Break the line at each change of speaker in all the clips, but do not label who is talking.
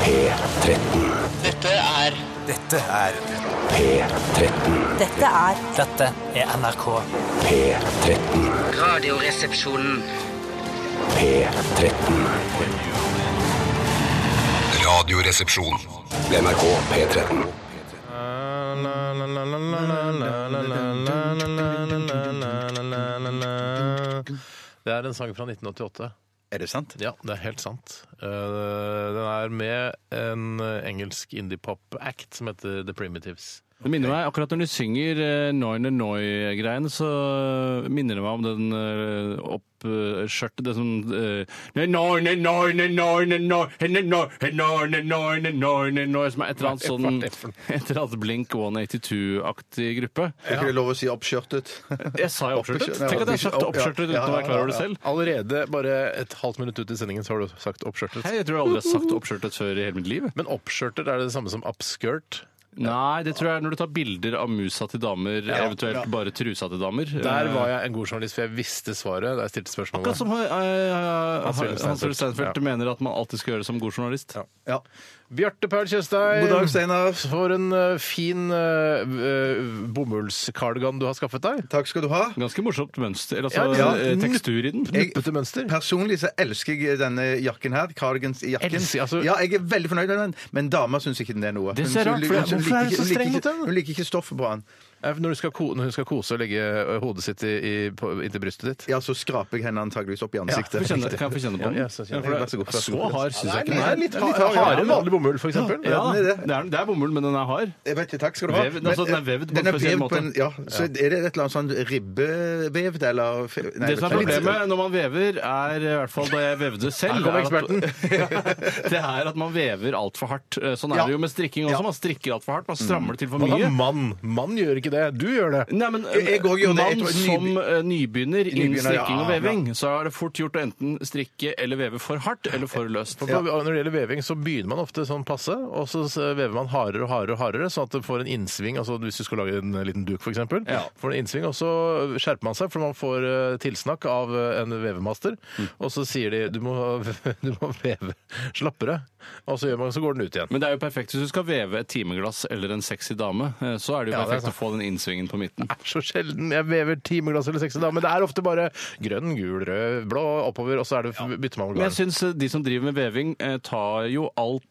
P13.
Dette er
Dette er
P13.
Dette er
Dette er NRK.
P13.
Radioresepsjonen.
P13.
Radioresepsjon.
NRK P13.
Det er en sang fra 1988.
Er det sant?
Ja, det er helt sant. Eh, Den er med en engelsk indiepop-act som heter The Primitives.
Det minner meg, akkurat når de synger eh, Noine Noi-greien, så minner det meg om den eh, opp eh, skjørtet, det som eh, Noine Noine Noine Noine Noine Noine Noine Noine Som er et eller annet sånn Et eller annet Blink 182-aktig gruppe.
Er ikke det lov å si oppskjørtet?
Jeg sa jo oppskjørtet.
Oppskjørtet.
Tenk at jeg har sagt oppskjørtet uten
Ja, ja,
å være klar over det
ja, ja.
selv.
Allerede bare et halvt minutt ut i sendingen så har du sagt oppskjørtet.
Hei, jeg tror jeg aldri har sagt oppskjørtet før i hele mitt liv.
Men oppskjørtet er det samme som upskirt.
Nei, det tror jeg er når du tar bilder av musa til damer, eventuelt bare trusa til damer. Eh,
Der var jeg en god journalist, for jeg visste svaret da jeg stilte spørsmålet.
Akkurat som eh, eh,
Hans Wilhelm
Hans Hans
Steinfeld.
Steinfeld
Ja.
mener at man alltid skal gjøre det som god journalist.
Ja.
Bjarte Paul Tjøstheim.
God dag, Steinar.
For en eh, fin eh, eh, bomullskardigan du har skaffet deg.
Takk skal du ha.
Ganske morsomt mønster, eller altså
Ja,
eh, tekstur i den.
Jeg-
Nuppete mønster.
Personlig så elsker jeg denne jakken her. Cardigans i jakken.
Elsker, altså-
Ja, jeg er veldig fornøyd med den, men dama syns ikke den er noe.
Det
Hun-
ser rart,
hun-
for
hun- hun
hvorfor er
liker
du så
ikke- hun
streng
liker
mot
ikke-
den?
Hun liker ikke stoffet på den.
Eh, Når du skal, ko når du skal kose og legge eh, hodet sitt i, i, på, inntil brystet ditt.
Ja, så skraper jeg henne antageligvis opp i
Få
ansiktet.
kjenne- Kan jeg få kjenne på den?
Ja, ja, så kjenner jeg.
for det-
Vær så god, vær så
Så
god.
hard syns jeg ikke.
Nei, litt, litt
hard-
hardere enn vanlig bomull,
Ja,
for eksempel.
ja,
den er
det,
det.
er, det er bomull, men den er hard.
Jeg vet det, takk skal du ha.
Vevd, altså, den er vevd på en
den er
spesiell
vevd på
måte.
en- ja, så er det et eller annet sånn ribbevevd, eller fe- nei,
Det som er
jeg vet ikke.
problemet når man vever, er i hvert fall da jeg vevde selv
Her kommer
er at, Det er at man vever altfor hardt. Eh, Sånn er
Ja.
det jo med strikking også. Man strikker altfor hardt. Man strammer det til for
Hva da,
mye.
mann? Mann gjør ikke det. Du gjør det.
Nei, men
Jeg- jeg går jo det. Jeg
Mann
tror-
som eh, nybegynner innen
Nybegynner, ja,
strikking og
ja.
veving, så er det fort gjort å enten strikke eller veve for hardt eller for løst.
For på- Når det gjelder veving, så begynner man ofte sånn passe, og så s- vever man hardere og hardere, og hardere, sånn at det får en innsving. altså Hvis du skal lage en liten duk, f.eks.,
Ja.
får en innsving, og så skjerper man seg, for man får eh, tilsnakk av eh, en vevemaster. Og så sier de du må, du må veve slappere, og så, gjør man, så går den ut igjen.
Men det er jo perfekt hvis du skal veve et timeglass eller en sexy dame. eh, Så er det jo
Ja, det er
perfekt å få den innsvingen på midten.
Så sjelden jeg vever timeglass eller seks i dag, men det er ofte bare grønn, gul, rød, blå, oppover, og så er det, bytter man
Men jeg
garn.
syns eh, de som driver med veving, eh, tar jo alt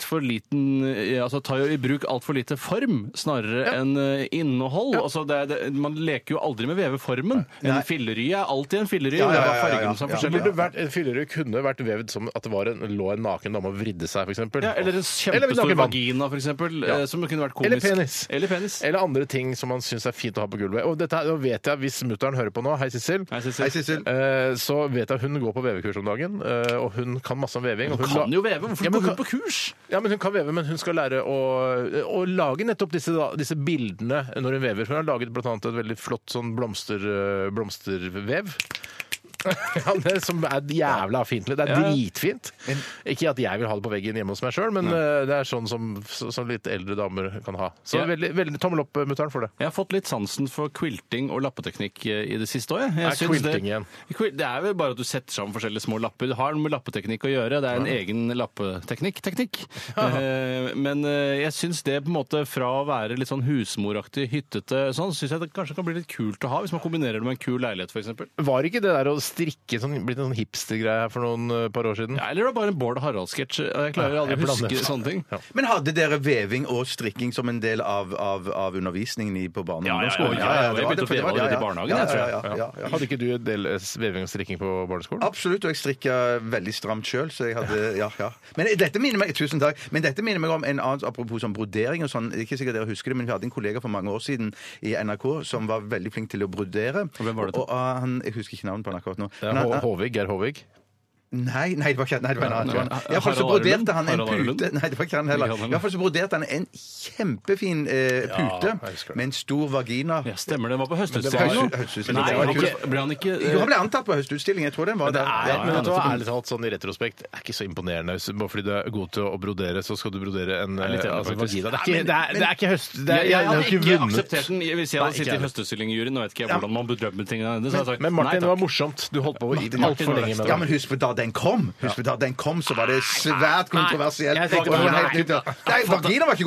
for liten, eh, altså tar jo i bruk altfor lite form snarere enn eh, innhold. Altså det er, det, man leker jo aldri med veveformen. En fillerye er alltid en fillerye.
Ja, ja,
det er
ja,
bare
ja, ja.
fargene som er
Ja.
forskjellige.
Burde vært, en fyllerød kunne vært vevd som at det var en, lå en naken dame og vridde seg, f.eks.
Ja, eller en kjempestor vagina, for eksempel,
Ja.
eh, som kunne vært komisk.
Eller penis.
Eller penis.
Eller andre ting som man syns er fint å ha på gulvet. Og dette her- nå vet jeg, hvis mutter'n hører på nå, hei Sissel,
Nei, Sissel.
Hei, Sissel.
eh, så vet jeg hun går på vevekurs om dagen, eh, og hun kan masse om veving. og
Hun
la-
kan jo veve, hvorfor
Ja, men
går hun
kan-
på kurs?
Ja, men Hun kan veve, men hun skal lære å, å lage nettopp disse, da, disse bildene når hun vever. Hun har laget bl.a. et veldig flott sånn blomster, øh, blomstervev. Ja, det som er jævla fint. Det er
Ja.
dritfint. Ikke at jeg vil ha det på veggen hjemme hos meg sjøl, men øh, det er sånn som, så- som litt eldre damer kan ha. Så
Ja.
veldig, veldig tommel opp, eh, mutter'n, for det.
Jeg har fått litt sansen for quilting og lappeteknikk eh, i det siste òg.
Er quilting igjen?
Quil- Det er vel bare at du setter sammen forskjellige små lapper. Det har noe med lappeteknikk å gjøre. Det er en egen lappeteknikk. Teknikk. Eh, Men eh, jeg syns det på en måte fra å være litt sånn husmoraktig, hyttete sånn, syns jeg det kanskje kan bli litt kult å ha hvis man kombinerer det med en kul leilighet f.eks.
Var ikke det der å strikke sånn, blitt en sånn hipstergreie her for noen øh, par år siden?
Ja, eller det var bare en Bård Harald-sketsj. Jeg klarer
Ja,
aldri
jeg
å
blander.
huske sånne ting.
Men hadde dere veving og strikking som en del av, av, av undervisningen i, på barne- og
Ja, ja, ja,
ungdomsskolen?
ja, ja, ja, jeg begynte å veve allerede i barnehagen, jeg, tror jeg.
Ja, ja, ja, ja, ja.
Hadde ikke du en del øh, veving og strikking på barneskolen?
Absolutt, og jeg strikka veldig stramt sjøl, så jeg hadde Ja, ja. Men dette minner meg Tusen takk. Men dette minner meg om en annen Apropos sånn brodering og sånn. det er Ikke sikkert dere husker det, men vi hadde en kollega for mange år siden i NRK som var veldig flink til å brodere. Og
hvem var det?
Og, ah, han, jeg husker ikke navnet på han akkurat nå.
Det
Men
er
han-
Hå- Håvig, Geir Håvig.
Nei, nei, det var ikke nei, det var en annen. det var en annen.
ok.
I hvert fall så
Harald Arlund?
broderte han en
Harald Arlund?
pute Nei, det var ikke han heller.
Ikke han heller.
I hvert fall så broderte han en kjempefin eh, pute
jeg husker det.
med en stor vagina.
Ja, stemmer det. Det var på
Men
høstutstillingen.
det var høst-
Nei,
høstutstillingen.
han ikke- ble han ikke
Jo, han ble antatt på høstutstillingen. Jeg tror den var
Men det
der.
er,
Ja,
men
ja,
vet du hva,
nettopp.
ærlig talt, sånn i retrospekt, det er ikke så imponerende. Hvis- Bare fordi du er god til å brodere, så skal du brodere en
litt enig,
eh, altså, en
faktisk.
vagina. Det er ikke, det er, det er ikke høst... Det er,
Jeg, jeg
har
hadde
jo
ikke
vunnet.
akseptert den hvis jeg
Nei,
hadde
ikke
sittet i
heller.
høstutstillingen-juryen. Nå vet ikke jeg hvordan man bedømmer tingene hennes. så hadde jeg sagt,
Men
altså. nei,
Martin, det
takk.
var morsomt. Du holdt på altfor lenge med
Ja, men
det.
husk på da, den kom, husk vi da den kom, så var det svært kontroversielt.
jeg tenkte
Og det var
bare-
helt nytt, ja. Nei, vagina var ikke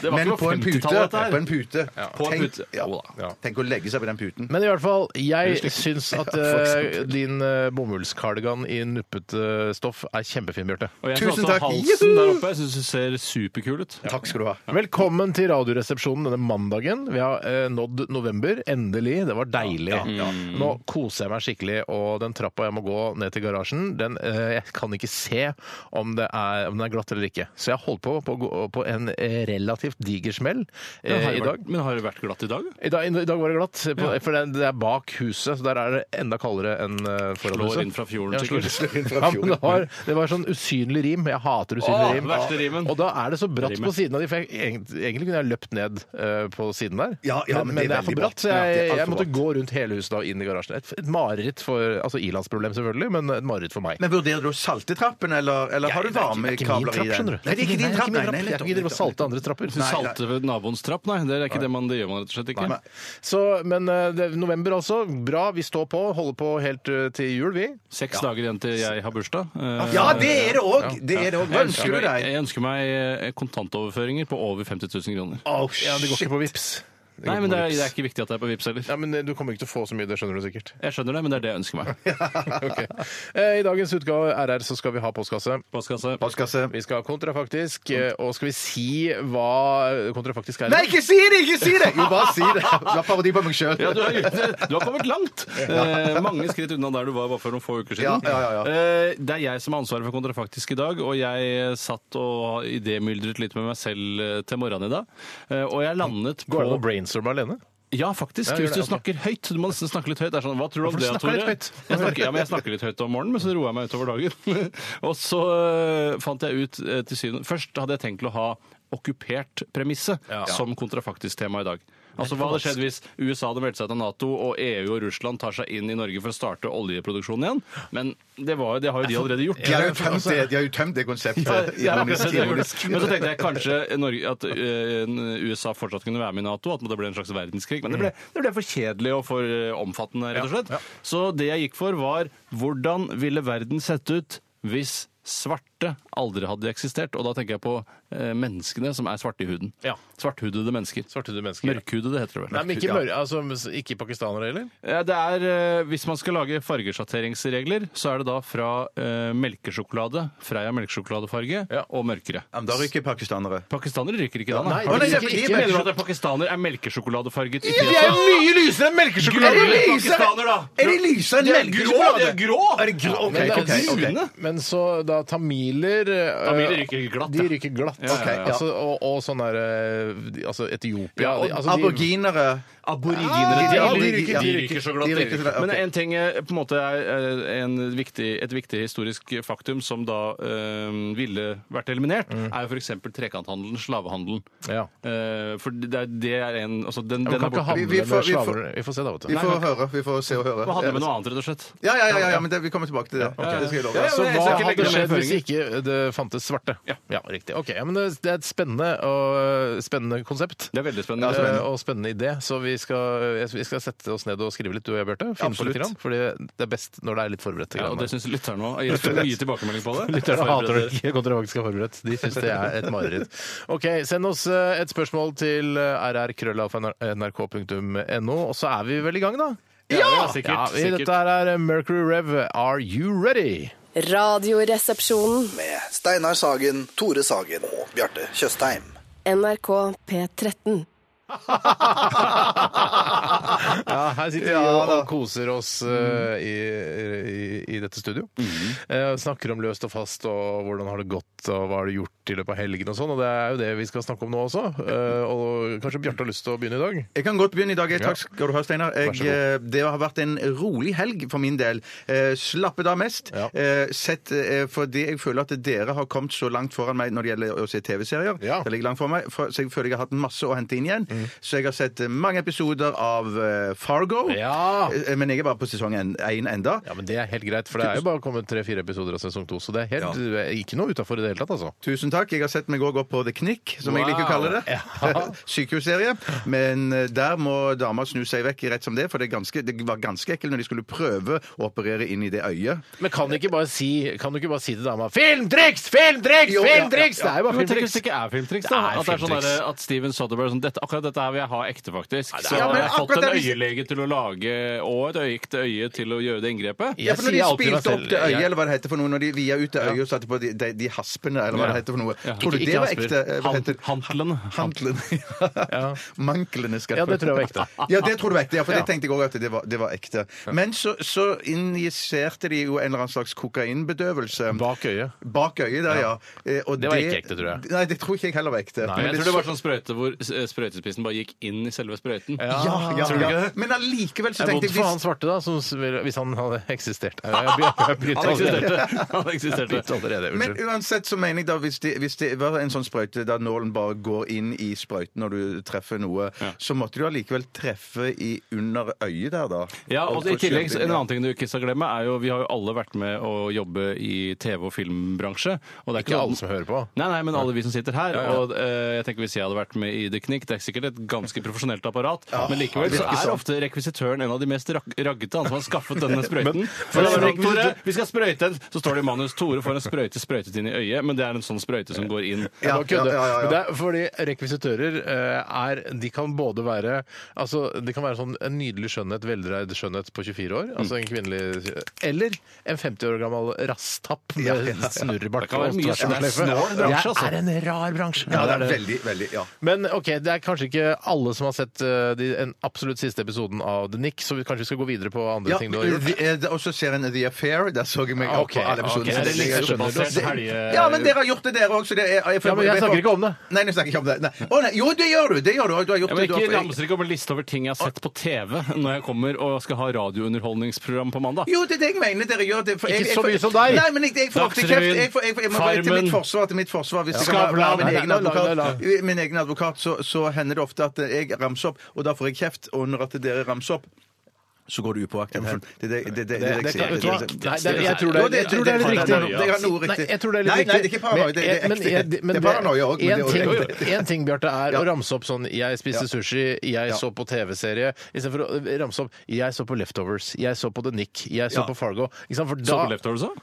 Det var ikke
men
noe
på en pute.
50-tallet dette her.
På en pute.
På en
Tenk-
pute.
ja.
Jo da.
Ja.
Tenk å legge seg på den puten.
Men i hvert fall, jeg syns at eh, din eh, bomullskardigan i nuppete stoff er kjempefin, Bjarte.
Og jeg Tusen
Tusen
takk!
takk.
Halsen der oppe, jeg syns du ser superkul ut.
Takk skal du ha.
Velkommen til Radioresepsjonen denne mandagen. Vi har eh, nådd november. Endelig. Det var deilig.
Mm.
Nå koser jeg meg skikkelig, og den trappa jeg må gå ned til garasjen, den, eh, jeg kan ikke se om, det er, om den er glatt eller ikke. Så jeg holdt på på, å gå- på en eh, relativt diger smell
Men
eh,
har det vært-
i dag.
Men har det vært glatt i dag?
I dag, I dag var det glatt, på, for det, det er bak huset, så der er det enda kaldere enn eh, foran
Slår
huset.
inn fra fjorden,
Ja, slår-
sikkert.
slår inn fra fjorden. Ja, men det, var, det var sånn usynlig rim. Jeg hater usynlig
Åh,
rim.
verste rimen.
Og da er det så bratt
Rimet.
på siden av de, for jeg, egentlig, egentlig kunne jeg løpt ned eh, på siden der.
Ja, ja, men det er
det er
veldig
for bratt, så
bratt. Ja,
jeg,
det er alt
jeg
for
måtte
bratt.
gå rundt hele huset da, inn i garasjen. Et, et mareritt for Altså ilandsproblem, selvfølgelig, men et mareritt for meg.
Men vurderer du å salte trappen, eller, eller har du varmekabler
Nei,
i den?
det er ikke min trapp, skjønner du. Nei, det er ikke min trapp. Jeg kan ikke drive og salte andres trapper.
Du salte ved naboens trapp? Nei, det er ikke det man det gjør man rett og slett ikke.
Nei. Så, men eh, det, er november altså, bra, vi står på, holder på helt eh, til jul, vi.
Seks dager igjen til jeg har bursdag. Eh,
Ja, det er det òg! Det er det òg. Hva
jeg
ønsker du
meg-
deg?
jeg ønsker meg eh, kontantoverføringer på over 50 000 kroner.
Oh,
Ja, det går ikke på vips.
Nei, men det er, det er ikke viktig at det er på Vipps heller.
Ja, men eh, Du kommer ikke til å få så mye, det skjønner du sikkert.
Jeg skjønner det, men det er det jeg ønsker meg.
Ok. Eh, I dagens utgave RR så skal vi ha postkasse.
Postkasse.
Postkasse.
Vi skal ha kontrafaktisk, eh, og skal vi si hva kontrafaktisk er?
Nei, ikke si det! Ikke si det! Jo, bare si det. Du har parodi på meg sjøl.
Ja, du, har, du har kommet langt! Eh, mange skritt unna der du var bare for noen få uker siden.
Ja, ja, ja, ja.
Eh, det er jeg som har ansvaret for Kontrafaktisk i dag, og jeg satt og idémyldret litt med meg selv eh, til morgenen i dag. Eh, og jeg landet på
Går det an å brainstorme alene?
Ja, faktisk.
Ja, gjør
Hvis du
det, ok.
snakker høyt. Du må nesten snakke litt høyt. Det er sånn, hva tror du om
for du
det,
snakker
Tore?
litt høyt.
Jeg snakker, ja, men jeg snakker litt høyt om morgenen, men så roer jeg meg utover dagen. og så eh, fant jeg ut eh, til syvende Først hadde jeg tenkt til å ha okkupert premisse
Ja.
som kontrafaktisk tema i dag. Altså, Hva hadde skjedd hvis USA hadde meldt seg til Nato, og EU og Russland tar seg inn i Norge for å starte oljeproduksjonen igjen? Men det, var, jo- det har jo de allerede gjort.
De har jo tømt det, de har jo tømt det
Ja,
konseptet.
ja, akkurat
Ironisk,
det jeg gjorde.
ironisk.
Men så tenkte jeg kanskje Norge, at eh, USA fortsatt kunne være med i Nato, at det ble en slags verdenskrig. Men det ble,
Mm.
det ble for kjedelig og for eh, omfattende, rett og slett. Så det jeg gikk for, var hvordan ville verden sett ut hvis svarte aldri hadde eksistert? Og da tenker jeg på eh, menneskene som er svarte i huden.
Ja.
Svarthudede mennesker.
Svarthudede mennesker.
Mørkhudede heter det vel.
Nei, men ikke, mør- altså, ikke pakistanere heller?
Ja, Det er, eh, Hvis man skal lage fargesjatteringsregler, så er det da fra eh, melkesjokolade, Freia melkesjokoladefarge,
Ja.
og mørkere.
Ja, men Da ryker pakistanere.
Pakistanere ryker ikke da,
nei,
Har du
nei,
ikke-
det er fordi
ikke-
melkesjok-
Mener du at en pakistaner er melkesjokoladefarget i
De er
fjeset?
mye lysere enn melkesjokolade!
Gule pakistaner, da!
Er de lysere enn
De er grå!
melkesjokolade?
De er grå!
Er Altså, det grå? Ok,
Men,
ok, ok.
det- men så da tamiler eh,
Tamiler ryker glatt,
De
ja.
ryker glatt.
Ja, ja, ja.
Altså, og, og sånn der eh, de- Altså Etiopia
Ja, og
de- altså, de-
Aboriginere.
Aboriginere.
Ja,
de,
de
ryker-
ryker-
de
de
ryker så glatt.
de
de.
ryker så glatt, ok.
Men en ting eh, på en måte er eh, en viktig, et viktig historisk faktum som da eh, ville vært eliminert,
Mm.
er jo f.eks. trekanthandelen, slavehandelen.
Ja.
Eh, for det er, det er en altså den,
Men
den
kan
er
ikke
borte.
Vi-
handle
vi får-
med
vi får-
slaver Vi får se, da, vet du.
Vi får høre. Vi får se og høre.
Man handler med noe annet, rett og slett.
Ja, ja, ja, ja, ja, men det, vi kommer tilbake til det. Det skal jeg love.
Ja,
deg.
ja,
Så
men jeg
hva
skal ikke legge
hadde
noe mer
skjedd hvis
føringer.
ikke det fantes svarte?
Ja.
riktig. Ok, ja, men det, det er et spennende, og, eh, spennende konsept.
Det er veldig spennende.
Eh, Og spennende idé. Så vi skal, eh, vi skal sette oss ned og skrive litt, du og jeg, Bjarte. Finne på litt,
Absolutt.
grann, fordi det er best når det er litt forberedt. til
Ja, og det
greiene.
syns lytterne òg. Gir så mye tilbakemelding på det.
Lytterne hater det ikke kontrafaktisk er forberedt. De syns det er et mareritt. Ok, Send oss eh, et spørsmål til eh, rrkrøllalfa.nrk.no, og så er vi vel i gang, da?
Ja! Sikkert,
vi-
sikkert.
Dette her er eh, Mercury Rev, Are You Ready?
Radioresepsjonen.
med Steinar Sagen, Tore Sagen og Bjarte Tjøstheim.
NRK P13.
Ja, her sitter vi og, og koser oss eh, i, i, i dette studio.
Mm.
Eh, snakker om løst og fast og hvordan har det gått og hva har du gjort i løpet av helgen og sånn. Og det er jo det vi skal snakke om nå også. Eh, og kanskje Bjarte har lyst til å begynne i dag?
Jeg kan godt begynne i dag. jeg. Takk skal du ha, Steinar.
så
Jeg, eh, det har vært en rolig helg for min del. Eh, Slappet av mest.
Ja.
Eh, Sett, eh, fordi jeg føler at dere har kommet så langt foran meg når det gjelder å se TV-serier.
Ja. Mm.
Det ligger langt foran meg, for- Så jeg føler jeg har hatt masse å hente inn igjen. Så jeg har sett eh, mange episoder av eh, Fargo.
Ja.
Eh, Men jeg er bare på sesong én en, enda.
Ja, men Det er helt greit, for det er jo bare kommet tre-fire episoder av sesong to. Så det er helt, det er ikke noe utafor i det hele tatt, altså.
Tusen takk. Jeg har sett meg òg opp på The Knick, som jeg liker å
Wow.
kalle det.
Ja.
Sykehusserie. Men eh, der må dama snu seg vekk rett som det, for det, er ganske, det var ganske ekkelt når de skulle prøve å operere inn i det øyet.
Men kan, ikke bare si, kan du ikke bare si til dama 'Filmtriks! Filmtriks!
Jo, ja, ja,
Filmtriks!'
ja.
Det er jo bare
Men tenk hvis
filmtriks.
det ikke er filmtriks,
Det
da.
er
at, det er sånn
filmtriks.
derre- at Steven Soderbergh er sånn dette, Akkurat dette her vil jeg ha ekte, faktisk.
det er-
så
Ja, men
jeg har
akkurat
fått en
det er-
øyelege til å lage og et øyeekte øye til å gjøre det inngrepet.
Jeg
ja, for når
sier
de
alltid meg
spilte opp
selv.
det øyet,
Jeg-
eller hva det heter for noe, når de via ut det øyet og satte på de, de, de haspene, eller hva
Ja.
det heter for noe.
Ja.
Tror du
Ikke-
det
ikke
var
hasper.
ekte? eh, Hva
Han-
heter det?
hantlene.
Hantlene. ja. Manklene skal
Ja, det tror jeg var ekte.
Ja, det tror du var ekte, ja, for det tenkte jeg òg at det var, det var ekte. Men så, så injiserte de jo en eller annen slags kokainbedøvelse.
Bak øyet.
Bak øyet der, ja. Eh, og
Det var ikke ekte, tror jeg.
Nei, det tror ikke jeg heller var ekte.
Nei,
Men
Jeg tror det var sånn sprøyte hvor eh, sprøytespissen bare gikk inn i selve sprøyten.
Ja.
ja, ja,
Tror du
ja.
ikke det?
Men allikevel så
Det er vondt
tenkte jeg
for han
hvis-
svarte, da, som, s- vil- hvis han hadde eksistert. Ja, Jeg begynte- jeg begynte
Han
allerede.
eksisterte. Han eksisterte.
Begynte allerede,
men
unnskyld.
uansett så mener jeg da hvis det, hvis det var en sånn sprøyte der nålen bare går inn i sprøyten når du treffer noe, så måtte du allikevel treffe i under øyet der, da.
Ja, og
få
i tillegg,
kjørt inn,
En
ja.
annen ting du ikke skal glemme, er jo vi har jo alle vært med å jobbe i TV- og filmbransje. Og det er
Ikke
sånn-
alle som hører på.
Nei, nei, men alle vi som sitter her.
Ja, ja.
Og eh, jeg tenker Hvis jeg hadde vært med i The Knick Det er sikkert et ganske profesjonelt apparat, men likevel
det
så
virker
er
sånn.
ofte rekvisitøren en av de mest rak- raggete, han som har skaffet denne sprøyten.
Men-
For det er sånn, Tore, vi skal sprøyte en Så står det i manus Tore får en sprøyte sprøytet inn i øyet, men det er en sånn sprøyte som går inn.
Jeg
Ja,
bare kødder.
ja, ja, ja.
Men Det er fordi rekvisitører eh, er De kan både være Altså, de kan være sånn en nydelig skjønnhet, veldreid skjønnhet på 24 år, altså en kvinnelig Eller en 50 år gammel rasstapp med snurrebart.
Det kan være
og
mye
tvers og
sånn. Det er
sløyfe.
snål bransje, altså.
Det er en rar bransje.
Ja, det er veldig, veldig, ja.
Men ok, det er kanskje ikke alle som har sett eh, de, en absolutt siste episoden av The Nick, så vi kanskje skal gå videre på andre
Ja,
ting du har gjort.
vi- eh, Og så ser en The Affair. Der så jeg meg
Ah,
opp
ok,
på alle
ok,
episodene.
det er
Så
litt
det
sånn
er jo-
skjønnelse.
det-
Helge-
Ja, men dere har gjort det, dere òg.
eh, Ja, men jeg snakker ikke om det.
Nei, jeg snakker ikke om det. Nei. Å, nei. Jo, det gjør du! Det gjør du. Du har
Jeg
gjort det.
vil
du
ikke
har-
ramse ikke opp en liste over ting jeg har sett på TV når jeg kommer og skal ha radiounderholdningsprogram på mandag.
Jo, det er det jeg mener dere gjør. Det, for jeg-
Ikke
jeg-
så mye som deg.
Nei, men jeg, jeg får ofte kjeft. Jeg, får- jeg, får- jeg må bare til
Farmen.
mitt forsvar. Til mitt forsvar hvis jeg kan
Skavlan.
være min
Nei,
egen
nei, la- la-
advokat, min egen advokat så, så hender det ofte at jeg ramser opp, og da får jeg kjeft. Og når at dere ramser opp så går du upåaktet hen. Det er det- det- det- det- det jeg
Det- det
sier.
kan- vet du hva?
Det- det-
Nei, det- jeg tror det er-
Jo,
jeg tror det er litt
paranoia.
riktig.
Det er noe riktig.
Nei, jeg tror det er litt
Nei,
riktig.
Nei, det er ikke paranoia. Det er
Men-
ekte.
men- men
Det er paranoia òg.
en ting- En ting, Bjarte, er
Ja.
å ramse opp sånn 'jeg spiste sushi', 'jeg så på TV-serie', istedenfor å eh, ramse opp 'jeg så på Leftovers', 'jeg så på The Nick', 'jeg så
Ja.
på Fargo'. Ikke sant? For
Så på
da
Leftovers også?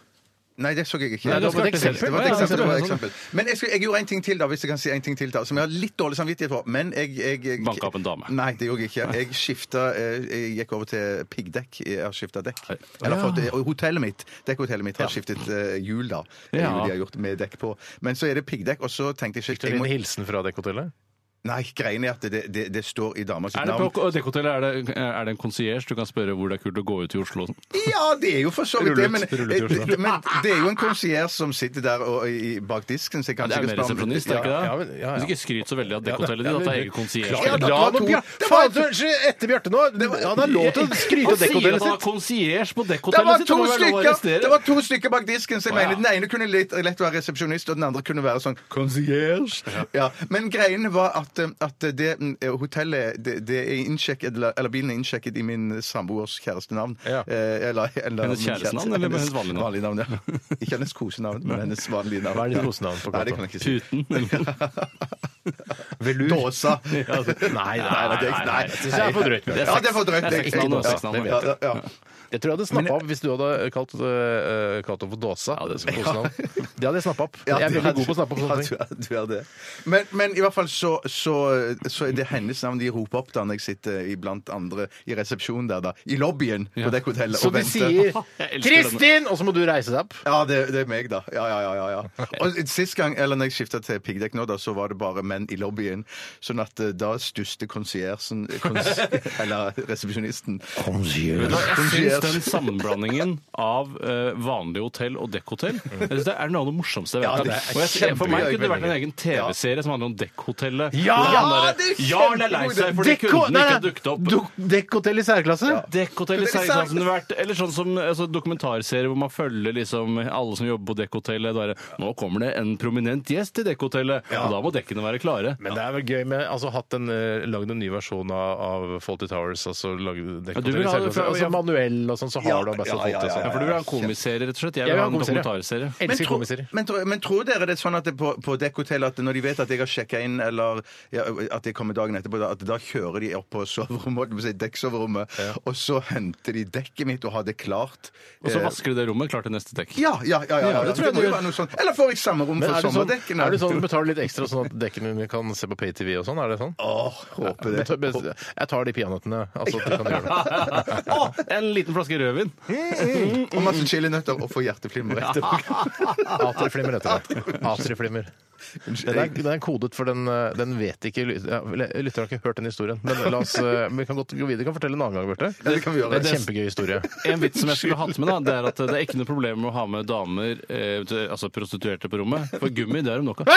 Nei, det så jeg ikke.
Nei, det var bare et
Det var
eksempel.
et
Ja,
eksempel. det var et
sånn.
eksempel. Men jeg, skal, jeg gjorde en ting til, da, hvis jeg kan si en ting til, da, som jeg har litt dårlig samvittighet for. Men jeg, jeg, jeg
Banka opp en dame.
Nei, det gjorde jeg ikke. Jeg skifta eh, Jeg gikk over til piggdekk. Jeg har skifta dekk.
Oi.
Eller fått, og hotellet mitt dekkhotellet mitt har skiftet eh, hjul, da. Det er
Ja.
Hjul de har gjort med dekk på. Men så er det piggdekk, og så tenkte jeg
Fikk du
ikke jeg
en
må,
hilsen fra dekkhotellet?
Nei, greiene er at det, det, det står i dama sitt
Er det
navn.
på dekkhotellet er, det- er det en concierge du kan spørre hvor det er kult å gå ut i Oslo? sånn?
Ja, det er jo for så vidt det, men,
Rullet- rullet i Oslo.
men det er jo en konsierge som sitter der og, i, bak disken. Så jeg kan
Det er jo
sikkert
mer
spørre om-
resepsjonist, er det ikke det?
Ja, men- ja, ja.
Hvis ikke skryt så veldig av dekkhotellet ditt, at det er egen
Klar,
konsierge.
Ja, da-
la
det var
nå
to.
Bjarte
Det var-
Faen, du, unnskyld, etter Bjarte nå! Det var, han har lov til å
Han
skryte av
sier
dekkhotellet
at han har
sitt!
konsierge på
Det var,
dekkhotellet sitt!
to
det må være lov å
stykker,
arrestere.
det var to stykker bak disken, så jeg
Å, ja.
mener den ene kunne lett, lett være resepsjonist, og den andre kunne være sånn concierge. Ja. Men greien var at, eh, at det eh, hotellet det, det er innsjekket, eller, eller bilen er innsjekket i min samboers kjærestenavn.
Ja.
Eh, eller, eller
Hennes
min
kjærestenavn,
kjæreste-
eller hennes vanlige navn?
navn? ja. Ikke hennes kosenavn, men hennes vanlige navn.
Hva er ditt kosenavn på
Nei, det
konto?
kan jeg ikke si.
Puten. eller-
Velur?
Dåsa.
Ja, altså,
Nei,
nei,
nei,
nei,
det-
nei,
nei.
nei.
Det synes jeg er for drøyt.
Ja, det er for drøyt.
Det er seks navn, det er seks navn.
Ja, ja, ja.
Jeg tror jeg hadde snappa opp hvis du hadde eh, kalt, øh, kalt henne for Dåsa.
Ja, det er
kosenavn. det hadde jeg snappa opp.
Ja,
jeg er
du
veldig god på å snappe opp sånne ting.
Ja, du er, du er det. Men, men i hvert fall så, så, så er det hennes navn de roper opp da når jeg sitter i- blant andre i resepsjonen der, da. I lobbyen på det hotellet
Så
og
de
venter.
sier
Jeg elsker
'Kristin!', og så må du reise deg opp.
Ja, det, det er meg, da. Ja, ja, ja, ja, ja. Og sist gang, eller når jeg skifta til piggdekk nå, da, så var det bare menn i lobbyen. Sånn at eh, da stusste konsiersen kons Eller resepsjonisten.
Jeg syns den sammenblandingen av eh, vanlig hotell og dekkhotell.
Mm.
Jeg synes Det er noe av det morsomste jeg
Ja,
vet.
det
om.
er
og jeg ser for meg
kjempegøy
kunne det vært en
melding.
egen TV-serie som handler om dekkhotellet.
Ja,
Hvor
det er
han derre, Jarl er lei seg fordi
Dekko-
kundene ikke
nei, nei,
har dukket opp.
duk- Dekkhotell i særklasse?
Dekkhotell i
Dekkhotell i
Særklassen kunne vært Eller sånn som altså, dokumentarserie hvor man følger liksom alle som jobber på dekkhotellet. Der, nå kommer det en prominent gjest til dekkhotellet, og da må dekkene være klare.
Men det er vel gøy med altså, hatt en, eh, lagd en ny versjon av, av Faulty Towers. altså
Ja,
lagd
du vil
dekkhotell i
ha det
særklasse.
fra-
Altså,
ja.
manuell og sånn, så har
Ja,
du Ambassador
ja, ja,
Faulty. og sånn.
Ja, for du vil ha en komiserie, rett og slett. Jeg vil
Jeg vil
ha en
ha komiserie.
dokumentarserie.
Men,
Elsker
tro-
komiserier.
men, tror- men tror dere det er sånn at det på, på dekkhotell at når de vet at jeg har sjekka inn, eller ja, at jeg kommer dagen etterpå, da- at da kjører de opp på soverommet, holdt jeg på å si, dekksoverommet, og så henter de dekket mitt og har det klart.
Og så
Eh,
vasker du det rommet klart til neste dekk.
ja, ja, ja, ja, ja.
det
Det,
tror jeg
må
du-
jo være noe sånt. Eller får jeg samme rom
Men
for
er det, sånn,
sommerdekkene?
er det sånn at du betaler litt ekstra sånn at dekkene dine kan se på PayTV og sånn? Er det sånn?
Åh, håper
Jeg
det.
tar- Jeg tar de peanøttene. Altså, at du kan gjøre det.
Å, en liten flaske rødvin!
Og masse chilinøtter og får hjerteflimmer etterpå.
Atrieflimmer heter det. Atrieflimmer. Den er, den er kodet, for den, eh, den vet ikke lyt- ja, eller, Lytteren har ikke hørt den historien. Men la oss, eh, vi kan godt gå videre. Vi kan fortelle en annen gang, Bjarte.
Ja, det kan vi gjøre.
er en kjempegøy historie.
En vits som jeg skulle hatt med, da, det er at det er ikke noe problem med å ha med damer, eh, til- altså prostituerte, på rommet. For gummi, det er det nok av.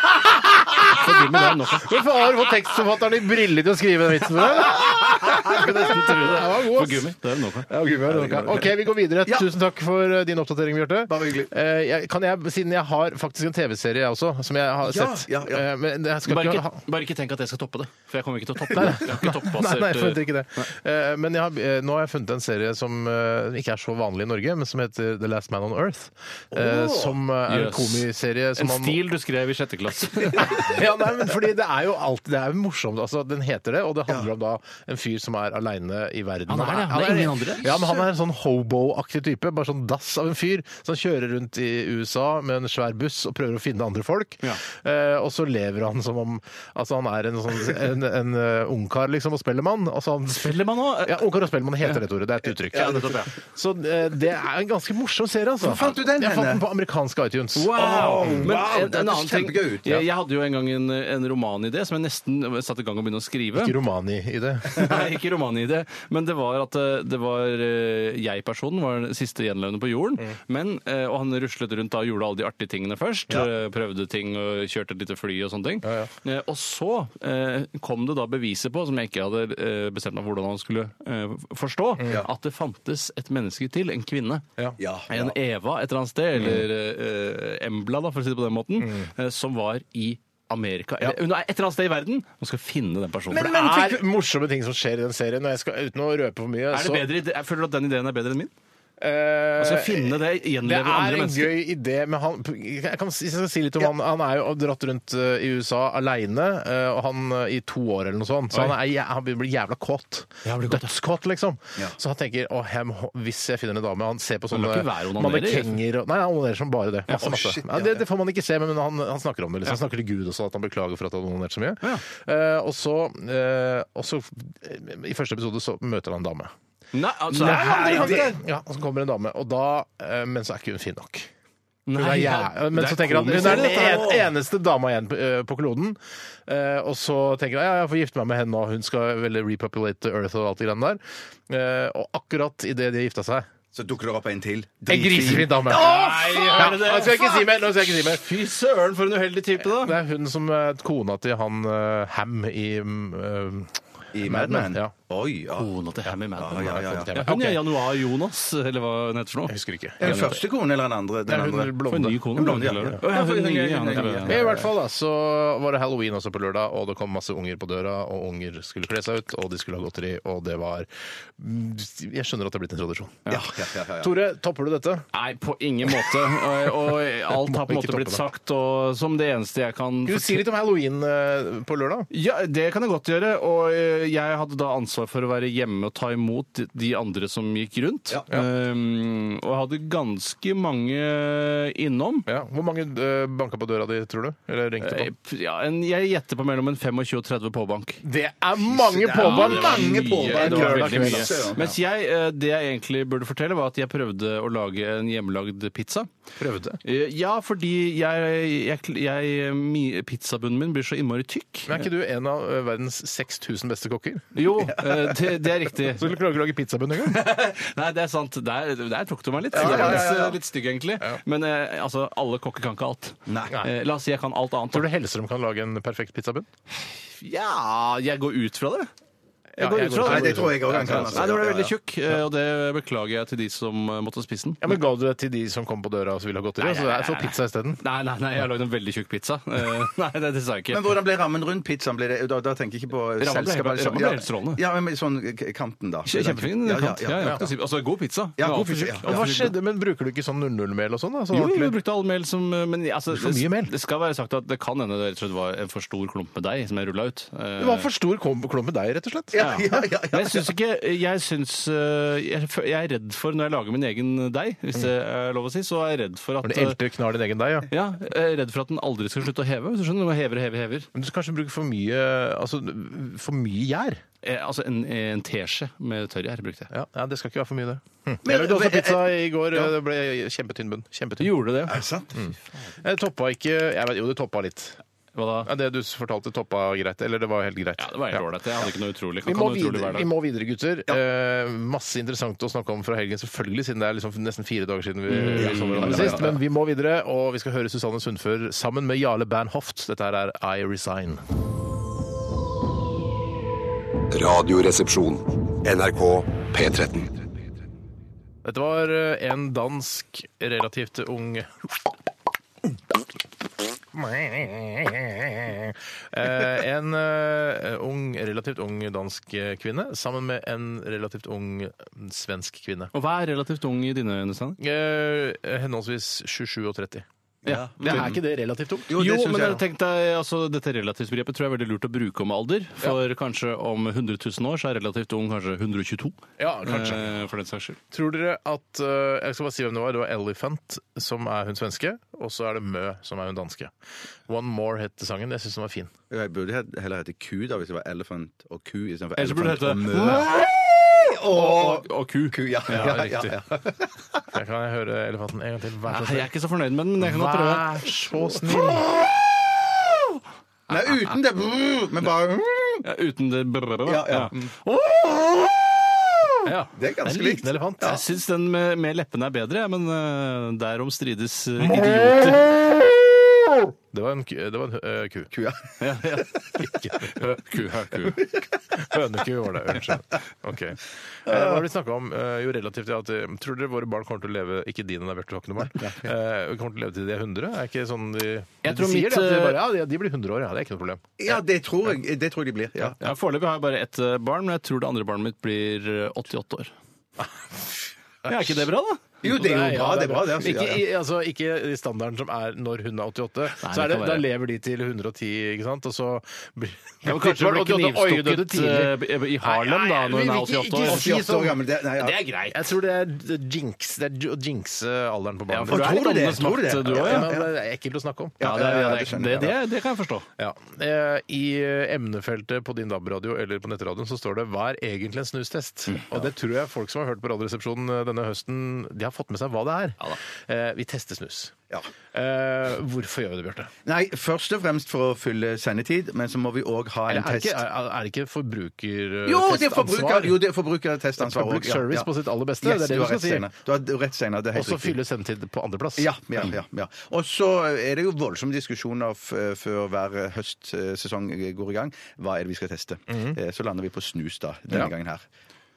For gummi, det er det nok av.
Hvorfor har du fått tekstforfatteren i briller til å skrive den vitsen for
Jeg skulle nesten tro det.
Den var god,
For
ass.
gummi, det er det nok av.
deg? OK, vi går videre. Tusen takk for eh, din oppdatering, Bjarte.
Bare hyggelig.
Eh, jeg- Kan jeg, siden jeg har faktisk en TV-serie, jeg også, som jeg har
Ja,
sett
ja, ja.
eh, Men jeg skal
Bare
ikke ha
ikke, bare ikke tenk at jeg skal toppe det, for jeg kommer ikke til å toppe det. Jeg har ikke
Nei, nei, jeg forventer
toppbasert
ikke det. Eh, men jeg har, eh, nå har jeg funnet en serie som eh, ikke er så vanlig i Norge, men som heter The Last Man on Earth. eh, som eh, er en
Jøs.
komiserie som
eh, En
man-
stil du skrev i sjette klasse.
ja, nei, men fordi det er jo alltid Det er jo morsomt. Altså, den heter det, og det handler om da en fyr som er aleine i verden.
Han er det, han er ingen andre.
Ja, men han er en sånn hobo-aktig type. Bare sånn dass av en fyr som kjører rundt i USA med en svær buss og prøver å finne andre folk.
Ja.
Eh, og så lever han som om Altså, han er en sånn en, en eh, ungkar, liksom, og spellemann. Altså, han
Spellemann òg?
ja, Ungkar og Spellemann heter det, Tore. Det er et uttrykk.
Ja, nettopp, ja.
Så eh, det er en ganske morsom serie, altså.
Hvor fant du den
Jeg fant
henne?
den på amerikansk iTunes.
Wow! Men en,
wow, det
en
hørtes
annen ting
kjempegøy ut, ja.
jeg, jeg hadde jo en gang en, en romanidé som jeg nesten satte i gang og begynne å skrive.
Ikke romani i det.
Nei, ikke romanidé, men det var at eh, det var eh, jeg-personen var den siste gjenlevende på jorden. Men, eh, og han ruslet rundt da og gjorde alle de artige tingene først. eh, Prøvde ting og kjørte et lite fly og sånne ting. Eh, Og så eh, kom det da beviset på, som jeg ikke hadde eh, bestemt meg for hvordan han skulle eh, forstå, at det fantes et menneske til, en kvinne.
Ja,
En Eva et eller annet sted, eller eh, Embla, da, for å si det på den måten, eh, som var i Amerika. Eller, Hun er et eller annet sted i verden og skal finne den personen. For det er-
det er morsomme ting som skjer i den serien. Og jeg skal, uten å røpe for mye.
er det
så-
bedre, ide- jeg føler du at den ideen er bedre enn min?
Altså- Eh,
Altså finne det,
det
gjenleve
er
andre
en
mennesker.
gøy idé, men han, jeg kan si, jeg skal si litt om han. Han er jo dratt rundt eh, i USA aleine og han eh, i to år eller noe sånt. Så
Oi.
han, er, jæ- han blir jævla kåt.
Jævla kåt, ja.
Dødskåt, liksom. Så han tenker å, jeg må, hvis jeg finner en dame Han ser på
Han lar
sånne
ikke være å onanere, liksom.»
mannekenger og Nei, han onanerer som bare det. Masse,
å,
masse.
shit,
ja,
ja,
det,
ja.
det får man ikke se, men han, han snakker om det. Liksom. Han snakker til Gud også, at han beklager for at han onanerte så mye.
Ja.
Eh, og så, eh, og så eh, I første episode så møter han en dame.
Nei, altså,
Nei,
det er
det-
andre karakter.
Ja, og så kommer en dame, og da, eh, men så er ikke hun fin nok. Hun er,
Nei,
jæ- men
det
så tenker han hun
komisk,
er den
dette her.
en, eneste dama igjen på, eh, på kloden. Eh, og så tenker han ja, jeg får gifte meg med henne, og hun skal vel repopulate Earth og alt det greiene der. Eh, og akkurat idet de gifta seg
Så dukker det opp en til.
En grisefin dame!
Nei,
Ja,
er det det?
nå skal jeg ikke si mer! Nå skal jeg ikke si mer.
Fy søren, for en uheldig type, da.
Det er hun som er kona til han eh, Ham i mm, eh,
I Mad Men.
Ja.
Oi, ja.
Kona til Hammy Madden.
Ja, ja, ja.
Ja, hun er Januar Jonas, eller hva hun heter for
Jeg
noe.
husker ikke.
Er det første kone eller den andre? Den
Det er
andre.
hun
For en
blonde.
ny kone.
Blonde, ja.
Å,
Ja,
hun
for
er
hun
ny,
er-
ja,
hun er ny,
nettopp,
Ja,
ja.
I hvert fall da, så var det halloween også på lørdag, og det kom masse unger på døra, og unger skulle kle seg ut, og de skulle ha godteri, og det var mm, Jeg skjønner at det er blitt en tradisjon.
Ja, ja, ja, ja, ja.
Tore, topper du dette?
Nei, på ingen måte. Og, og alt har på en
Må
måte
ikke
blitt
toppe
sagt, og som det eneste jeg kan
Skal du si litt om halloween eh, på lørdag?
Ja, det kan jeg godt gjøre. Og eh, jeg hadde da ansvar for å være hjemme og ta imot de andre som gikk rundt.
Ja.
Um, og jeg hadde ganske mange innom.
Ja. Hvor mange eh, banka på døra di, tror du? Eller ringte
Eh,
på?
p- Ja, en, jeg gjetter på mellom en 25 og 30 påbank.
Det er mange påbank!
mange
Mye,
påbank
det var veldig
lørdag kveld,
mye.
altså.
Mens jeg, eh, det jeg egentlig burde fortelle, var at jeg prøvde å lage en hjemmelagd pizza.
Prøvde.
Eh, Ja, fordi jeg, jeg, jeg mi- pizzabunnen min blir så innmari tykk.
Men er ikke du en av eh, verdens 6000 beste kokker?
Jo, Eh, det, det er riktig.
Så du klarer ikke å lage pizzabunn engang?
Nei, det er sant. Der, der tok du meg litt.
Ja, ja, ja, ja.
Jeg er Litt stygg, egentlig. Men eh, altså, alle kokker kan ikke alt.
Nei.
Eh, la oss si jeg kan alt annet.
Tror du Hellstrøm kan lage en perfekt pizzabunn?
Ja, jeg går ut fra det. Jeg går
jeg
ut
går ut
fra
fra
Nei, det tror jeg òg han kan. altså.
Nei, nå ble jeg veldig
Ja, ja.
tjukk, eh, og det beklager jeg til de som eh, måtte spise den.
Ja, men Ga du det til de som kom på døra og så ville ha gått i det?
Nei,
Så det
nei,
er for
nei,
pizza isteden?
Nei, nei, nei, jeg har lagd en veldig tjukk pizza. Eh, Nei, det, det sa jeg ikke.
Men hvordan ble rammen rundt pizzaen? Ble det, da, da tenker jeg ikke på
ble-
selskapet. altså.
rammen ble helt strålende.
Ja, men sånn k- kanten, da.
Kje- Kjempefin
Ja, ja,
kant. Ja, ja,
ja.
ikke noe å si- Altså, god pizza.
Ja,
Men
god
altfor
pizza,
tjukk.
ja.
Og hva
Altfor tjukk.
skjedde? Men Bruker du ikke sånn 00-mel og sånn? da? Sånn
Jo, jo,
ordentlig?
vi brukte all mel som eh, Men altså,
For mye mel.
det skal være sagt at det kan hende det rett og slett var en for stor klump med deig som jeg rulla ut. Eh,
Det var for stor klump klump med deg, rett og slett.
Ja, ja, ja,
Men
ja.
jeg syns ikke Jeg syns eh, Jeg fø- jeg er redd for, når jeg lager min egen deig, hvis det er lov å si, så er jeg redd for at
Når du elter knar din egen deig, ja.
eh, Ja, jeg er redd for at den aldri skal slutte å heve. Hvis du skjønner, Den hever og hever hever.
Men du skal kanskje bruke for mye altså, for mye gjær.
Eh, altså en, en teskje med tørrgjær brukte jeg.
Ja, ja, det skal ikke være for mye, det. Hm.
Men-
jeg lagde også
men-
pizza i går. eh, Det ble kjempetynn bunn. Kjempetynn.
Gjorde det?
Er det sant?
Mm.
Jeg toppa ikke jeg vet, Jo, det toppa litt.
Hva da?
Ja, det du fortalte, toppa greit. Eller det var helt greit.
Ja, det var helt ålreit. Jeg hadde ikke noe utrolig.
Vi
Kan
må,
noe utrolig
videre,
hverdag.
vi må videre, gutter. Eh, masse interessant å snakke om fra helgen, selvfølgelig, siden det er liksom nesten fire dager siden vi, vi så hverandre sist. Men vi må videre, og vi skal høre Susanne Sundfør sammen med Jarle Bernhoft. Dette her er I Resign.
Radioresepsjon. NRK P13.
Dette var eh, en dansk relativt ung Eh, En eh, ung, relativt ung dansk eh, kvinne sammen med en relativt ung mm, svensk kvinne.
Og hva er relativt ung i dine øyne, Stein?
Eh, Henholdsvis 27 og 30.
Ja.
Er ikke det relativt ungt?
Jo,
Jo, det synes
men
jeg
jeg tenkte, altså, dette relativsbegrepet tror jeg er veldig lurt å bruke om alder. For kanskje om 100 000 år så er relativt ung kanskje 122.
Ja, kanskje.
Eh, for den saks skyld.
Tror dere at eh, Jeg skal bare si hvem det var. Det var Elephant, som er hun svenske. Og så er det Mø, som er hun danske. One More het sangen. Jeg syns den var fin.
Jeg burde he- heller hete ku, da, hvis det var elephant og ku istedenfor
Ellers burde det
elephant
hete
og mø.
Og, og ku.
Ku, ja.
Ja,
ja, ja,
riktig.
ja.
Jeg kan høre Elefanten en gang til. Vær
Nei,
så
jeg
snill.
er ikke så fornøyd med den, men jeg kan godt prøve.
Vær så snill.
Nei, uten det Men bare
Ja, uten det brrrr.
Ja, ja.
Ja.
Det er ganske
En
likt.
liten elefant.
Jeg syns den med, med leppene er bedre, jeg, men eh, derom strides eh, idioter.
Det var en, ku- det var en ø, ku.
Ku, ja.
Ja, ja.
Ikke
Ku, ja, ku.
Høneku var det. Unnskyld. Ok. Eh, Hva har vi snakka om? Eh, Jo, relativt ja, at, eh, Tror dere våre barn kommer til å leve Ikke dine, der, Bjarte, du har ikke noe barn. Eh, vi kommer til å leve til de er 100? Er ikke sånn de,
Jeg
de
tror
sier
mitt,
det, at de,
eh,
bare, ja, de- de blir 100 år, ja. Det er ikke noe problem.
ja, det tror jeg Det tror jeg de blir. Ja.
Ja, Foreløpig har jeg bare ett eh, barn, men jeg tror det andre barnet mitt blir eh, 88 år. Ja, er ikke det bra, da?
Jo, det er jo bra, det er bra, det. Altså,
Ikke,
ja, ja.
i- altså, ikke i standarden som er når hun er 88.
Nei,
så er
det
det,
kan
da
være.
lever de til 110, ikke sant? Og så blir
Ja, men kanskje hun blir
88, oi, døde
knivstukket
tidlig.
eh, i Harlem da,
Nei, nei,
når hun
vi
er
vil ikke-
88
ikke
år.
si
88 år gammel, det, nei, ja.
er greit.
Jeg tror det er jinx. Det er å jinxe alderen på
Ja,
barnet.
for du er
Tror
litt
du det?
åndenes
Tror du
makt,
det?
du òg.
Ja,
Ja.
men det er ekkelt å snakke om.
Ja, det,
ja, ja,
er-
det skjønner
det,
jeg,
det, det kan jeg forstå.
Ja. Eh, I emnefeltet på din DAB-radio eller på nettradioen så står det 'Hva er egentlig en snustest?'
Mm.
Og det tror jeg folk som har hørt på Radioresepsjonen eh, denne høsten, de har fått med seg hva det er. eh, vi tester snus.
Ja.
Eh, hvorfor gjør vi det, Bjarte?
Nei, først og fremst for å fylle sendetid, men så må vi òg ha
Eller
en
Er, det
test.
ikke- er, er det ikke eh, forbrukertestansvar?
Jo, det er forbruker, jo, det er forbrukertestansvar.
Public
også, ja,
service
ja.
på sitt aller beste, det
Yes,
er det
du
du
har
skal
rett,
si.
Steinar. Du har rett, Steinar. Det er
Og
helt
så
riktig.
fylle sendetid på andreplass.
Ja, ja, ja, ja. Og så er det jo voldsomme diskusjoner f før hver høstsesong går i gang. Hva er det vi skal teste? Eh, Så lander vi på snus da, denne
Ja.
gangen her.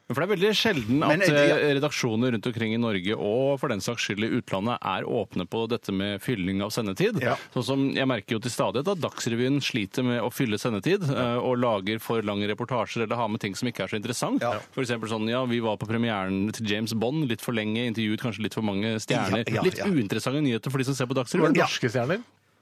Men For Det er veldig sjelden at
Men, ja.
eh, redaksjoner rundt omkring i Norge og for den saks skyld i utlandet er åpne på dette med fylling av sendetid.
Ja.
Sånn som Jeg merker jo til stadighet at Dagsrevyen sliter med å fylle sendetid eh, og lager for lange reportasjer eller har med ting som ikke er så interessant.
Ja.
For eksempel sånn, ja, Vi var på premieren til James Bond litt for lenge, intervjuet kanskje litt for mange stjerner.
Ja, ja,
Litt
ja.
uinteressante nyheter for de som ser på
Var
Dagsrevyen.
det norske stjerner?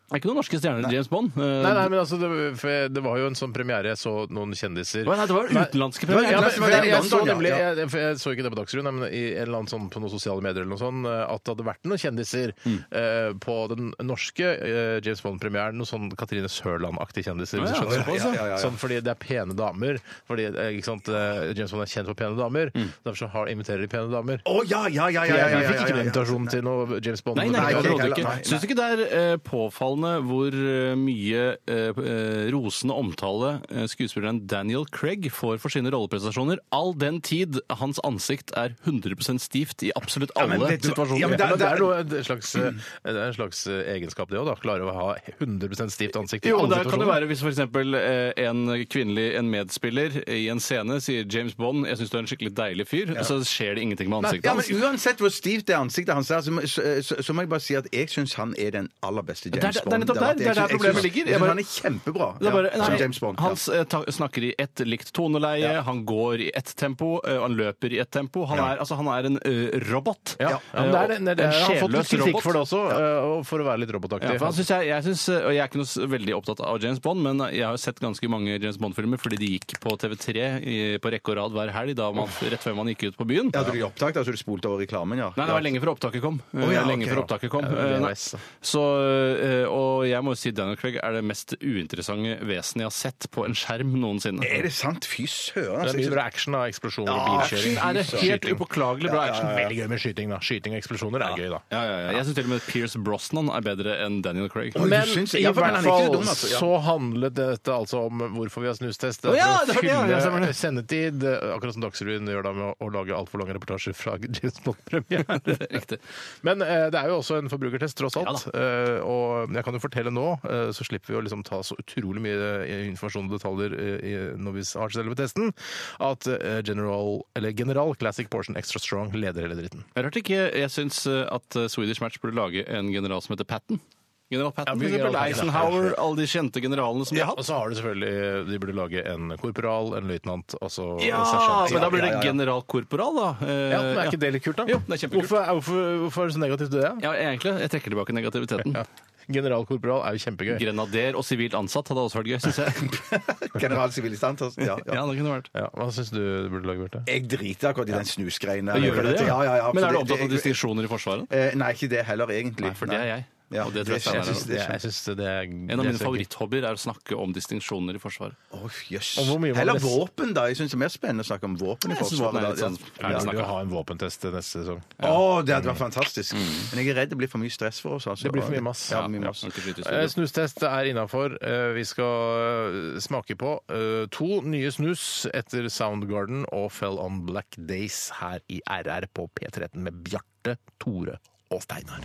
Det er ikke noen norske stjerner til James Bond. Eh,
Nei, nei, men altså, det, for det var jo en sånn premiere. Jeg så noen
Å,
kjendiser.
nei, det var utenlandske
Nei,
premierer.
ja, men,
Det var
for jeg,
i
jeg,
London,
så
ja.
nemlig, jeg, for jeg så ikke det på Dagsrevyen, men i en eller annen sånn på noen sosiale medier eller noe sånt, at det hadde vært noen kjendiser
Mm.
eh, på den norske eh, James Bond-premieren. Noen sånn Katrine Sørland-aktige kjendiser. hvis
Å, ja,
du skjønner.
såpass, ja.
Ja, ja, ja.
Sånn fordi det er pene damer. Fordi eh, ikke sant, eh, James Bond er kjent for pene damer. Derfor så har, inviterer de pene damer.
Å ja, Mm. ja, ja,
Jeg
ja, ja, ja,
fikk
ja,
ikke
ja,
den
ja.
invitasjonen til noe James Bond.
Nei, nei,
Nei,
nei,
ikke
overhodet
heller.
ikke.
Nei, nei.
Syns du ikke det er eh, påfallende 80-tallene hvor eh, mye eh, eh, rosende omtale eh, skuespilleren Daniel Craig får for sine rolleprestasjoner, all den tid hans ansikt er 100 stivt i absolutt alle
men vet du hva-
situasjoner.
Ja, men
Det er,
det er-
noe, en slags, eh, det er en slags eh, egenskap, det òg. Klare å ha 100 stivt ansikt i
Jo, men der
alle
kan det
situasjoner.
være Hvis f.eks. en kvinnelig en medspiller i en scene sier James Bond 'jeg syns du er en skikkelig deilig fyr', så skjer det ingenting med ansiktet
Ja, men
hans.
Uansett hvor stivt det ansiktet hans er, så, må- så, så, så må jeg bare si at jeg syns han er den aller beste
er-
James
det er
Bond.
nettopp der-
har vært-
det er
jeg
der
syns- jeg
problemet
syns-
ligger.
jeg
Jeg
syns
bare-
han er kjempebra
Det er
ja,
bare,
som
nei,
James Bond.
Han eh, ta, snakker i ett likt toneleie, han går i ett tempo, eh, han løper i ett tempo. Han er, altså, han er en eh, robot. Eh,
Ja, ja, men det er det. det, er det.
En
Jeg har fått litt
sjelløs
kritikk
robot.
for det også, eh, og for å være litt robotaktig.
Ja, for han synes jeg, jeg, synes, eh, og jeg er ikke noe s- veldig opptatt av James Bond, men eh, jeg har jo sett ganske mange James Bond-filmer fordi de gikk på TV3 i, på rekke og rad hver helg da man, rett før man gikk ut på byen.
Ja, Hadde du opptak da, så du spolte over reklamen? ja?
Nei, det var lenge før opptaket kom. Eh,
ja,
lenge
ok.
før opptaket kom.
det er
Eh, nei.
VHS, da.
Så, eh, og jeg må jo si Daniel Craig er det mest uinteressante vesenet jeg har sett på en skjerm noensinne.
Er det sant? Fy søren.
Det
altså.
er mye bra action, da. Eksplosjoner,
Ja,
bilkjøring.
action er det
helt
skyting.
upåklagelig bra action.
Ja, ja, ja. Veldig gøy med skyting, da. Skyting og eksplosjoner er gøy, da.
Ja, ja, ja. Jeg syns til og med Pierce Brosnan er bedre enn Daniel Craig.
Oi, du
Men
syns-
i
ja, for han er
hvert
ikke
fall
dum, altså, ja.
så handlet dette altså om hvorfor vi har snustest. Det
Å
er
ja,
for
det var det, ja, ja,
å
stemmer
fylle
det.
sendetid, eh, akkurat som Dagsrevyen gjør da med å, å lage altfor lange reportasjer fra James Bond-premiere.
riktig.
Men eh, det er jo også en forbrukertest, tross alt.
Ja
Eh, og jeg kan jo fortelle nå, eh, så slipper vi å liksom ta så utrolig mye eh, informasjon og detaljer eh, i- når vi har selve testen, at eh, General, eller General Classic Portion Extra Strong leder hele dritten.
Jeg hørte ikke Jeg syns at eh, Swedish Match burde lage en general som heter Patten. General
Ja,
Patten,
mye
for eksempel.
general Patton.
Eisenhower, alle de kjente generalene som Altså, de har
Og
hatt.
så har du selvfølgelig eh, De burde lage en korporal, en løytnant, altså
Ja,
en sersjant.
men da blir
Ja,
det
ja, ja.
generalkorporal, da. Eh,
Ja, men Er ikke det litt kult, da?
Jo, det er kjempekult.
Hvorfor, er- hvorfor, hvorfor er det så negativt til det?
Ja, egentlig. Jeg trekker tilbake negativiteten.
Ja. Generalkorporal er jo kjempegøy.
Grenader og sivilt ansatt hadde også vært gøy, syns jeg.
General Sivilistans. altså. Ja, ja.
Ja, det kunne vært.
Ja, hva syns du du burde lage, Bjarte?
Jeg driter akkurat i den snusgreiene.
Da gjør du det,
Ja, ja, ja.
Men er du
for
opptatt av
det-
distinksjoner i Forsvaret?
Eh, Nei, ikke det heller, egentlig.
Nei, for det er jeg.
Ja,
Og det tror jeg
det-
Steinar er
jeg synes-
også.
det-
jeg syns det er
En av
det er
mine
så
favoritthobbyer er å snakke om distinksjoner i Forsvaret.
Åh, jøss.
Og hvor mye var
Heller
det?
våpen, da. Jeg syns det er mer spennende å snakke om våpen i
Jeg synes våpen er
Forsvaret.
litt
da.
sånn-
gøy.
Ja.
Jeg vil jo ha en våpentest til neste sesong.
Å, det hadde vært
Mm.
fantastisk. Men jeg er redd det blir for mye stress for oss. Altså.
Det blir for mye mass.
Ja, mye mass.
Kan ikke skyte i
Eh,
studio.
Snustest er innafor. Eh, Vi skal eh, smake på eh, to nye snus etter Soundgarden og Fell on Black Days her i RR på P13 med Bjarte, Tore og Steinar.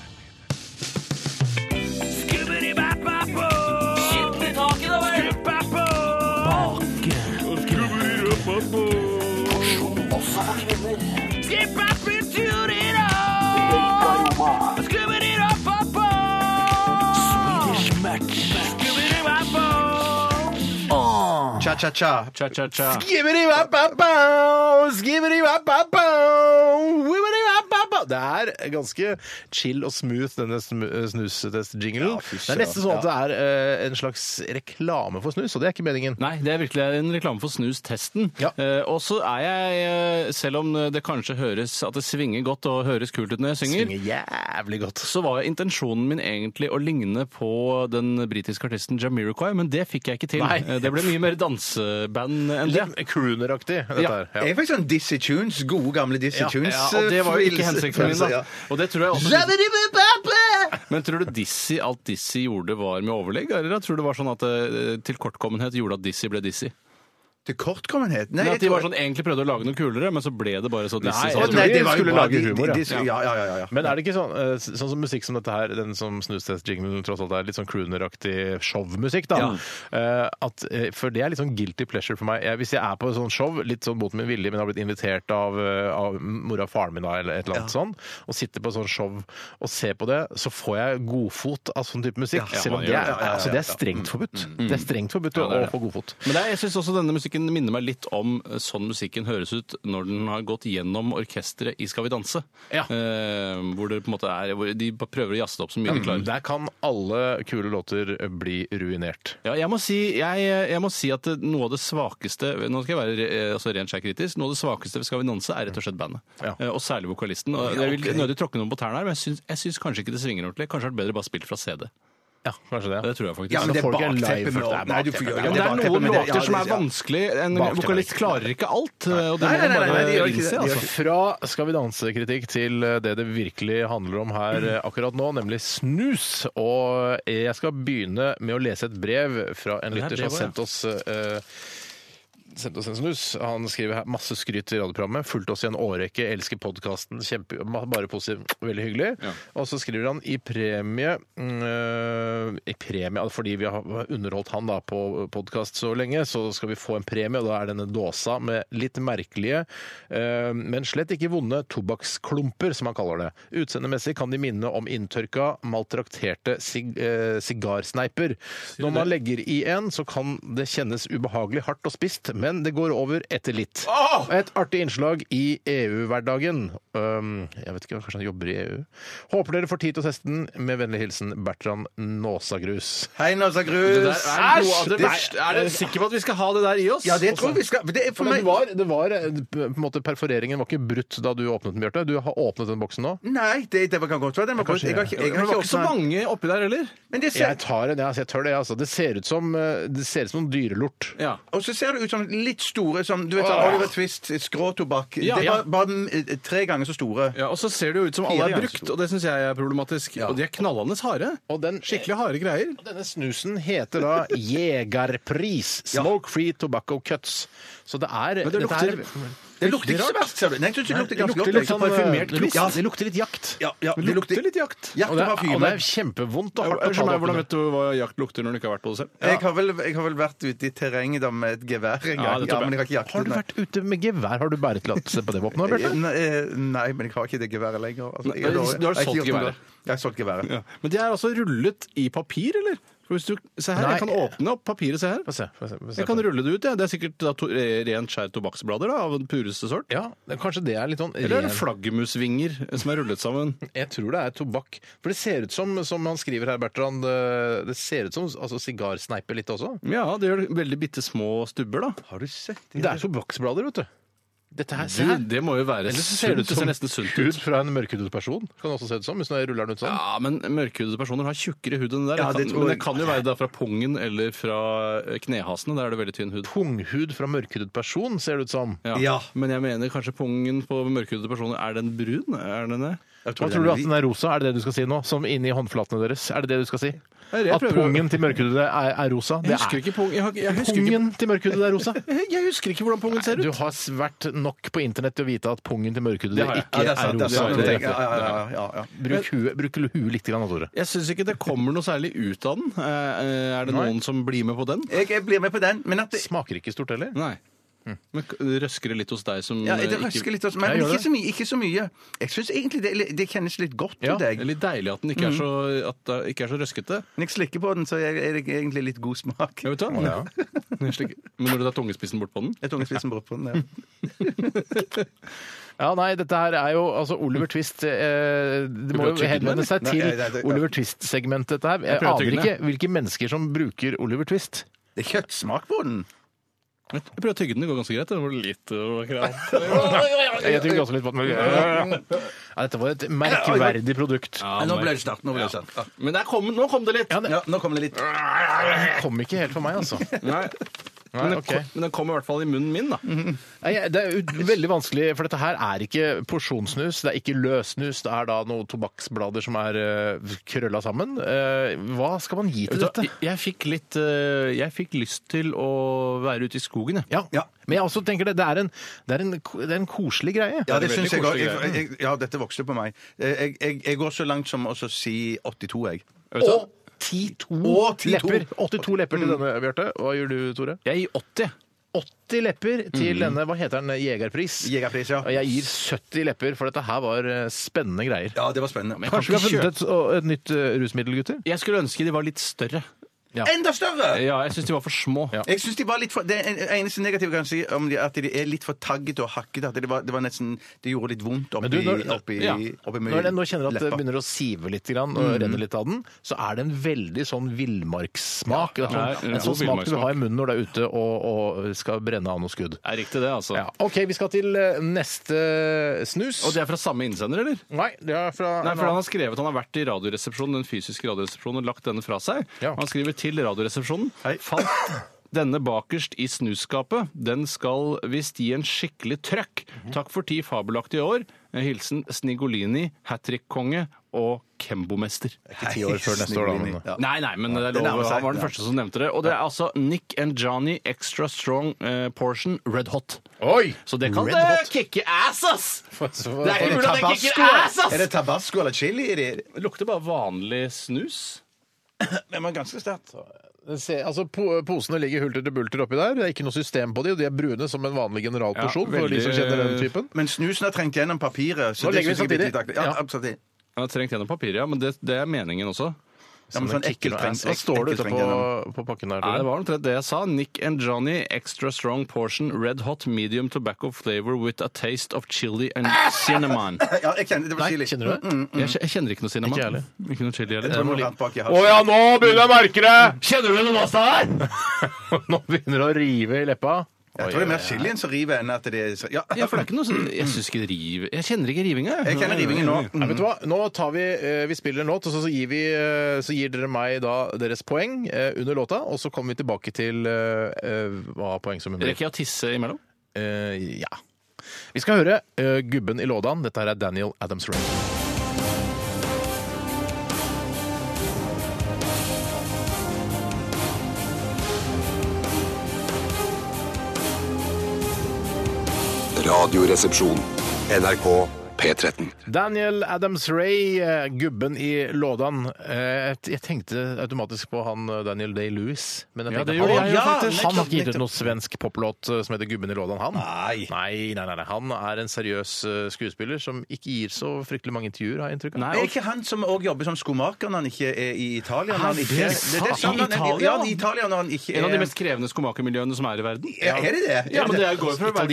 Cha-cha-cha.
Cha-cha-cha.
Det er ganske chill og smooth, denne snu- snustest-jinglen.
Ja, fy
det er nesten sånn at det
søren,
er eh, en slags reklame for snus, og det er ikke meningen.
Nei, det er virkelig en reklame for snus-testen.
Ja.
Eh, og så er jeg, eh, selv om det kanskje høres at det svinger godt og høres kult ut når jeg synger,
Svinger jævlig godt.
så var intensjonen min egentlig å ligne på den britiske artisten Jamiroquai, men det fikk jeg ikke til.
Nei.
Eh, Det ble mye mer danseband enn det.
Litt crooneraktig, dette
Ja.
her.
Jeg
Ja.
er faktisk sånn Dizzie Tunes. Gode, gamle Dizzie
Ja,
Tunes.
ja, og det var jo ikke
eh,
hensikten min,
følelse,
da.
ja.
Og det tror jeg også Men tror du Dizzy, alt Dizzy gjorde, var med overlegg? Eller tror du det var sånn at eh, tilkortkommenhet gjorde at Dizzy ble Dizzy?
Til kortkommenhet? Nei,
Men
jeg
at de
tror-
var sånn, egentlig prøvde å lage noe kulere, men så ble det bare så
Nei,
Dizzy.
jeg
Å,
sånn.
tror
nei,
de
det var jo
skulle
bra.
lage
De-
humor, ja.
de- de- Ja, ja, ja. ja, ja.
Men er det ikke sånn eh, sånn som musikk som dette her, den som snustest-jinglen tross alt er litt sånn crooneraktig showmusikk, da? eh, At, eh, for det er litt sånn guilty pleasure for meg. Jeg, hvis jeg er på et sånt show, litt sånn mot min vilje, men har blitt invitert av, eh, av mora og faren min da, eller et eller annet sånn, og sitter på et sånt show og ser på det, så får jeg godfot av sånn type musikk.
Ja,
selv
man
om
gjør
det
det. Ja,
er,
ja, ja,
altså, det er strengt forbudt. Det er strengt forbudt
Ja, det er
å få godfot.
Men det, er- jeg syns også denne musikken minner meg litt om eh, sånn musikken høres ut når den har gått gjennom orkesteret i Skal vi danse.
Ja.
Eh, hvor det på en måte er hvor De bare prøver å jazze det opp så mye
Mm.
de klarer.
Der kan alle kule låter bli ruinert.
Ja, jeg, må si, jeg, jeg må si at eh, noe av det svakeste Nå skal jeg være eh, altså, rent skjær kritisk. Noe av det svakeste ved Skal vi danse er rett og slett bandet.
Ja.
Eh, Og særlig vokalisten. Og jeg vil nødig tråkke noen på tærne her, men jeg syns, jeg syns kanskje ikke det svinger ordentlig. Kanskje det hadde vært bedre bare spilt fra CD.
Ja, kanskje det.
Det tror jeg faktisk.
Ja, men
Når
det er
folk er lei
bakteppet
for
med
det er
Nei, du
bakteppet.
får gjøre
Ja,
Ja,
men
det
det
er
er
bakteppet,
noen
men det-
låter
ja,
som er
det- ja.
vanskelig. En
Bakteppet er
vokalist
ikke-
klarer ikke alt, og det
Nei,
må man
nei, nei, nei, det
bare
gjør ikke
innse.
det. Det gjør
Altså.
ikke
Fra Skal vi danse-kritikk til eh, det det virkelig handler om her eh, akkurat nå, nemlig snus. Og eh, jeg skal begynne med å lese et brev fra en
Det er
lytter som har
brevet,
sendt oss eh, sendt oss en snus. Han skriver her masse skryt til radioprogrammet. Fulgte oss i en årrekke, elsker podkasten. Bare positiv. Veldig hyggelig. Og så skriver han i premie mm, øh, I premie fordi vi har underholdt han da på podkast så lenge, så skal vi få en premie, og da er denne dåsa med litt merkelige, øh, men slett ikke vonde tobakksklumper, som han kaller det. Utseendemessig kan de minne om inntørka, maltrakterte sig øh, sigarsneiper. Når man legger i en, så kan det kjennes ubehagelig hardt og spist, men det går over etter litt. Et artig innslag i EU-hverdagen. Um, jeg vet ikke, kanskje han jobber i EU? Håper dere får tid til å teste den. Med vennlig hilsen Bertrand Nåsagrus.
Hei, Nazar
Det
Grus!
der er noe av det
Det-
verste. Er dere sikre på at vi skal ha det der i oss?
Ja, det tror jeg vi skal det er for
Men det
meg...
var, det var eh, på en måte Perforeringen var ikke brutt da du åpnet den, Bjarte. Du har åpnet den boksen nå.
Nei, det, det kan godt være den var brutt. Jeg har ikke, jeg
Men
har
det var
ikke
ikke så
åpnet den.
mange oppi der heller.
Men det
Jeg
ser,
tar en, jeg, jeg tør det. Altså. Det ser ut som, eh, det ser ut som dyrelort.
Ja.
og så ser det ut som litt store som Du vet sånn Oliver Twist, skråtobakk
Ja,
Det
ja.
var bare eh, tre ganger så store.
Ja, og så ser det jo ut som alle er
Fire ganger så
brukt, og det syns jeg er problematisk. Og de er knallende harde.
Og den-
Skikkelig harde greier.
Denne snusen heter da Jegerpris. Smoke Free Tobacco Cuts. Så det er
Men det
dette
lukter-
er-
eh,
Det lukter ikke så verst, ser du. Nei, jeg synes det lukter
Det
ganske
lukter
godt.
litt
jeg.
sånn
parfymert
det
kvist.
lukter- Ja, det lukter litt jakt.
Ja, ja,
Men det lukter litt jakt.
Jakt
Og det,
og
er, og
parfyme.
det er kjempevondt og hardt å ta
Unnskyld
det
meg,
opp
hvordan
under.
vet du hva jakt lukter når du ikke har vært på det selv?
Jeg har vel, jeg har vel vært ute i terrenget da med et gevær en gang.
Ja,
Ja,
det tror jeg.
men jeg har ikke jaktet
Har du
nei.
vært ute med gevær? Har du bæretillatelse på det våpenet, Bjarte?
Nei, eh, nei, men jeg har ikke det geværet lenger. Altså, jeg
Nei,
lover-
du har
jeg ikke
solgt
gjort noe.
geværet.
Jeg har solgt geværet.
Ja. Men de er altså rullet i papir, eller? For hvis du, se her,
Nei.
Jeg kan åpne opp papiret, se her.
Få se, få se, få se
Jeg kan
på det.
rulle det ut. Ja. Det er sikkert da, to, eh, rent skjært tobakksblader da, av den pureste sort.
Ja, det- kanskje det er litt sånn
Eller er det
ren-
flaggermusvinger som er rullet sammen?
Jeg tror det er tobakk. For det ser ut som, som han skriver her, Bertrand, det det ser ut som altså, sigarsneiper litt også.
Ja, det gjør veldig bitte små stubber, da.
Har du sett
Det er tobakksblader, vet du. Dette her, se
Du,
her.
det må jo være
Ellers så
sunt. Det ser nesten sunt ut.
hud fra en mørkhudet person. Kan det også se ut som, hvis jeg ruller den ut sånn.
Ja, men mørkhudede personer har tjukkere hud enn det der.
Ja,
det
det
kan,
tror
men
jeg.
det kan jo være da fra pungen eller fra eh, knehasene. Der er det veldig tynn hud.
Punghud fra mørkhudet person, ser det ut som.
Ja.
Men jeg mener kanskje pungen på mørkhudede personer Er den brun? Er den det?
Hva tror du at den er rosa? Er det det du skal si nå? Som inni håndflatene deres? Er det det du skal si?
er det jeg
At
prøver å-
pungen til mørkhudede er, er rosa?
Jeg husker ikke pung- jeg har ikke- jeg husker ikke-
Pungen til mørkhudede er rosa?
Jeg husker ikke hvordan pungen
Du har vært nok på internett til å vite at pungen til mørkhudede
Det har jeg.
ikke
det er
er
sant. Det er
rosa.
sant.
Det
Ja,
er riktig.
ja, ja, ja, ja.
Bruk huet bruk huet litt, grann, da, Tore.
Jeg syns ikke det kommer noe særlig ut av den. Eh, eh, Er det
Nei.
noen som blir med på den?
Jeg, jeg blir med på den, men at det,
Smaker ikke stort heller.
Nei. Men k- det røsker det litt hos deg som
ja,
eh,
det røsker litt, også, men
Jeg
men
gjør
ikke så mye. Ikke så mye. Jeg syns egentlig det, det kjennes litt godt
Ja,
til deg. Mm.
Det er litt deilig at den ikke er så, at det ikke er så røskete.
Når jeg slikker på den, så er er det egentlig litt god smak.
Jeg vet hva. Jeg slik- Men når du tar tungespissen bort på den
Jeg tok en spiss brød på den. Ja.
Ja, nei, dette her er jo altså Oliver Twist eh, Det må
prøve å
jo
tygge den,
henvende seg
eller?
til
Nei, nei, det-
Oliver Twist-segmentet, dette her. Jeg
prøver å
aner
tygge
ikke
den,
hvilke mennesker som bruker Oliver Twist.
Det er kjøttsmak på den.
Jeg prøver å tygge den, det går ganske greit. Det var litt øh, krav.
Jeg tygger også litt på den. Ja, dette var et merkeverdig produkt.
Nei, nå ble det snart. Nå, ble det snart.
Men der kom, nå kom det litt!
Ja, nå kommer det litt.
Det kom ikke helt for meg, altså.
Nei.
Nei,
Men, den
ok.
kom, men den kom i hvert fall i munnen min, da.
Nei, jeg- Det er ut- veldig vanskelig, for dette her er ikke porsjonssnus, det er ikke løssnus, det er da noen tobakksblader som er eh, krølla sammen. Eh, Hva skal man gi til
Vet du
dette?
hva, Jeg fikk litt øh, Jeg fikk lyst til å være ute i skogen, jeg.
Ja.
Ja.
Men jeg også tenker det, det, er en, det, er en, det er en koselig greie.
Ja, det
det er
syns jeg
veldig
òg.
koselig
Jeg- jeg- Ja, dette vokste på meg. Eh, Jeg, jeg, jeg går så langt som å så si 82, jeg.
Vet du hva?
10-2
Å, 10-2.
lepper. Mm. 82 lepper til denne, Bjarte. Hva gjør du, Tore?
Jeg gir 80.
80 lepper til denne, hva heter den, Mm. Jegerpris.
Jegerpris, ja.
Og Jeg gir 70 lepper, for dette her var eh, spennende greier.
Ja, det var spennende.
Kanskje vi har funnet et, et nytt eh, rusmiddel, gutter?
Jeg skulle ønske de var litt større. Ja.
Enda større!
Ja, jeg syns de var for små.
Jeg synes de var litt for, Det en- eneste negative kan jeg si om de, er at de er litt for taggete og hakkete. At det var, det var nesten Det gjorde litt vondt oppi
Men du, når,
oppi,
ja,
oppi
når jeg nå kjenner at det
leppa.
begynner å sive litt grann, og renne litt av den, så er det en veldig sånn villmarkssmak. Det er
Ja,
sånn,
ja, god
en sånn smak du vil
villmarkssmak.
ha i munnen når du er ute og, og skal brenne av noe skudd.
Er riktig det, altså.
Ja. OK, vi skal til eh, neste snus.
Og det er fra samme innsender, eller?
Nei, det er fra
Nei, for Han har skrevet han har vært i radioresepsjonen, den fysiske radioresepsjonen og lagt denne fra seg.
Ja.
Han skriver til Radioresepsjonen. Fant denne bakerst i snuskapet. Den skal visst gi en skikkelig trøkk. Takk for ti fabelaktige år. Eh, Hilsen Snigolini, hat trick-konge og Kembo-mester.
ikke ti år før neste år, da. Men,
Nei, nei, men det er
Det
lov.
nærmer seg.
Han var den
Ja.
første som nevnte det. Og det er altså Nick and Johnny Extra Strong eh, Portion Red Hot.
Oi!
Så det kan
Red
det
Hot.
kicke ass, ass!
for-
det er ikke mulig at det
Tabasco,
kicker ass,
er
ass!
det tabasco eller chili i det?
Det lukter bare vanlig snus.
Den var ganske sterkt.
Se, altså, po posene ligger hulter til bulter oppi der. Det er ikke noe system på de, og de er brune som en vanlig generalporsjon.
Ja,
for de som
veldig-
kjenner den typen.
Men snusen har trengt gjennom papiret. Så
Nå
det
legger vi
synes jeg er
samtidig.
litt aktig. Ja,
Ja.
absolutt.
Jeg har trengt gjennom papiret, ja, men det, det er meningen også.
Ja, men sånn ekkel trengt-
Hva står det
ekkel
ute
trengt
på,
gjennom.
på pakken der?
Nei, det
Tore?
var omtrent det jeg sa. Nick and Johnny Extra Strong Portion Red Hot Medium Tobacco Flavor with a Taste of Chili and Cinnamon.
Ja, jeg kjenner det var chili.
Nei, kjenner du det?
Jeg, kje- jeg kjenner ikke noe cinnamon.
Ikke jeg heller.
Ikke noe chili
Det var noe
heller.
rart bak i
Å
halsen.
ja, nå begynner jeg å merke det!
Kjenner du noe nasta der?
Nå begynner det å rive i leppa.
Jeg tror det er mer chilien som river enn at det er så- Ja,
Ja, for det er ikke noe sånn Jeg syns ikke det river Jeg kjenner ikke rivinga.
Jeg kjenner rivingen nå.
Nei, vet du hva? Nå tar vi, eh, vi spiller en låt, og så, så, gir vi, eh, så gir dere meg da deres poeng eh, under låta. Og så kommer vi tilbake til eh, eh, hva poengsummen blir.
Rekker jeg å tisse imellom?
Eh, ja. Vi skal høre eh, Gubben i lådan. Dette her er Daniel Adams Ray.
Radioresepsjon. NRK P13.
Daniel Adams Ray, eh, gubben i lådan. Eh, Jeg tenkte automatisk på han eh, Daniel Day-Lewis. Men jeg
Ja,
tenkte,
det gjorde
han,
jeg jo
faktisk.
han har ikke gitt ut noen svensk poplåt eh, som heter 'Gubben i lådan', han.
Nei.
Nei, nei, nei, nei. Han er en seriøs eh, skuespiller som ikke gir så fryktelig mange intervjuer, har jeg inntrykk av.
Nei,
Er det
og
ikke han som òg jobber som skomaker når han ikke er i Italia? Når han
Er
ikke
det sant?
sant, han er-
Italia?
Ja, i Italia når han ikke
en av de
er
mest krevende skomakermiljøene som er i verden.
Ja, er det det? Er
Ja, men det går jo for å være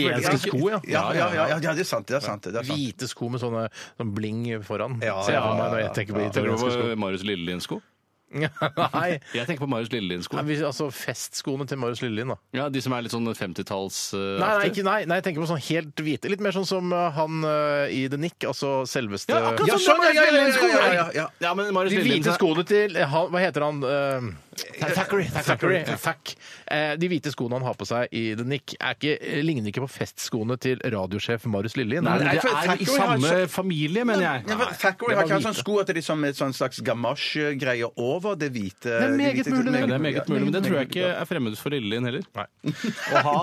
politisk-
Italienske sko, ja.
Ja, ja, ja, ja, ja, det er sant. Det er sant. Det er sant.
Hvite sko med sånne, sånn bling foran.
Ja,
Ser jeg
ja,
for meg
ja,
når
ja.
jeg tenker på
Tenker du
italienske sko.
på eh, Marius Lillelien-sko?
Nei.
Jeg tenker på Marius Lillelien-sko.
Nei, vi- Altså festskoene til Marius Lillelien, da.
Ja, De som er litt sånn 50-talls... eh,
Nei, nei,
aktig.
ikke, nei, nei, jeg tenker på sånn helt hvite. Litt mer sånn som uh, han uh, i The Nick, altså selveste
Ja, akkurat
Ja,
som
sånn, ja, ja, ja, ja, ja, ja, ja.
Ja, men Marius
De
Lillelien
hvite skoene til eh, han, Hva heter han? Uh,
Thackeray.
Thackeray. Thack. Eh, de hvite skoene han har på seg i The Nick, er ikke, eh, ligner ikke på festskoene til radiosjef Marius Lillelien.
Nei,
Nei,
det
for
er i
Thackeray har
samme familie, mener jeg.
Ja, for Thackeray har ikke hatt sånne sko at det er som et sånn slags gamasje-greie over det hvite.
er meget
hvite-
mulig, det.
Ja, det er meget mulig, men det tror jeg ikke
Ja.
er fremmed for Lillelien heller.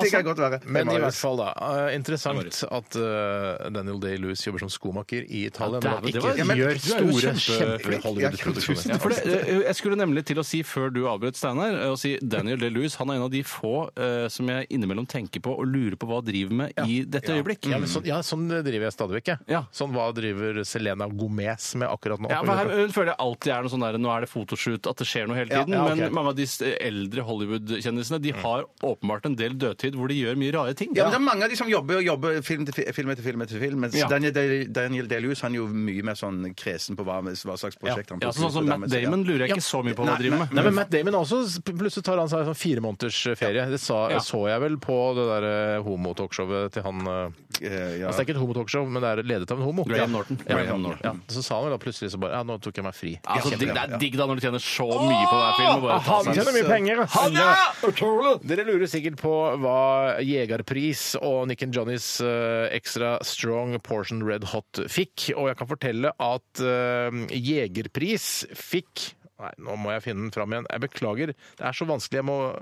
Det kan godt være.
Men i
Marius.
hvert fall, da. eh, interessant
Marius.
at eh, Daniel Day-Lewis jobber som skomaker i Italia.
Ja,
men at
det
ikke
var- Ja,
men-
gjør
du er jo
store,
kjempe-
kjempe Hollywood-produksjoner.
Ja, for det, eh, jeg skulle nemlig til å si, før du avbrøt Steinar, eh, å si Daniel Day-Lewis han er en av de få eh, som jeg innimellom tenker på og lurer på hva driver med i dette øyeblikk.
Ja, men sånn, ja, sånn driver jeg stadig vekk. jeg.
Mm. Ja.
Sånn hva driver Selena Gomez med akkurat nå?
Ja, men her hun føler jeg alltid er noe sånn der, Nå er det fotoshoot, at det skjer noe hele tiden.
ja, ok. Mm.
Men mange av de s- eh, eldre Hollywood-kjendisene de har åpenbart en del dødtid hvor de gjør mye rare ting.
Ja, men det er mange av de som jobber og jobber film, til, fi- film etter film etter film. Mens
Ja.
Daniel, Day- Daniel Day-Lewis han er jo mye mer sånn kresen på hva, hva slags prosjekt han
Ja, sånn som
på
Matt
dermed, så ja.
Damon lurer jeg ikke så mye på hva han driver med.
Nei, men Matt Damon har også plutselig tar han seg sånn fire måneders ferie. Det sa,
Ja.
så jeg vel på det der eh, homotalkshowet til han eh,
Eh, ja.
Altså det er ikke et homotalkshow, men det er ledet av en homo.
Graham Norton.
Ja.
Graham Norton.
Ja. Så sa han vel da plutselig så bare Ja, nå tok jeg meg fri.
Altså, digg, det er digg da når du tjener så mye på hver film. Og bare ta
Han
seg en-
tjener mye penger! Han, ja! Dere lurer sikkert på hva Jegerpris og Nick and Johnnys eh, Extra Strong Portion Red Hot fikk. Og jeg kan fortelle at eh, Jegerpris fikk Nei, nå må jeg finne den fram igjen. Jeg beklager. Det er så vanskelig. Jeg må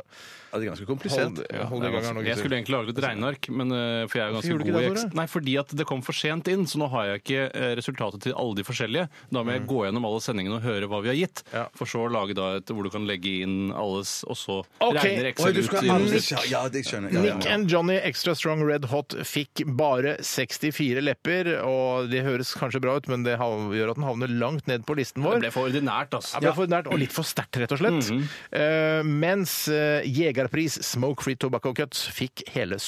Ja, det er ganske komplisert.
Hold, hold i gang her nå,
Jeg skulle
gutter.
egentlig lage litt regneark, men, eh, for jeg er jo ganske
gjorde du
god i
ikke det,
eks-
Tore?
Nei, Fordi at det kom for sent inn, så nå har jeg ikke eh, resultatet til alle de forskjellige. Da må jeg gå gjennom alle sendingene og høre hva vi har gitt,
Ja.
for så å lage da et hvor du kan legge inn alles, og så
Ok.
regner
Oi,
Excel
du
ut.
skal
i-
aldri si- Ja, det skjønner jeg. Ja,
Nick
ja, ja.
and Johnny Extra Strong Red Hot fikk bare 64 lepper, og det høres kanskje bra ut, men det hav- gjør at den havner langt ned på listen
Det
vår.
ble for ordinært, altså.
Ja, men for ordinært og litt for sterkt, rett og slett.
Mhm.
Eh, mens eh, Jegerpris Smoke Free Tobacco Cuts fikk hele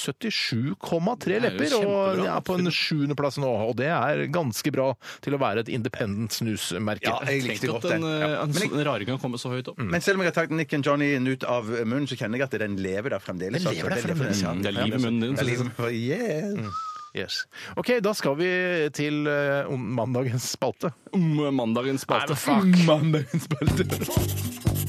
Det er
77,3
jo
lepper, og
kjempebra.
er på en sjuendeplass nå. Og det er ganske bra til å være et independent snusmerke.
Ja, jeg
Tenk
likte
at
godt
en,
den.
eh,
Ja.
en
Men, Mm.
sånn raring kan komme så høyt opp.
jeg- men selv om jeg har tatt Nick and Johnny ut av munnen, så kjenner jeg at den lever der fremdeles.
Den lever der
altså. Den
fremdeles, ja.
Mm, Det er liv i munnen din. Mm.
Det er liv i munnen. Yeah.
Yes. OK, da skal vi til eh, om- mandagens spalte.
Um, mandagens spalte.
Mandagens spalte.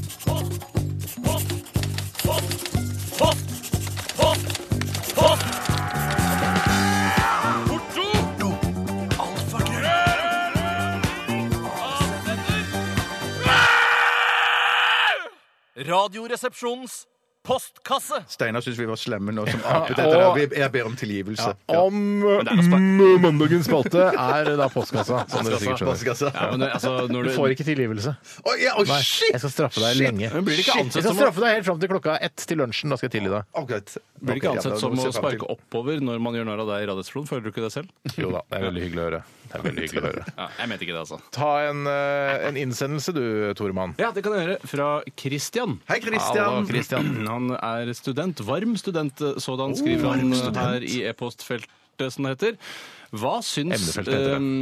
Radioresepsjonens postkasse.
Steinar syns vi var slemme nå som apet etter det. Vi- Jeg ber om tilgivelse. Ja.
Om mm, mandagens spalte er da postkassa, som dere sikkert skjønner.
Postkassa.
Ja, men det, altså, når
Du
du,
får ikke tilgivelse.
Å, ja, å,
Nei,
shit!
jeg skal straffe deg
Shit!
lenge.
Men blir det ikke
Shit,
ansett
jeg skal
som å-
straffe deg helt fram til klokka ett til lunsjen. Da skal jeg tilgi deg.
Å, greit.
blir det ikke
Ok, ja,
ansett
da
som å
ser jeg frem til-
sparke oppover når man gjør narr av deg i Radioresepsjonen? Føler du ikke det selv?
Jo da, det er veldig hyggelig å høre. Det er veldig hyggelig å høre.
Ja, jeg mente ikke det, altså.
Ta en, eh, en innsendelse du, Toremann.
Ja, det kan jeg gjøre. Fra Christian.
Hei,
Hallo,
Christian.
Christian.
Han er student. Varm student, sådan
Oh,
skriver han eh, her i e-postfeltet, som det heter. Hva syns
Emnefeltet heter det.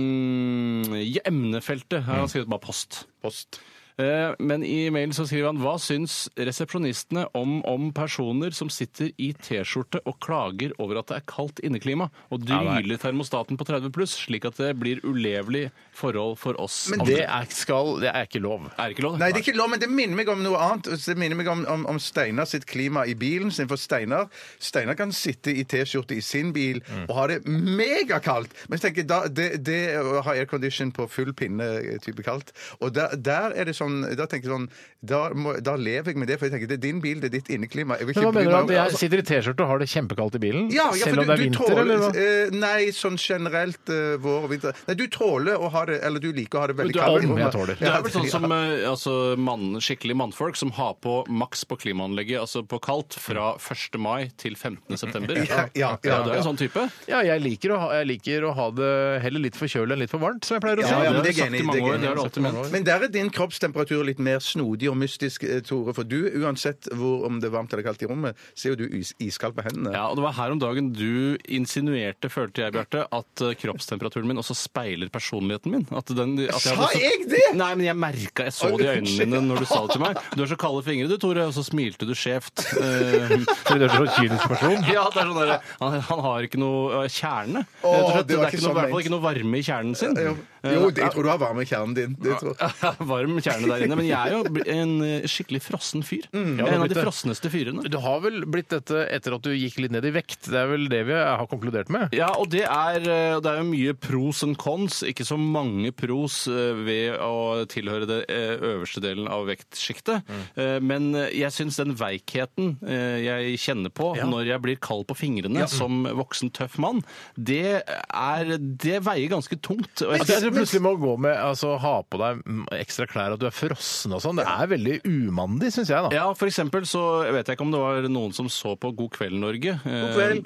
eh, ja, emnefeltet. Her har han skrevet bare post.
Post.
Eh, Men i mailen så skriver han Hva syns resepsjonistene om, om personer som sitter i T-skjorte og klager over at det er kaldt inneklima, og
nei.
dryler termostaten på 30 pluss, slik at det blir ulevelig forhold for oss
Men
Det
andre?
er, skal, det er ikke lov.
Er det ikke lov?
Nei, det er ikke lov, men det minner meg om noe annet. Det minner meg om, om, om Steinar sitt klima i bilen. sin, For Steinar Steinar kan sitte i T-skjorte i sin bil
Mm.
og ha det megakaldt. Men jeg tenker, da, det, det å ha aircondition på full pinne-type kaldt Og der, der er det sånn Da tenker jeg sånn da, må, da lever jeg med det, for jeg tenker det er din bil, det er ditt inneklima. Jeg vil
Men hva
ikke bry
mener du? At
meg om
Altså, jeg sitter i T-skjorte og har det kjempekaldt i bilen?
Altså- ja,
selv
ja, for
om det er
du- du
vinter,
tåler-
eller hva?
eh, nei, sånn generelt eh, vår og vinter. Nei, du tåler å ha det Eller du liker å ha det veldig
du er
kaldt.
om jeg tåler.
Det er vel sånn
ja.
som eh, altså, mann, skikkelig mannfolk som har på maks på klimaanlegget, altså på kaldt, fra 1. mai til 15. september.
Ja, ja, ja,
du er en sånn type.
Ja, jeg liker, å ha, jeg liker å ha det heller litt for kjølig enn litt for varmt, som jeg pleier å si.
Ja, ja,
det har
men
du
det er
sagt i
enig, det er
mange år.
enig.
Det har du alltid ment.
Men der er din kroppstemperatur litt mer snodig og mystisk, eh, Tore. For du, uansett hvor, om det er varmt eller kaldt i rommet, ser jo du is iskald på hendene.
Ja, og Det var her om dagen du insinuerte, følte jeg, Bjarte, at eh, kroppstemperaturen min også speiler personligheten min. At den, at
Sa
hadde så-
jeg det?!
Nei, men jeg merka Jeg så det i øynene dine når du sa det til meg. Du har så kalde fingre, du, Tore, og så smilte du skjevt. Eh,
Fordi du er så kynisk person.
ja, det er sånn der, han, han har ikke noe eh, kjerne.
Åh,
rett og slett.
det
det
var
er
ikke
ikke noe,
sånn
i hvert fall ikke noe varme i kjernen sin.
Jo, jo det, jeg tror du har varme i kjernen din. Det tror. jeg.
Varm kjerne der inne. Men jeg er jo bl- en eh, skikkelig frossen
Mm.
fyr. Jeg
det
er en
har
av de
blitt det.
frosneste fyrene.
Du har vel blitt dette etter at du gikk litt ned i vekt? Det er vel det vi har konkludert med?
Ja, og det er, eh, det er jo mye pros and cons, ikke så mange pros eh, ved å tilhøre det eh, øverste delen av vektsjiktet.
Mm.
Eh, Men eh, jeg syns den veikheten eh, jeg kjenner på når jeg blir kald på fingrene som voksen tøff mann, det, er, det veier ganske tungt. Og
At
jeg,
du plutselig må gå med, altså ha på deg mm, ekstra klær, at du er frossen og sånn, det er veldig umandig, syns jeg, da.
Ja, for eksempel så jeg vet jeg ikke om det var noen som så på God kveld Norge eh,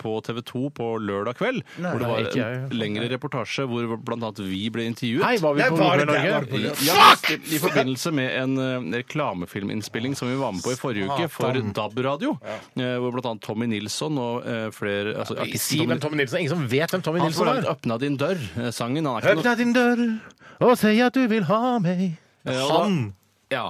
på TV 2 på lørdag kveld. hvor det
Nei,
var
ikke jeg.
en lengre reportasje hvor blant annet vi ble intervjuet.
Hei, var vi
Nei,
på
var det
Nordmenn
der, var det på
Norge?
Ja, i, I forbindelse med en eh, reklamefilminnspilling som vi var med på i forrige uke for DAB-radio, eh, hvor bl.a. Tommy Nilsson og eh, flere altså,
Si hvem Tommy Nilsen er. Ingen som vet hvem Tommy
Han som
Nilsen
lagde
er.
'Åpna din dør'-sangen. Han er ikke
Åpna
noe
din dør og si at du vil ha meg.
Ja, da-
Han!
Ja.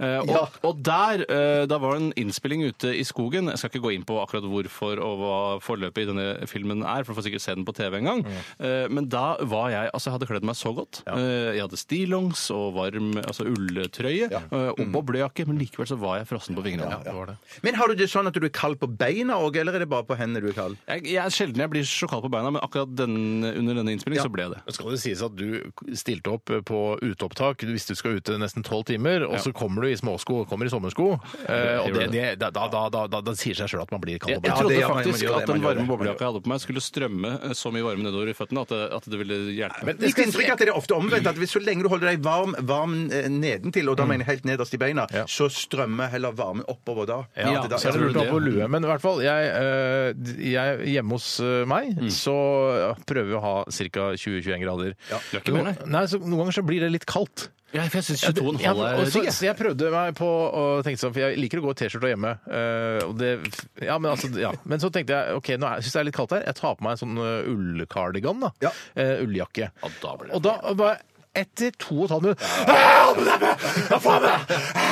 Eh, og, og der eh, da var det en innspilling ute i skogen. Jeg skal ikke gå inn på akkurat hvorfor og hva forløpet i denne filmen er, for du får sikkert se den på TV en gang. Eh, men da var jeg Altså, jeg hadde kledd meg så godt. Eh, jeg hadde stillongs og varm altså ulltrøye eh,
Mm.
og boblejakke, men likevel så var jeg frossen på fingrene. Ja, det var det.
Men har du det sånn at du er kald på beina òg, eller er det bare på hendene du er kald?
Jeg, jeg er sjelden jeg blir så kald på beina, men akkurat den, under denne innspillingen så ble jeg det.
Skal det sies at du stilte opp på uteopptak hvis du skal ute nesten tolv timer, og så kommer du i småsko og kommer i sommersko, eh, og det, det, da, da, da, da, da, sier seg sjøl at man blir
Jeg,
kald
jeg
på beina.
det
trodde
gjør man, man
faktisk
gjør det,
at den
man gjør
varme
det.
boblejakka jeg hadde på meg, skulle strømme eh, så mye varme nedover i føttene at det, at det ville hjelpe. meg.
Mitt inntrykk er at det er ofte omvendt. at hvis Så lenge du holder deg varm, varm eh, nedentil, og da mener jeg helt nederst i beina, så strømmer heller varme oppover da.
Ja,
At det da-
så jeg
Så jeg
tror
lurte
det.
på lue, men i hvert fall jeg, eh, jeg, Hjemme hos eh, meg
Mm.
så prøver vi å ha ca. 20-21 grader.
Du er ikke mer, nei.
Nei, så Noen ganger så blir det litt kaldt.
Ja, altså, for jeg syns
Ja, det-
22,5
ja,
er
og så-
digg.
så Jeg prøvde meg på å tenke sånn, for jeg liker å gå i T-skjorte hjemme. eh, Og det, ja, men, altså, ja. men så tenkte jeg ok, nå er- syns jeg det er litt kaldt her. Jeg tar på meg en sånn eh, ullkardigan. da,
Ja.
Eh, Ulljakke.
Ja, da blir det-
Og da var etter to og et halvt minutt «Ah, hold meg! Hva faen er det?»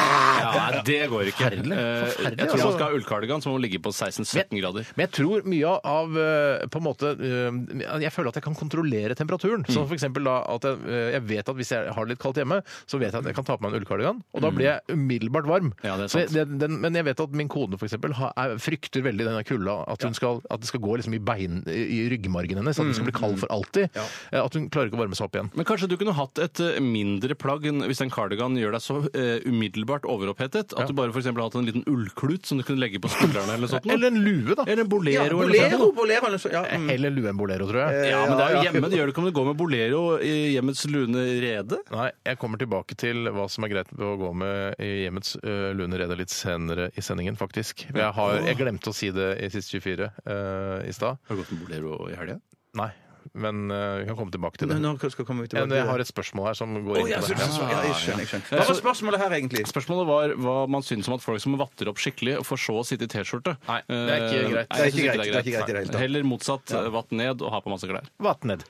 Ja, nei, det går ikke.
Forferdelig.
Eh, Jeg
Forferdelig,
tror
altså.
man skal ha ullkardigan, så må man ligge på 16-17 grader.
Men jeg tror mye av eh, på en måte, eh, Jeg føler at jeg kan kontrollere temperaturen. Så for eksempel da, at jeg, eh, jeg vet at hvis jeg har det litt kaldt hjemme, så vet jeg at jeg kan ta på meg en ullkardigan, og da blir jeg umiddelbart varm.
Ja, det er
Så jeg-
sant.
den, den, men jeg vet at min kone for eksempel, har, er, frykter veldig denne kulda. At, hun skal, at det skal gå liksom i, bein, i ryggmargen hennes. At hun skal bli kald for alltid. Eh, At hun klarer ikke å varme seg opp igjen.
Men kanskje du kunne hatt et eh, mindre plagg enn- hvis en kardigan gjør deg så eh, umiddelbart overopphetet at du bare for eksempel hadde en liten ullklut som du kunne legge på skuldrene eller noe sånt.
Eller en lue, da.
Eller en bolero.
Ja,
eller noe
bolero,
sånt.
bolero, eller så, ja. mm.
Eller lue enn bolero, tror jeg.
Ja, men det er jo hjemme. Det gjør det ikke om du går med bolero i hjemmets lune rede.
Nei, jeg kommer tilbake til hva som er greit å gå med i hjemmets uh, lune rede litt senere i sendingen, faktisk. For Jeg, har, jeg glemte å si det i siste 24 eh, i stad.
Har du gått med bolero i helga?
Nei, men eh, vi kan komme tilbake til
Nå,
det.
nå skal skal komme vi
Men
tilbake
jeg har et spørsmål her som går
Å,
inn
ja,
på
så-
det.
så- ja, jeg skjønner, jeg skjønner. Hva var spørsmålet her, egentlig?
Spørsmålet var hva man syns om at folk som vatter opp skikkelig, får så å sitte i T-skjorte.
Nei, det er
Eh,
ikke
nei,
greit.
jeg
Det er ikke
synes
greit, det er ikke greit i det hele tatt.
Heller motsatt. Vatt ned og ha på masse klær.
Vatt ned.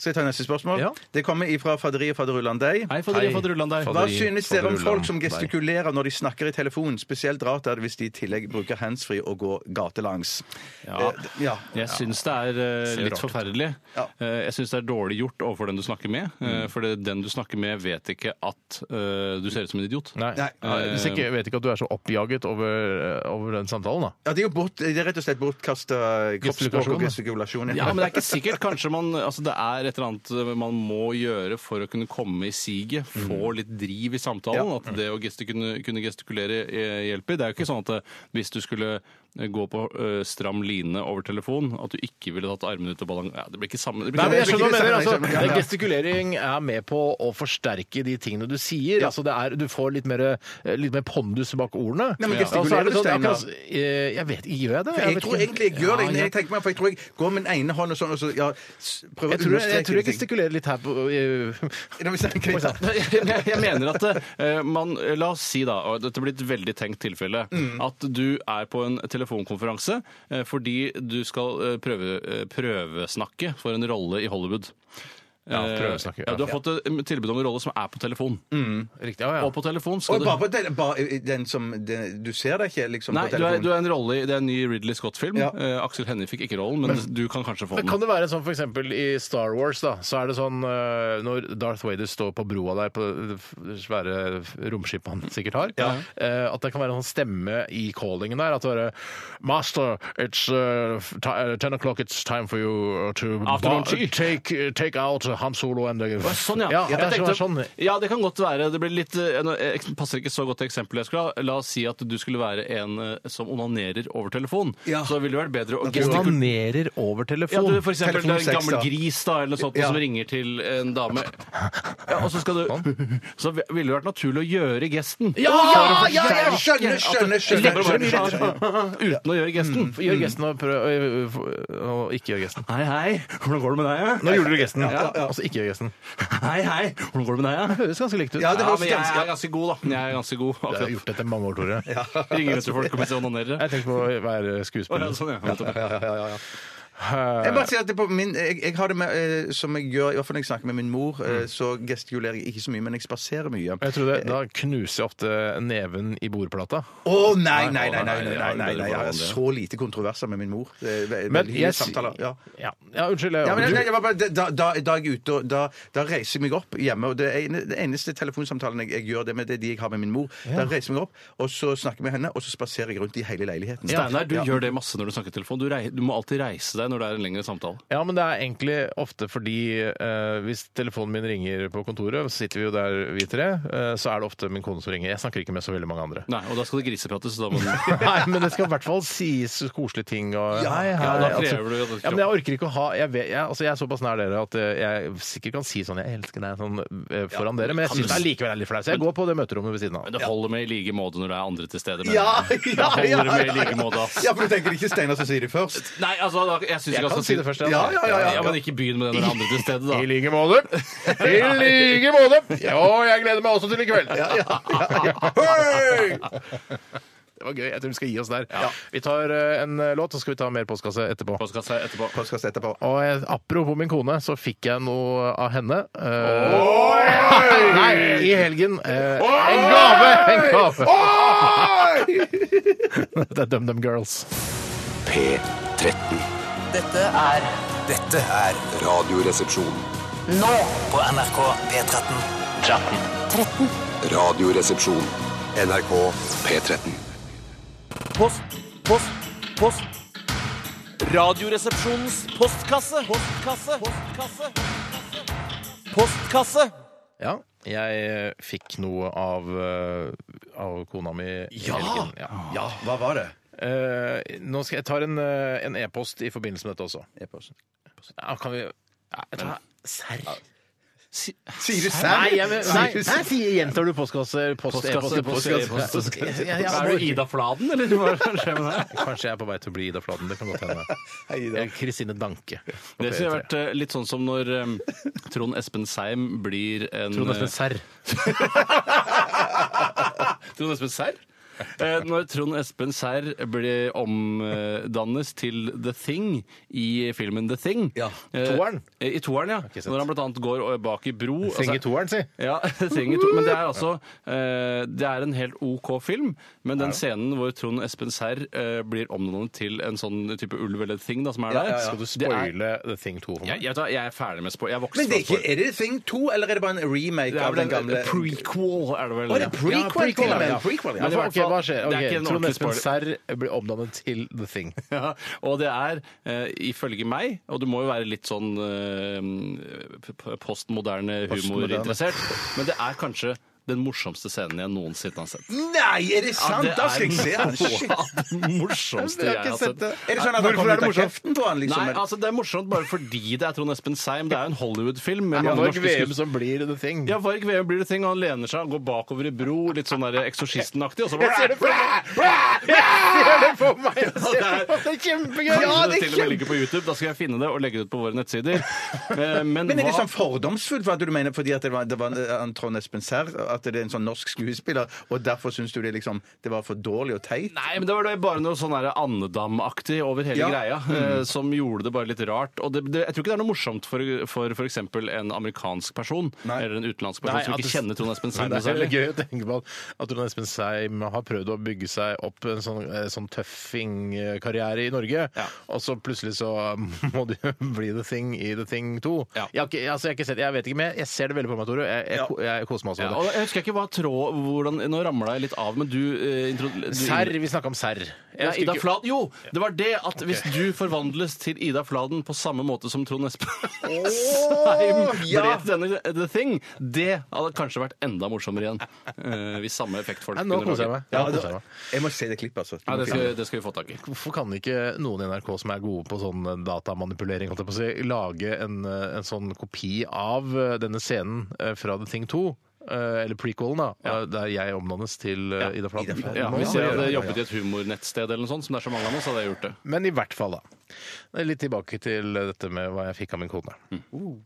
Skal jeg ta neste spørsmål?
Ja.
Det kommer ifra Faderi og Faderullan Dei.
Hei, Fadri,
Hei.
Faderullan der.
Hva
Faderi,
synes dere om
Faderullan
folk som
Dei?
gestikulerer når de snakker i telefonen? Spesielt rart er det hvis de i tillegg bruker handsfree og går gatelangs.
Ja.
Eh, ja.
Jeg syns det er eh,
Ser
litt
rart ut.
forferdelig.
Ja.
Eh, jeg syns det er dårlig gjort overfor den du snakker med.
Mm.
eh, for det, den du snakker med, vet ikke at eh, du ser ut som en idiot.
Nei.
Nei.
Hvis ikke, jeg vet ikke at du er så oppjaget over, over den samtalen, da.
ja, det er jo bort, det er rett og slett bortkasta kroppsspråk og gestikulasjon.
Ja, men det er ikke sikkert. Kanskje man Altså, det er et eller annet eh, man må gjøre for å kunne komme i siget.
Mm.
Få litt driv i samtalen.
Ja.
At det å gesti- kunne, kunne gestikulere eh, hjelper. Det er jo ikke sånn at eh, hvis du skulle eh, gå på eh, stram line over telefon, at du ikke ville tatt armene ut og ballen... Ja, det blir ikke samme det blir
Nei,
ikke
men jeg
samme-
skjønner hva du mener.
Jeg skjønner, jeg
Altså,
skjønner.
gestikulering er med på å forsterke de tingene du sier. Altså, det er, du får litt mer, eh, litt mer pondus bak ordene.
Nei, men
Ja. Og så er det
gestikulerer du,
sånn,
Steinar?
akkurat- eh, Jeg vet ikke, gjør jeg det?
Jeg,
vet
tror
ikke.
egentlig jeg gjør det.
Ja,
når
jeg-
Jeg tenker meg, for jeg tror jeg går med den ene hånden og sånn, og så ja, s- prøver
Jeg
å
tror jeg, jeg,
understreke
tror jeg
ting.
gestikulerer litt her på sånn. eh,
Når vi snakker i
Nei, jeg, jeg mener at eh, man La oss si, da, og dette blir et veldig tenkt tilfelle, at du er på en telefonkonferanse eh, fordi du skal eh, prøve, eh, prøvesnakke for en rolle i Hollywood.
Ja, prøvesnakke,
Eh,
ja.
du har fått et tilbud om en rolle som er på telefon.
Riktig. Ja, ja.
Og på telefon
Og
skal
bare
du
på den, bare den som den, Du ser deg ikke liksom
Nei,
på
du er,
telefonen?
du er en rolle i Det er en ny Ridley Scott-film.
Ja.
Eh, Aksel Hennie fikk ikke rollen, men, du kan kanskje få
Men
den.
kan det være sånn for eksempel i Star Wars, da, så er det sånn eh, når Darth Vader står på broa der på det f- svære romskipet han sikkert har, eh, at det kan være en sånn stemme i callingen der, at det er Master, it's eh, f- ti- eh, ten o'clock, it's time for you uh, to
Afternoon
ba-
tea."
take, take out Han Solo and the...
Å, Sånn, ja.
ja, at
Jeg
det er
tenkte-
sånn,
ja, det kan godt være. Det blir litt, eh, nå, eh, passer ikke så godt til eksempelet jeg skulle ha. La oss si at du skulle være en eh, som onanerer over telefon.
Ja.
Så ville det vært bedre å gestikulere.
Onanerer over
Ja,
telefon.
du, for eksempel det er en
Telefonsex,
gammel
da.
gris da, eller noe sånt,
Ja.
som ringer til en dame. Ja, og så skal du Så vi- ville det vært naturlig å gjøre gesten.
Ja, ja, ja, ja!
Skjønner, skjønner, skjønner.
Lettere å bare- Uten å gjøre gesten.
Gjør gesten og prøv eh, ø, ø, ø, og ikke gjør gesten.
Hei, hei, hvordan går det med deg?
Nå gjorde du gesten. Altså ikke gjør gesten.
ja? Hei, hei, hvordan går det med deg? ja?
Det høres ganske likt ut.
Ja, det
Ja,
høres
men jeg
ganske-
er ganske god, da. Jeg er ganske god.
Jeg har
Akkurat.
gjort dette i mange år, Tore.
Ringer ut til folk og mens jeg onanerer.
Jeg tenker på å være
Å, ja,
skuespiller.
sånn, ja.
Jeg bare sier at det på min, jeg, jeg har det med, eh, som jeg gjør, i hvert fall når jeg snakker med min mor, eh, så gestikulerer jeg ikke så mye, men jeg spaserer mye.
Jeg tror det, Da knuser jeg ofte neven i bordplata.
Å nei, nei, nei, nei, nei, nei, nei,
det er
nei. Jeg
bra,
har
det.
så lite kontroverser med min mor. Det er ve-
Men
veldig
jeg
hyggelige samtaler. Ja.
Ja, ja unnskyld. Jeg,
Ja, men, nei,
du,
det var bare, da, da, da er jeg ute, og da, da reiser jeg meg opp hjemme. og Det, ene, det eneste telefonsamtalen jeg, jeg gjør det med, det er de jeg har med min mor. Da reiser jeg meg opp, og så snakker jeg med henne, og så spaserer jeg rundt i hele leiligheten.
Steinar, du gjør det masse når du snakker i telefon. Du, rei, du må alltid reise deg når det er en lengre samtale.
ja, men det er egentlig ofte fordi eh, hvis telefonen min ringer på kontoret, så sitter vi jo der vi tre, eh, så er det ofte min kone som ringer. Jeg snakker ikke med så veldig mange andre.
Nei, og da skal det griseprates. så Da må du...
Nei, men det skal i hvert fall sies koselige ting. Og,
Ja,
hei, hei,
ja, da krever
altså-
du jo at-
ja, men jeg orker ikke å ha jeg, vet, jeg, altså, jeg er såpass nær dere at eh, jeg sikkert kan si sånn 'jeg elsker deg' sånn, eh, foran dere, men jeg
kan
syns
du-
det er likevel er litt flaut. Så jeg går på det møterommet ved siden av.
Men det holder med i like måte når det er andre til stede. men-
Ja,
Da
ja, ja,
holder det med i
ja,
like måte, ass.
ja, for du tenker det er ikke Steinar som sier det først?
Nei, altså, da, jeg syns
Jeg
ikke han
kan
skal
si det først, jeg, da.
Ja, ja, ja, ja, Men ikke begynn med den andre til stedet, da.
I like måte. I like måte. Og jeg gleder meg også til i kveld. Hei! Det var gøy. Jeg tror vi skal gi oss der. Vi tar eh, en eh, låt, så skal vi ta mer postkasse etterpå.
Postkassa etterpå.
Postkast etterpå.
Og jeg, apropos min kone, så fikk jeg noe av henne. eh, nei, i helgen. eh, en gave! En gave! Det er DumDum Girls.
P13.
Dette er
Dette er
Radioresepsjon.
nå på NRK P13. 13.
Radioresepsjon.
NRK
P13.
Post, post, post. Radioresepsjonens postkasse. Postkasse. Postkasse. Postkasse.
Ja, jeg eh, fikk noe av, eh, av kona mi i helgen. Ja.
Ja, hva var det?
Eh, nå skal jeg ta en eh, en e-post i forbindelse med dette også. Ja, kan vi... Ja, jeg tar... Serr?
Sier du
Nei,
serr?
jeg, nei, nei, sier- gjentar du postkasse, post,
Postkasse,
e-post, e-post,
post,
e-post?
e-post.
Ja, ja,
Er du Ida Fladen, eller hva skjer med deg?
Kanskje jeg er på vei til å bli Ida Fladen. Det kan godt hende. Jeg er Kristine Danke. på
Det skulle
P3.
vært eh, litt sånn som når eh, Trond Espen Seim blir en eh,
Trond Espen Serr.
Trond Espen Serr? Eh, når Trond Espen Serr ble omdannes til The Thing i filmen The Thing.
Ja.
Eh,
Toeren?
I toeren, ja.
sant.
Når han blant annet går og- bak i bro.
Seng i
altså-
toeren, si.
Ja, Thing i to. Men det er altså eh, Det er en helt OK film, men den scenen hvor Trond Espen Serr eh, blir omdannet til en sånn type ulv eller thing da, som er der
Skal du
det er-
spoile The Thing 2 for
Jeg,
meg?
jeg, vet hva, jeg er ferdig med spoil. Jeg er voksen
Men det er,
fra spoil.
ikke, er det Thing 2, eller er det bare en remake
Det er
av
vel
den
en
gamle
prequel, er det vel?
Å, det er prequel,
Ja,
til og med.
ja.
Prequel, ja.
Men i hvert
Ok,
fall,
hva skjer?
Det er
Ok,
ikke en
Trond
ordentlig
Espen
spoiler.
Serr blir omdannet til The Thing.
Ja, og det er, eh, ifølge meg, og du må jo være litt sånn eh, p- p- postmoderne humorinteressert, men det er kanskje den morsomste scenen jeg noensinne har sett.
Nei, er det sant?
det
da skal jeg se den!
er
Shit.
den morsomste jeg har sett.
Er det sånn at han
Hvorfor
kommer
er
ut
det
av
morsomt?
kjeften på han, liksom?
Nei, altså det er morsomt bare fordi det er Trond Espen Seim. Det er jo en Hollywood-film. med mange
Når
norske
VM
skuespillere.
som blir The Thing.
Ja, Varg Veum blir det ting, og han lener seg, han går bakover i bro, litt sånn der Eksorsisten-aktig, og så
Jeg ser det for meg! Jeg ser det for meg! Jeg ser det for meg. Det er kjempegøy!
Kanskje
Ja,
det,
det
til
er
og med
kjempe...
ligger på YouTube. Da skal jeg finne det og legge det ut på våre nettsider. Eh, Men,
Men er det
hva-
sånn fordomsfullt hva du mener fordi at det var, det var en eh, Trond Espen Serr, at det er en sånn norsk skuespiller, og derfor syns du det liksom det var for dårlig og teit?
Nei, men det var da bare noe sånn der andedamaktig over hele
Ja.
greia,
Mm.
eh, som gjorde det bare litt rart. Og det, det, jeg tror ikke det er noe morsomt for for f.eks. en amerikansk person
Nei.
eller en utenlandsk person
Nei,
som
at
ikke
det-
kjenner Trond Espen Seim.
Det
noe
er
særlig.
veldig gøy å tenke på at Trond Espen Seim har prøvd å bygge seg opp en sånn, eh, sånn tøffing-karriere i Norge,
Ja.
og så plutselig så må det jo bli The Thing i The Thing 2.
Ja.
Jeg, har ikke, altså, jeg, har ikke sett, jeg vet ikke, men jeg ser det veldig på meg, Tore. Jeg, jeg, ko- jeg koser meg også
Ja,
med
og
det.
jeg husker ikke hva tråd hvordan, Nå ramla jeg litt av, men du, eh, intro, du
Serr, vi snakka om serr. Jeg
Ja,
husker
Ida
ikke-
Fladen. Jo, det var det at hvis du forvandles til Ida Fladen på samme måte som Trond Espen Seim ble til denne eh, The Thing, det hadde kanskje vært enda morsommere igjen. eh, hvis samme effekt folk
Nei, nå
kunne
koser jeg
lage.
meg. Nå koser jeg
da,
meg.
jeg må se det klippet, altså.
Ja, det skal, det skal vi få tak i.
Hvorfor kan ikke noen i NRK som er gode på sånn datamanipulering, holdt jeg på å si, lage en, eh, en sånn kopi av eh, denne scenen eh, fra The Thing 2? eh, Eller prequelen, da. eh, Der jeg omdannes til eh, Ida Fladen.
Ja,
Nå
hvis
må
jeg
vi gjøre
hadde
det.
jobbet i et humornettsted, eller noe sånt, som det er så mange av nå, så hadde jeg gjort det.
Men i hvert fall, da. Litt tilbake til dette med hva jeg fikk av min kone.
Mm.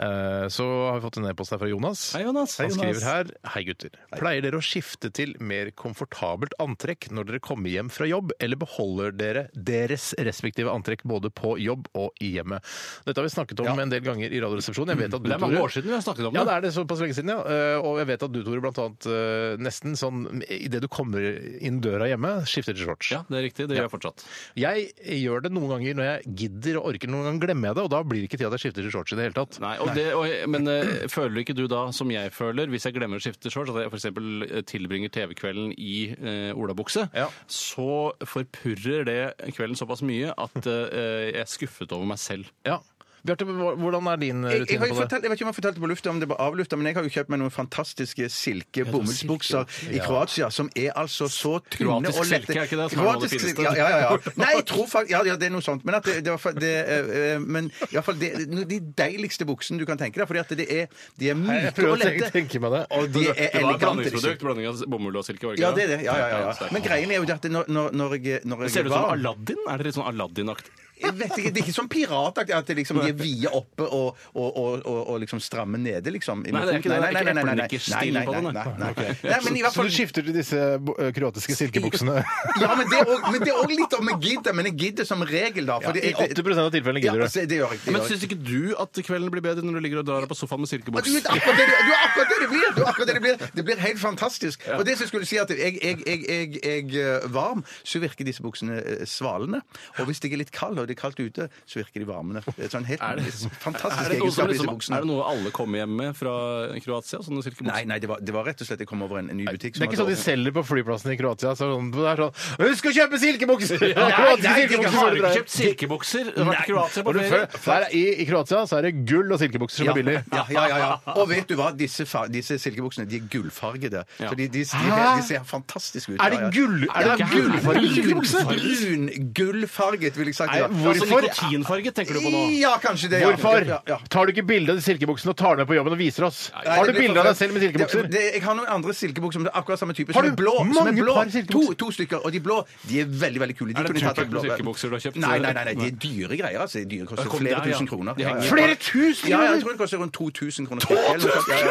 Eh, Så har vi fått en e-post her fra Jonas.
Hei, Jonas.
Han
Hei, Jonas.
skriver her Hei, gutter. Pleier dere å skifte til mer komfortabelt antrekk når dere kommer hjem fra jobb, eller beholder dere deres respektive antrekk både på jobb og i hjemmet? Dette har vi snakket om en del ganger i Radioresepsjonen. Jeg vet at du,
Det er mange
Tore-
år siden vi har snakket om
ja, det
det.
er det såpass lenge siden, ja. Eh, Og jeg vet at du, Tore, blant annet eh, nesten sånn idet du kommer inn døra hjemme, skifter til shorts.
Ja, det er riktig. Det gjør jeg fortsatt.
Jeg gjør det noen ganger når jeg gidder og orker. Noen ganger glemmer jeg det, og da blir det ikke til at jeg skifter til shorts i det hele tatt.
Nei, og det, og, men eh, føler ikke du da, som jeg føler, hvis jeg glemmer å skifte shorts, at jeg f.eks. tilbringer TV-kvelden i eh, olabukse,
Ja.
så forpurrer det kvelden såpass mye at eh, jeg er skuffet over meg selv.
Ja. Bjarte, hva- hvordan er din eh,
Jeg, jeg,
rutine
har
på
jo
det?
fortalt, jeg vet ikke om jeg fortalte det på lufta, om det var avlufta, men jeg har jo kjøpt meg noen fantastiske silke bomullsbukser i Kroatia, som er altså så tynne
Kroatisk
og lette.
silke, er ikke det som er noe av det
Kroatisk
fineste?
silke, ja, ja, ja. Nei, jeg tror faktisk ja, ja, det er noe sånt. Men at det, det, var, fa- det, eh, eh, men i hvert fall det, no- de deiligste buksene du kan tenke deg, fordi at det er, de er
jeg
myke
prøver
og
å tenke-
lette.
tenke meg det.
Og de er
Det var et
elegante. liksom.
blandingsprodukt. Blanding av bomull og silke. var ikke
Eh, Ja, det er det. Ja, ja, ja,
Ja,
ja.
sterkt.
Men greien er jo det at når, når, når jeg, når jeg
Ser det ut som
var-
Aladdin? Er det litt sånn Aladdin-aktig?
jeg vet ikke, Det er ikke sånn pirataktig at det liksom, de er vide oppe og, og, og, og, og liksom stramme nede, liksom.
Nei, det er ikke det. Det er ikke eplenikkestil
Nei, nei,
på den,
nei,
nei.
nei, nei, nei. Nei, men i hvert
Så
fall
du skifter til disse bo- eh, kroatiske silkebuksene?
ja, men det er også- men det er òg litt om jeg gidder, men jeg gidder som regel, da. Fordi
I 80 av tilfellene
ja,
gidder du.
altså, det gjør jeg ikke.
Men
det gjør jeg ikke.
syns ikke du at kvelden blir bedre når du ligger og drar deg på sofaen med
Og Du
silkebuks?
vet akkurat det du er akkurat det det blir! Du er akkurat det det blir Det blir helt fantastisk. Og det som jeg skulle si, at jeg, jeg, jeg, jeg, jeg er varm, så virker disse buksene eh, svalende. Og hvis jeg er litt kald, og det er kaldt ute, så virker de varmende. Det er sånn helt
Er det-
fantastisk
Er det, noe som
egenskap i disse
liksom, er det
buksene.
noe alle kommer hjem med fra Kroatia? Sånne silkebukser?
Nei, nei, det var, det var rett og slett jeg kom over en ny butikk
Det er ikke sånn de
åpnet.
selger på flyplassen i Kroatia. Så sånn, det er sånn, Husk å kjøpe silkebukser!
Nei, nei,
Kroatiske
nei,
silkebukser
har
før
du
drar.
ikke kjøpt silkebukser? Du har vært i Kroatia på
Og du
ferie?
føler- der er- i, I Kroatia så er det gull og silkebukser som er billig.
Ja, ja, ja, ja. Og vet du hva? Disse, fa- disse silkebuksene de er gullfargede.
Ja.
Så de, de, de, de,
Hæ?
ser fantastiske ut.
Er det
Ja, ja.
gull- er det
Ja,
gullfargede silkebukser?
Brun, gullfarget, ville jeg sagt.
Nei,
Ja.
hvor-
Altså
Hvorfor-
nikotinfarge tenker du på nå?
Ja, kanskje det. ja.
Hvorfor
Ja, ja.
tar du ikke bilde av de silkebuksene og tar dem med på jobben og viser oss?
Nei,
Har du
det blir
bilde av
for-
deg selv med silkebukser?
Det, det, jeg har noen andre silkebukser som er akkurat samme type.
Har
Som er
du
blå. Som er
mange
blå.
par silkebukser?
To, to stykker. Og de blå de er veldig veldig kule. De
Er det
kunne tatt
tupac
de blå-
silkebukser du har kjøpt?
Nei, nei, nei, nei, de er dyre greier. altså. De koster
Kom
flere
der, ja.
tusen kroner.
De
Ja, ja,
henger-
ja.
Flere tusen
Ja, ja,
kroner
jeg tror det koster rundt 2000 kroner. 2000 kroner?!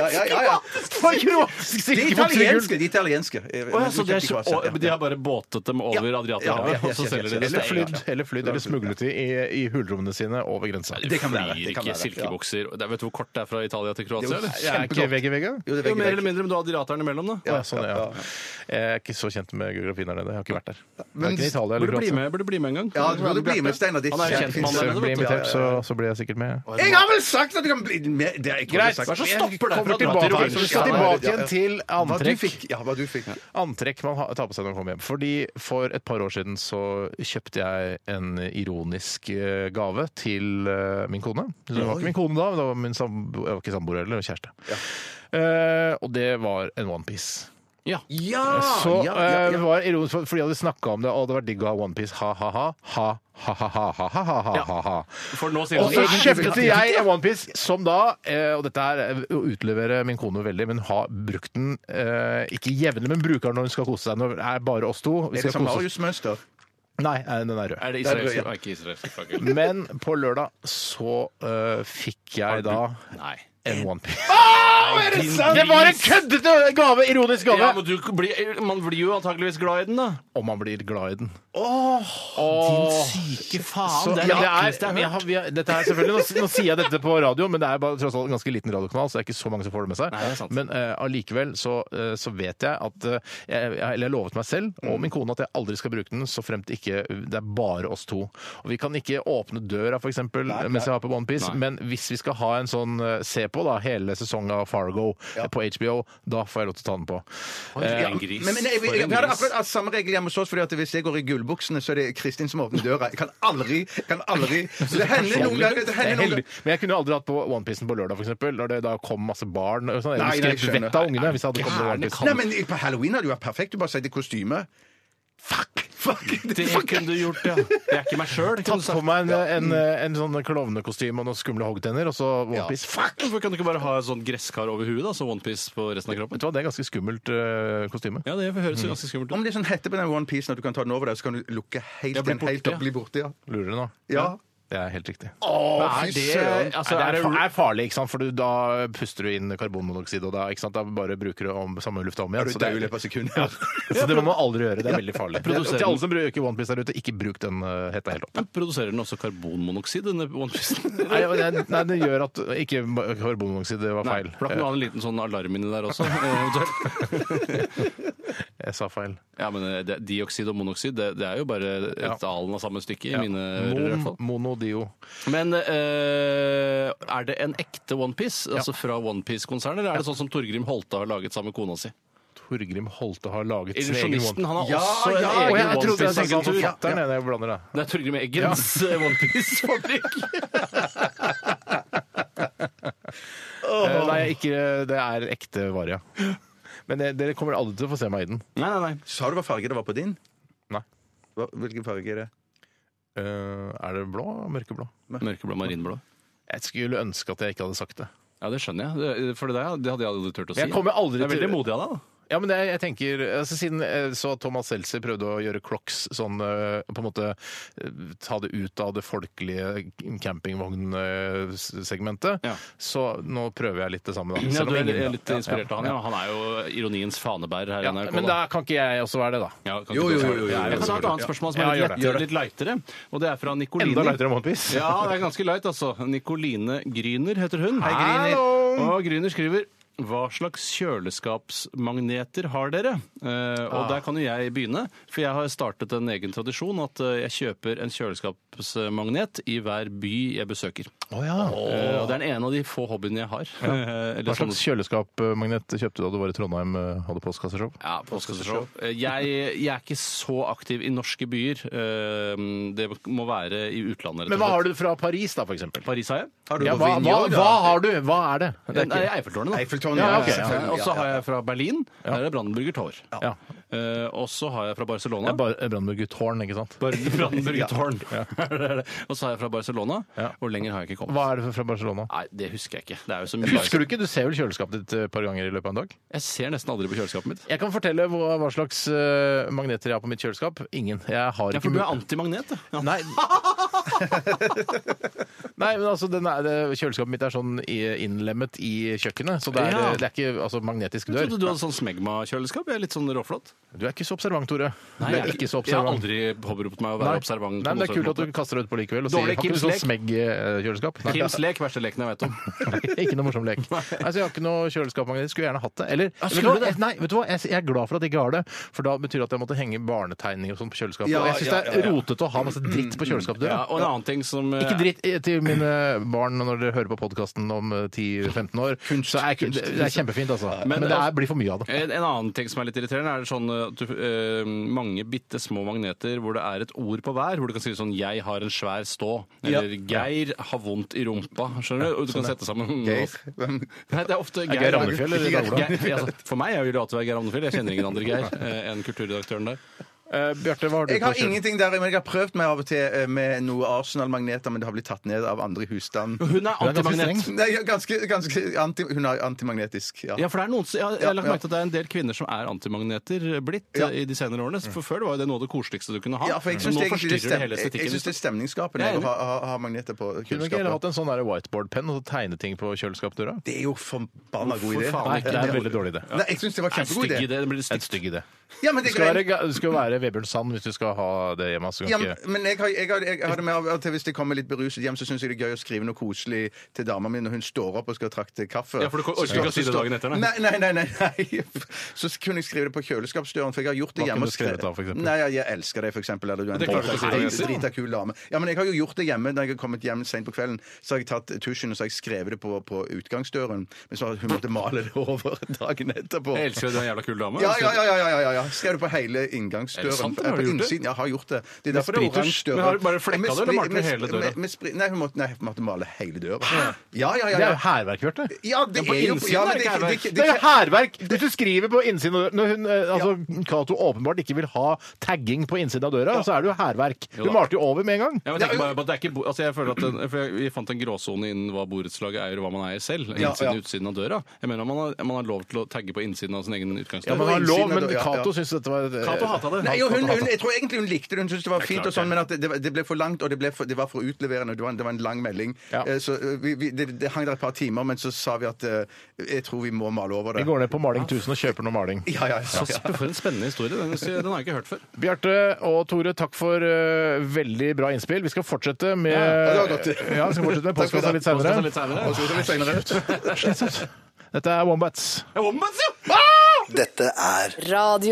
Ja, ja, ja.
for kroatiske
De er
silkebukser i gull!
italienske. De er italienske. Eh,
Å, ja,
men
så
de
de, er,
kjøpte i
så-
Kroatia, ja.
å, de har bare båtet dem over
Ja, ja,
Adriaterhavet,
ja, ja,
og så selger
ja, ja,
de det?
Eller
Ja,
flydd, eller flydd, eller smuglet i, i hullrommene sine over grensa.
Det
Det kan være,
flyr
det kan
ikke
være,
silkebukser. Det er- Vet du hvor kort det er fra Italia til Kroatia?
Det er jo
eller?
Jeg er ikke vegg i vegg, ja.
Jo,
Jo,
det er vegg i
mer eller
vegg.
mindre, men du har Adriateren imellom, da?
Ja, sånn, ja. Jeg er ikke så kjent med geografien her nede. Jeg har ikke vært der. Verken i Italia eller
Burde bli
Kroatia.
med, burde bli med en gang.
Ja, du burde bli med, Steinar. Det
Han er jo kjent mann
Hvis
der
jeg
nede,
blir
vet du.
invitert, så, så blir jeg sikkert med.
Jeg har vel sagt at du kan bli med! Det er ikke
Greit,
sagt.
Hva er det som stopper deg
Kommer
fra å dra
tilbake,
til
Adriaterhavet?
vi
Russland?
skal tilbake igjen til
Hva du
antrekk.
fikk. Ja, hva du fikk.
Antrekk man ha- tar på seg når man kommer hjem. Fordi For et par år siden så kjøpte jeg en ironisk eh, gave til eh, min kone. Så det var ikke min kone da, men det var min sambo, jeg var ikke samboer eller kjæreste. Eh, og det var en onepiece.
Ja.
Ja!
Så
Ah, ja, ja,
eh, det
ja.
var ironisk, for- fordi jeg hadde snakka om det. Å, det var digg å ha OnePiece. Ha-ha-ha. Ha-ha-ha-ha-ha-ha-ha.
For nå sier
Og så
han
kjøpte jeg en OnePiece som da, eh, og dette er eh, å utlevere min kone veldig, men har brukt den eh, ikke jevnlig, men bruker den når hun skal kose seg. Når det er bare oss to. Vi
Er
skal
det som
kose oss.
Marius-mønster?
Nei, eh, den er rød.
Er det israelsk? Nei, ikke israelsk. beklager.
Men på lørdag så eh, fikk jeg da
Nei.
en OnePiece. Ah, Det var en køddete gave! Ironisk gave!
Ja, men du blir, man blir jo antakeligvis glad i den, da.
Og man blir glad i den.
Din syke faen!
Så,
Det er
ja,
det
det
ekleste
er,
jeg har
jeg
hørt.
har, vi har, dette er selvfølgelig, nå, s- nå sier jeg dette på radio, men det er bare, tross alt en ganske liten radiokanal, så det er ikke så mange som får det med seg.
Nei, det er sant.
men eh, allikevel så, eh, så vet jeg at eh, jeg, jeg, Eller jeg lovet meg selv
Mm.
og min kone at jeg aldri skal bruke den, så fremt ikke det er bare oss to. Og Vi kan ikke åpne døra, f.eks., mens jeg har på OnePiece,
Nei.
men hvis vi skal ha en sånn eh, se på da, hele sesongen av Fargo eh, på HBO, da får jeg lov til å ta den på.
Ja,
Eh,
en gris.
Men, men jeg, jeg,
For
jeg,
en
vi hadde
gris.
akkurat altså, samme regel hjemme hos oss, fordi at hvis jeg går i gullbuksene, så er det Kristin som åpner døra. Jeg kan aldri, kan aldri Det hender noen ganger det
Det er
hender noen
heldig.
ganger.
Men jeg kunne aldri hatt på OnePiecen på lørdag, for eksempel, når det da kom masse barn. Og sånn. Jeg
Nei, nei,
ville
jeg
skremt
skjønner.
vettet av ungene hvis jeg hadde kommet med
Gærne
OnePiece.
Nei, Ah, men på halloween hadde du vært perfekt. Du bare sier det kostyme. Fuck! Fuck!
Det kunne du gjort, ja. Jeg er ikke meg sjøl.
Tatt på meg en, en, en sånn klovnekostyme og noen skumle hoggtenner, og så OnePiece. Fuck!
Hvorfor kan du ikke bare ha et sånn gresskar over huet, da, så onepiece på resten av kroppen?
Vet du hva, det er ganske skummelt eh, kostyme.
Ja, det høres jo ganske skummelt
Om
ut.
det er sånn hette på den onepiecen at du kan ta den over der, så kan du lukke helt
Ja, bli
den helt
borte,
opp, bli borte. Ja.
Lurer du nå?
ja.
Det er helt riktig.
Er det, altså, er
Nei, det er,
det
fa- er farlig, ikke sant? for du- da puster du inn karbonmonoksid, og da, ikke sant? da bare bruker du om, samme lufta om igjen.
Så
Så
det
det,
er jo i løpet av sekunder.
så det må man aldri gjøre. Det er veldig farlig.
Produserer
Til alle som bruker OnePiece der ute, ikke bruk den eh, hetta helt opp.
Men Produserer den også karbonmonoksid, denne onepiecen?
Nei, og det, nei, det gjør at Ikke karbonmonoksid, det var
Nei,
feil.
for da kan du ha en liten sånn alarm inni der også. eventuelt.
Jeg, jeg sa feil.
Ja, men eh, det, Dioksid og monoksid det, det er jo bare
Ja.
et alen av samme stykke. i
Ja.
mine ører i hvert fall.
Mon, monodio.
Men eh, er det en ekte OnePiece? Altså fra OnePiece-konsernet? Eller er det sånn som Torgrim Holte har laget sammen med kone si?
Torgrim Holte har laget sin egen
Illusjonisten
one-
han har
Ja,
også en
Å,
ja,
jeg,
egen
jeg sånn, trodde jeg tenkte han
OnePiece-agentur.
forfatteren, jeg, når jeg blander det.
Det er Torgrim Eggens eh, OnePiece-fabrikk.
Eh, Nei, ikke, det er ekte vare, ja. Men det, dere kommer aldri til å få se meg i den.
Nei, nei, nei.
Sa du hva farge det var på din?
Nei.
Hva, hvilken farge er det?
Eh, er det blå? Mørkeblå?
Mørkeblå, marinblå.
Jeg skulle ønske at jeg ikke hadde sagt det.
Ja, det skjønner jeg. Det- For det der det hadde jeg aldri turt å si.
Jeg kommer aldri
det er
til-
veldig modig av deg, da.
Ja, men det, er- jeg tenker, altså, Siden jeg så at Thomas Seltzer prøvde å gjøre Crocs sånn eh, på en måte eh, Ta det ut av det folkelige campingvognsegmentet,
Ja.
så nå prøver jeg litt det samme. da.
Ja,
Selv
du
om
er er
ingen-
litt inspirert av han, ja. Han er jo ironiens fanebærer her i
Ja,
NRK.
men da kan ikke jeg også være det, da.
Ja, kan
Jo,
ikke
jo,
ta-
jo, jo, jo.
Jeg kan ta et annet spørsmål som
Ja,
er litt,
gjør det.
lettere, litt lightere, og det er fra Nicoline.
Enda lightere enn OnePiece.
Ja, det er ganske light, altså. Nicoline Gryner heter hun. Hei,
Gryner.
Og Gryner skriver hva slags kjøleskapsmagneter har dere? Eh,
Ah.
og der kan jo jeg begynne, for jeg har startet en egen tradisjon at eh, jeg kjøper en kjøleskapsmagnet i hver by jeg besøker. Eh, og det er den ene av de få hobbyene jeg har. Eh, eller
Hva slags
sånne-
kjøleskapmagnet kjøpte du da du var i Trondheim eh, hadde postkasseshow?
Ja, påskeshow. Jeg, jeg er ikke så aktiv i norske byer. Eh, Det må være i utlandet.
Men hva har du fra Paris, da, for eksempel?
Paris har jeg.
Har du
Ja,
noe
hva, hva,
vinjog, da?
hva har du? Hva er det? det er
Nei,
ikke...
Eiffeltårnet, da.
Eiffeltårnet,
Ja,
ja,
ok, ja.
selvfølgelig,
Og så har jeg fra Berlin. Der er Brandenburger Tor.
Ja.
Eh, Og så har jeg fra Barcelona.
Det er bare Brandenburger Tårn, ikke sant?
Brandenburger Tårn. Og så har jeg fra Barcelona.
Ja.
Hvor lenger har jeg ikke kommet?
Hva er det fra Barcelona?
Nei, det husker jeg ikke. Det er jo så mye
Husker du ikke? Du ser vel kjøleskapet ditt eh, et par ganger i løpet av en dag?
Jeg ser nesten aldri på kjøleskapet mitt.
Jeg kan fortelle hva, hva slags eh, magneter jeg har på mitt kjøleskap. Ingen. Jeg har
Ja,
ikke
for du er
mul-
antimagnet, da. Ja.
Nei. Nei, men altså, den er, det- Kjøleskapet mitt er sånn i- innlemmet i kjøkkenet, så det er,
Ja.
det er ikke altså, magnetisk
Jeg
dør.
trodde du hadde sånn smegma-kjøleskap. Jeg er litt sånn råflott.
Du er ikke så observant, Tore.
Nei,
du
jeg,
er ikke så
jeg har
observant.
aldri påberopt meg å være
Nei.
observant.
Nei,
på
men Det
noen
er
sånn
kult at du
måte.
kaster deg ut på likevel og sier
Dårlig
har ikke du sånn
Kims
smegg-kjøleskap?
Kims lek, verste leken jeg vet om.
ikke noe morsom lek. Nei, så jeg har ikke noe kjøleskapmagnet. Skulle gjerne hatt det. Eller,
Ja,
vet,
skulle
du hva?
du det?
Jeg, nei, vet du hva? Jeg, jeg er glad for at jeg ikke har det, for da betyr det at jeg måtte henge barnetegninger og sånn på kjøleskapet.
Ja,
og jeg syns
ja,
det
ja,
er
ja.
rotete å ha masse dritt på kjøleskapsdøra.
Ja, og en annen ting som eh,
Ikke dritt eh, til mine barn når dere hører på podkasten om eh, 10-15 år. så er, ikke- det, det er kjempefint, altså.
Men
Men, det
altså-
er, blir for mye av det.
En en annen ting som er litt irriterende, er sånn at du, eh, mange bitte små magneter hvor det er et ord på hver. Hvor du kan skrive sånn 'jeg har en svær stå', eller 'Geir har vondt i rumpa'. Skjønner du? Og du kan sette sammen
sånn Geir? Hvem-
Nei, det er ofte Geir.
Geir Randefjell eller
Geir-
Dagbladet?
Geir- altså, For meg er jo det alltid være Geir Randefjell. Jeg kjenner ingen andre Geir eh, enn kulturredaktøren der.
Eh, Bjarte, hva har du
Jeg
på
har
kjøleskapet?
ingenting der, men jeg har prøvd meg av og til eh, med noe Arsenal-magneter, men det har blitt tatt ned av andre i husstand.
Hun er
er ganske
antimagnet.
streng.
Nei, ja, ganske, ganske anti, Hun er antimagnetisk, ja.
Ja, for det er noen, som- jeg har, jeg har lagt
Ja, ja.
merke til at det er en del kvinner som er antimagneter eh, blitt eh,
Ja.
i de senere årene. For før det var jo det noe av det koseligste du kunne ha.
Ja, for jeg
Men
syns
Mm. nå
det, egentlig
forstyrrer
det,
det hele
stem- jeg
estetikken.
synes det er stemningsskapende
Jeg er
å ha, ha, ha magneter på
Kunne du ikke heller
kjøleskapet.
hatt en sånn der whiteboard-penn og så tegne ting på kjøleskapsdøra?
Det er jo forbanna god idé.
faen
Nei, det er en veldig dårlig idé.
Nei, jeg syns det var
Er det
kjempegod
stygg
idé.
idé. Det blir
En
stygt.
stygg idé.
Ja, men
Du
det
skal være, ga- du skal være Vebjørn Sand hvis du skal ha det hjemme. Så kan
ja,
ikke...
men men jeg har, jeg, har, jeg har det med av og til hvis jeg kommer litt beruset hjem, så syns jeg det er gøy å skrive noe koselig til dama mi når hun står opp og skal trakte kaffe.
Ja, for du orker
Så-
ikke å si det
så-
dagen etter, nei.
nei. Nei, nei, nei. nei. Så kunne jeg skrive det på kjøleskapsdøren, for jeg har gjort det
Hva
hjemme.
kunne du skrevet da, for eksempel?
Nei, jeg, jeg elsker deg, for eksempel. Eller du er en
Det klarer du ikke å si det
drita-
til
drita kul dame. Ja, men jeg har jo gjort det hjemme. Når jeg har kommet hjem sent på kvelden, så har jeg tatt tusjen og så har jeg skrevet det på, på utgangsdøren. Men så har hun måttet male det over dagen etterpå.
Jeg elsker jo den jævla altså. kule dama.
Ja, ja, ja, ja, ja, ja, ja. Skrev du på hele inngangsdøren.
Er det sant, eller
Eh,
har
på
du gjort det?
innsiden. Ja, har gjort det. Det er derfor det er
sprittusj?
oransje dører.
Men har du bare flekka
Med
det, eller
spri-
malte du
med-
hele døra?
med- med spri- Nei, hun måtte, nei, hun måtte male hele døra. Ja, ja,
Det
ja.
er
ja.
jo hærverk, Bjarte.
Ja, det
Ja, på
er jo
innsiden
ja,
er
men
det
det,
ikke
det, det,
Det er jo
det,
hærverk! Hvis du skriver på innsiden av døra Når hun, eh, altså, Cato åpenbart ikke vil ha tagging på innsiden av døra, så er det jo hærverk.
Jo
Du
da.
malte jo over med en gang.
Ja, men tenk bare på at det er ikke, bo- altså jeg føler at den, for jeg, Vi fant en gråsone innen hva borettslaget eier og hva man eier selv. Innsiden
Ja, ja.
og utsiden av døra. Jeg mener Man har, man har lov til å tagge på innsiden av sin egen utgangsdør.
Ja, men
på
han lå,
innsiden av
men
døra, ja,
Cato
ja.
syntes dette var eh,
Cato hatet det.
Nei, jo, hun, hun, jeg tror egentlig hun likte det. Hun syntes det var fint,
klart
og
det.
sånn, men at det, det ble for langt, og det, ble for, det var for utleverende. Det var en, det var en lang melding.
Ja.
Eh, Så eh, vi, vi, det, det hang der et par timer, men så sa vi at eh, jeg tror vi må male over det.
Vi går ned på Maling 1000 og kjøper noe maling.
Ja, ja, ja,
Så
ja.
sp- For en spennende historie. Den, den har jeg ikke hørt før.
Bjarte og Tore, takk for eh, veldig bra innspill. Vi skal fortsette med
Ja, det var godt.
Ja, vi skal fortsette med
Takk skal du
postkassa
ha.
Postkassa
litt senere.
litt senere.
Og så skal vi senere ut.
Slitsomt. Dette er Wombats.
Ja, Wombats, ja! Ah!
Dette er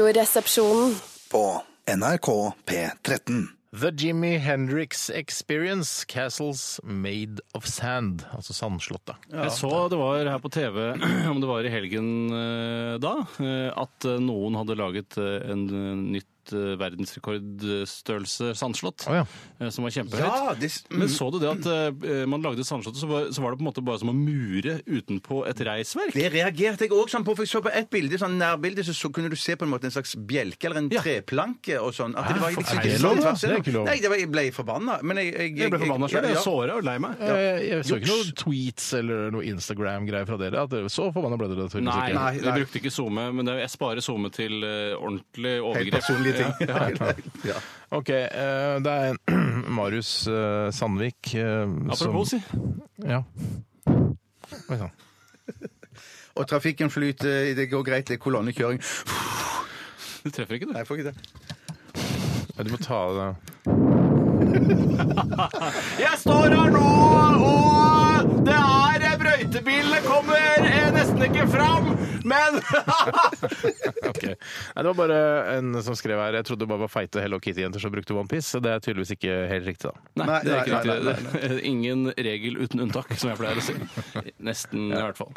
Radioresepsjonen.
på NRK P13.
The Jimmy Hendrix Experience, Castles Made of Sand. Altså sandslottet.
Jeg så det var her på TV, om det var i helgen eh, da, eh, at eh, noen hadde laget eh, en eh, nytt et eh, verdensrekordstørrelse sandslott,
Å, ja.
eh, som var kjempehøyt.
Ja, det,
Men så du det at eh, man lagde sandslottet, så var, så var det på en måte bare som å mure utenpå et reisverk?
Det reagerte jeg òg sånn på. For jeg så på et bilde, sånn nærbilde, så, så kunne du se på en måte en slags bjelke eller en
Ja.
treplanke og sånn. At
Hæ,
det var
for- er
liksom
det
ikke sånn
lov, da?
tvers
Det er
igjennom.
ikke lov.
Nei, det var, jeg ble forbanna. Men jeg, jeg,
Jeg ble forbanna sjøl.
ja,
Jeg
ja.
såra og lei meg.
Eh, Jeg, så ikke noen tweets eller noe Instagram-greier fra dere. At dere så forbanna ble dere tydeligvis
Nei,
ikke.
Nei,
vi
nei.
brukte ikke SoMe, men det, jeg sparer SoMe til eh, ordentlig
Helt
overgrep.
personlige ting.
Ja, ja.
Ja.
Ok, eh, det er en Marius eh, Sandvik eh,
Apropos, si.
som Ja. Oi sånn. sann.
Og trafikken flyter, det går greit, det er kolonnekjøring.
Du treffer ikke, du.
Nei, jeg får ikke det.
Ja, Du må ta av det
Jeg står her nå, og det er eh, brøytebilene kommer eh, nesten ikke fram, men
Ok. Nei, det var bare en som skrev her Jeg trodde det bare var feite Hello Kitty-jenter som brukte OnePiece. Så det er tydeligvis ikke helt riktig, da.
Nei,
Nei,
det er ikke
nei, nei,
riktig. Ingen regel uten unntak, som jeg pleier å si. Nesten, i hvert fall.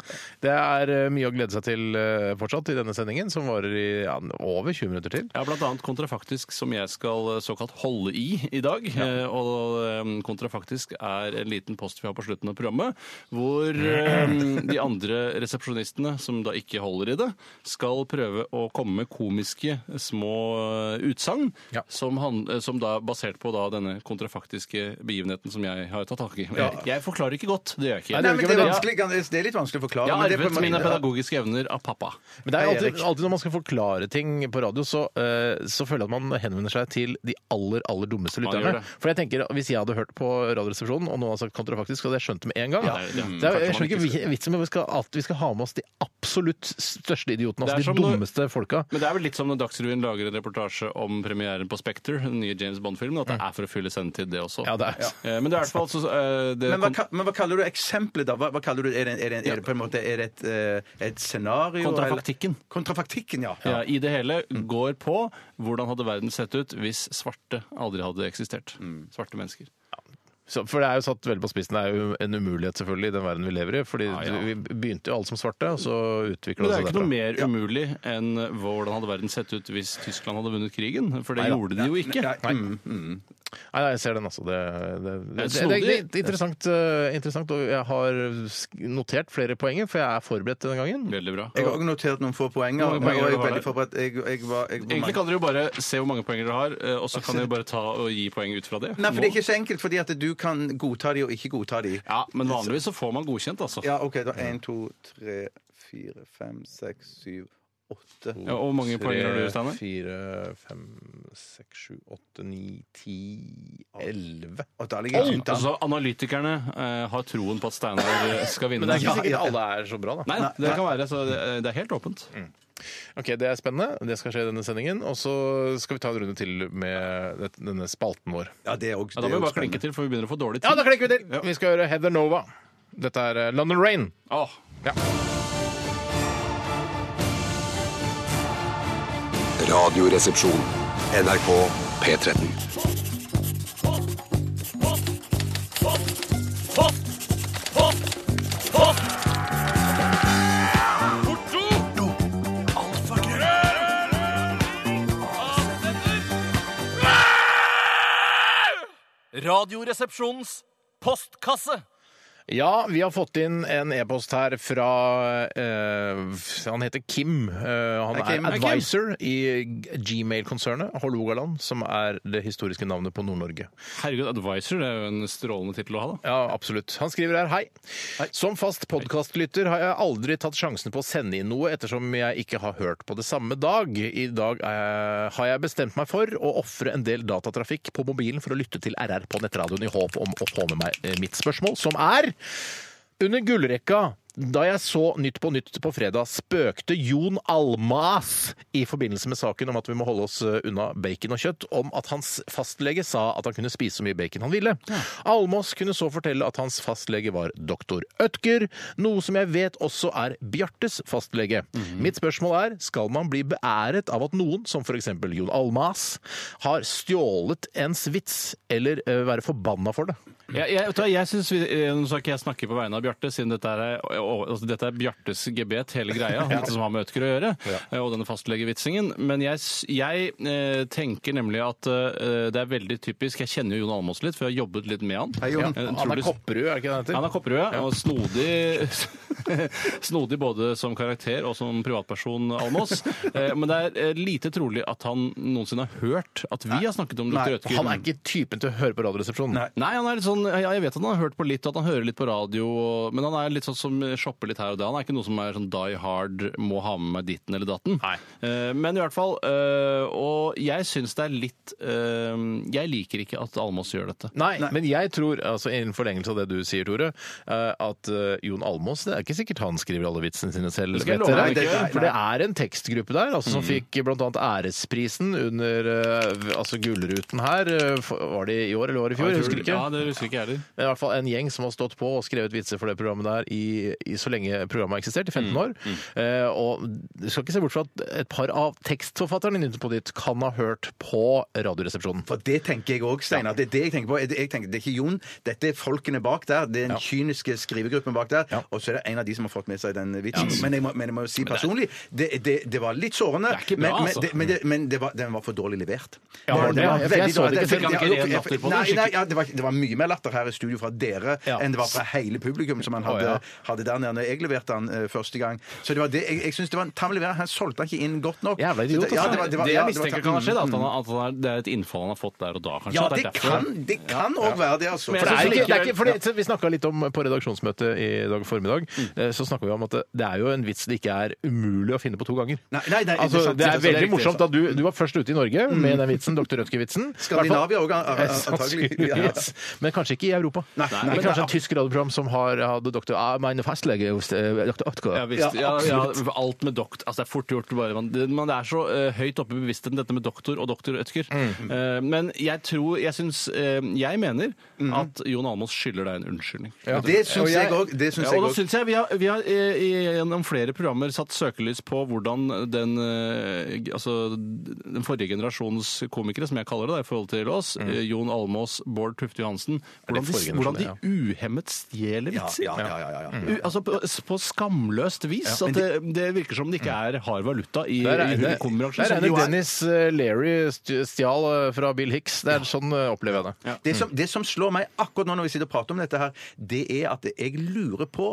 Det er eh, mye å glede seg til eh, fortsatt i denne sendingen, som varer i ja, over 20 minutter til.
Ja, blant annet kontrafaktisk, som jeg skal eh, såkalt holde i i dag. Eh, Og eh, kontrafaktisk er en liten post vi har på slutten av programmet, hvor eh, de andre resepsjonistene, som da ikke holder i det, skal prøve å komme med komiske eh, små eh, utsagn,
Ja.
som, han- eh, som da basert på da denne kontrafaktiske begivenheten som jeg har tatt tak i. Jeg, jeg forklarer ikke godt, det gjør jeg ikke.
Nei, men det er,
Ja.
vanskelig, kan- det er litt vanskelig å forklare.
Jeg
men
har
det er på en
arvet mine
måte-
pedagogiske evner av pappa.
Men det er
Hei,
alltid,
Erik.
alltid når man skal forklare ting på radio, så, eh, så føler jeg at man henvender seg til de aller aller dummeste
Man gjør
lytterne.
det.
For jeg tenker, Hvis jeg hadde hørt på Radioresepsjonen, og noen hadde sagt kontrafaktisk, så hadde jeg skjønt det med en gang.
Ja, det er det.
Det er, jeg
Kanskje man
skjønner
ikke
ikke vitsen med at vi skal- at vi skal ha med oss de absolutt største idiotene,
Det er
altså
som
de
når-
dummeste folka.
Men det er vel litt som når Dagsrevyen lager en reportasje om premieren på Spekter, den nye James Bond-filmen, at det er for å fylle sendetid, det også.
Ja, det er.
Eh, Men det er i hvert fall så, eh, det
Men hva,
kon-
ka- men hva kaller du eksempelet, da? Hva, hva kaller du, er, det, er, det, er det på en måte er det et, eh, et scenario?
Kontrafaktikken.
Eller? Kontrafaktikken, ja.
ja, i det hele går på hvordan hadde verden sett ut hvis svarte aldri hadde eksistert. Svarte mennesker.
Så, for det er jo satt veldig på spissen. Det er jo en umulighet selvfølgelig i den verden vi lever i. fordi
Ja, ja.
vi begynte jo alle som svarte, og så utvikla
Men det er
det seg
jo ikke noe
derfra.
mer umulig enn hvordan hadde verden sett ut hvis Tyskland hadde vunnet krigen, for det
Neida.
gjorde de jo ikke.
Nei. Mm.
Nei, nei, jeg ser den, altså. Det, det, det, det, det,
snodig.
det er interessant, eh, interessant, og jeg har sk- notert flere poenger, for jeg er forberedt denne gangen.
Veldig bra.
Jeg har også notert noen få poenger.
Hvor mange poenger
og jeg
har
er
du
veldig
her?
forberedt. Jeg, jeg var, jeg var
Egentlig kan dere jo bare se hvor mange poenger dere har, eh, og så kan dere bare ta og gi poeng ut fra det.
Nei, for det er
Nå.
ikke så enkelt, fordi at du kan godta de og ikke godta de.
Ja, men vanligvis så får man godkjent, altså.
Ja, OK. Da én, to, tre, fire, fem, seks, syv, åtte.
Ja, og hvor mange poenger har du, Steinar?
Eh, Fire, fem, seks, sju, åtte, ni, ti, elleve.
Og da ligger jeg tynt an.
Altså, analytikerne eh, har troen på at Steinar eh, skal vinne.
Men det er ikke
Ja,
sikkert
ja.
alle er så bra, da.
Nei, det kan være, så det, eh, det er helt åpent.
Mm. Ok, Det er spennende. Det skal skje i denne sendingen. Og så skal vi ta en runde til med det- denne spalten vår.
Ja, det er også,
Ja, da
det
må
er
vi
også
bare klinke
spennende.
til, for vi begynner å få dårlig
Ja,
tid.
da klikker vi til! Vi skal høre Heather Nova. Dette er eh, London Rain.
Åh,
Radioresepsjon. NRK P13.
Radioresepsjonens postkasse.
Ja, vi har fått inn en e-post her fra eh, Han heter Kim. Eh, han
Hei, Kim.
er
Hei, Kim.
advisor i Gmail-konsernet Hålogaland, som er det historiske navnet på Nord-Norge.
herregud, Advisor det er jo en strålende tittel å ha, da.
Ja, absolutt. Han skriver her hei. Som fast podkastlytter har jeg aldri tatt sjansen på å sende inn noe, ettersom jeg ikke har hørt på det samme dag. I dag eh, har jeg bestemt meg for å ofre en del datatrafikk på mobilen for å lytte til RR på nettradioen i håp om å få med meg eh, mitt spørsmål, som er under gullrekka da jeg så Nytt på Nytt på fredag, spøkte Jon Almaas i forbindelse med saken om at vi må holde oss eh, unna bacon og kjøtt, om at hans fastlege sa at han kunne spise så mye bacon han ville. Almås kunne så fortelle at hans fastlege var doktor Ødker, noe som jeg vet også er Bjartes fastlege. Mitt spørsmål er, skal man bli beæret av at noen, som f.eks. Jon Almaas, har stjålet ens vits, eller eh, være forbanna for det?
Jeg, jeg, vet du hva, jeg synes vi, eh, Nå skal ikke jeg snakke på vegne av Bjarte, siden dette er å- altså, dette er Bjartes gebet, hele greia, dette som har med Ødegaard å gjøre, eh, og denne fastlegevitsingen. Men jeg, s- jeg eh, tenker nemlig at eh, det er veldig typisk Jeg kjenner jo Jon Almaas litt, for jeg har jobbet litt med han.
Hei, Jon.
Eh, tror
Han er
du-
Kopperud, er ikke det han heter?
han er kopperød og snodig, snodig både som karakter og som privatperson, Almås. Eh, Men det er eh, lite trolig at han noensinne har hørt at vi har snakket om Dr. Rødtgen.
Han er ikke typen til å høre på Radioresepsjonen.
Nei, han er litt sånn, ja, jeg vet at han har hørt på litt, og at han hører litt på radio, og, men han er litt sånn som shopper litt her og der. Han er ikke noe som er sånn die hard, må ha med meg ditten eller datten.
Nei.
Eh, men i hvert fall, eh, og jeg syns det er litt eh, Jeg liker ikke at Almås gjør dette.
Nei, men jeg tror, altså innen forlengelse av det du sier, Tore, eh, at eh, Jon Almås Det er ikke sikkert han skriver alle vitsene sine selv.
Det skal jeg
vet
love
dere.
deg, det-
nei, nei.
For det er en tekstgruppe der altså,
Mm.
som fikk bl.a. æresprisen under eh, altså Gullruten her. eh, for- Var det i år eller var det i fjor? Jeg husker ikke.
Ja, det husker ikke jeg heller.
Men I hvert fall en gjeng som har stått på og skrevet vitser for det programmet der i, i så lenge programmet har eksistert, i 15 år. Eh, og du skal ikke se bort fra at et par av tekstforfatterne inne på ditt kan ha hørt på Radioresepsjonen.
For det tenker jeg òg, Steinar. Det er det jeg tenker på. Jeg jeg tenker, det er ikke Jon, dette er folkene bak der. Det er den kyniske skrivegruppen bak der. Og så er det en av de som har fått med seg den vitsen. Men, jeg må, men jeg må jo si personlig, det, det, det var litt sårende.
Det er ikke bra,
men, men,
altså.
det, men, det, men det var, den var for dårlig levert.
Ja,
Den-
det-
den var
jeg- jeg
veldig
så det
dårlig.
ikke.
Den-
Fikk han ikke ren latter på det?
Nei, nei, ja, det, var, det var mye mer latter her i studio fra dere
Ja.
enn det var fra hele publikum som han hadde,
Å, ja.
hadde der nede når jeg leverte han eh, første gang. Så det var det, jeg, jeg synes det var en tam levering. Han solgte han ikke inn godt nok.
Jævla idiot,
Så det- ja,
altså.
det var- det var-
det
ja,
jeg
det var
mistenker
tam-
kan ha skjedd, altså. er at,
Mm,
han, at han er, det er et innfall han har fått der og da, kanskje.
ja,
sånn at
det
er derfor-
kan det kan òg være det, altså.
Men
For
Jeg
det er
synes
ikke, det er
likevel-
ikke, for det, vi snakka litt om på redaksjonsmøtet i dag formiddag. eh, Så snakka vi om at det, det er jo en vits det ikke er umulig å finne på to ganger.
Nei, nei, nei,
altså, Mm.
sant,
det er
sant,
veldig
riktig,
morsomt
sant.
at du, du var først ute i Norge med den vitsen, Dr. Rødtke-vitsen.
Skandinavia òg,
Eh,
antagelig. Ja, ja.
Sannsynligvis. Men kanskje ikke i Europa.
Nei, nei,
det
men
er kanskje et
det-
tysk radioprogram som har hatt doktor ah, Meine fastlege hos eh, doktor Otko.
Ja, visst.
Ja,
Ja, ja,
absolutt.
alt med dokt Altså, det er fort gjort. Bare. Man, det, man det er så eh, høyt oppe i bevisstheten, dette med doktor og doktor Ødker.
Mm.
Eh, men jeg tror Jeg syns eh, Jeg mener at Jon Almaas skylder deg en unnskyldning.
Mm. Det syns jeg òg.
Ja, og da synes jeg Vi har, vi har eh, i- gjennom flere programmer satt søkelys på hvordan den, eh, altså, den forrige generasjons komikere, som jeg kaller det da, i forhold til oss, eh, Jon Almås, Bård Tufte Johansen, hvordan de,
forrige
hvordan de
generasjon,
uhemmet stjeler
Ja,
vitser.
ja, ja, ja, ja.
U, altså på, på skamløst vis. at det, det virker som det ikke er hard valuta i,
Der
i
regner
humorbransjen.
der
som
regner
det jo er.
Dennis eh, Leary st- stjal eh, fra Bill Hicks. Det er sånn eh, opplever jeg det.
Det som, det som slår meg akkurat nå når vi sitter og prater om dette, her, det er at jeg lurer på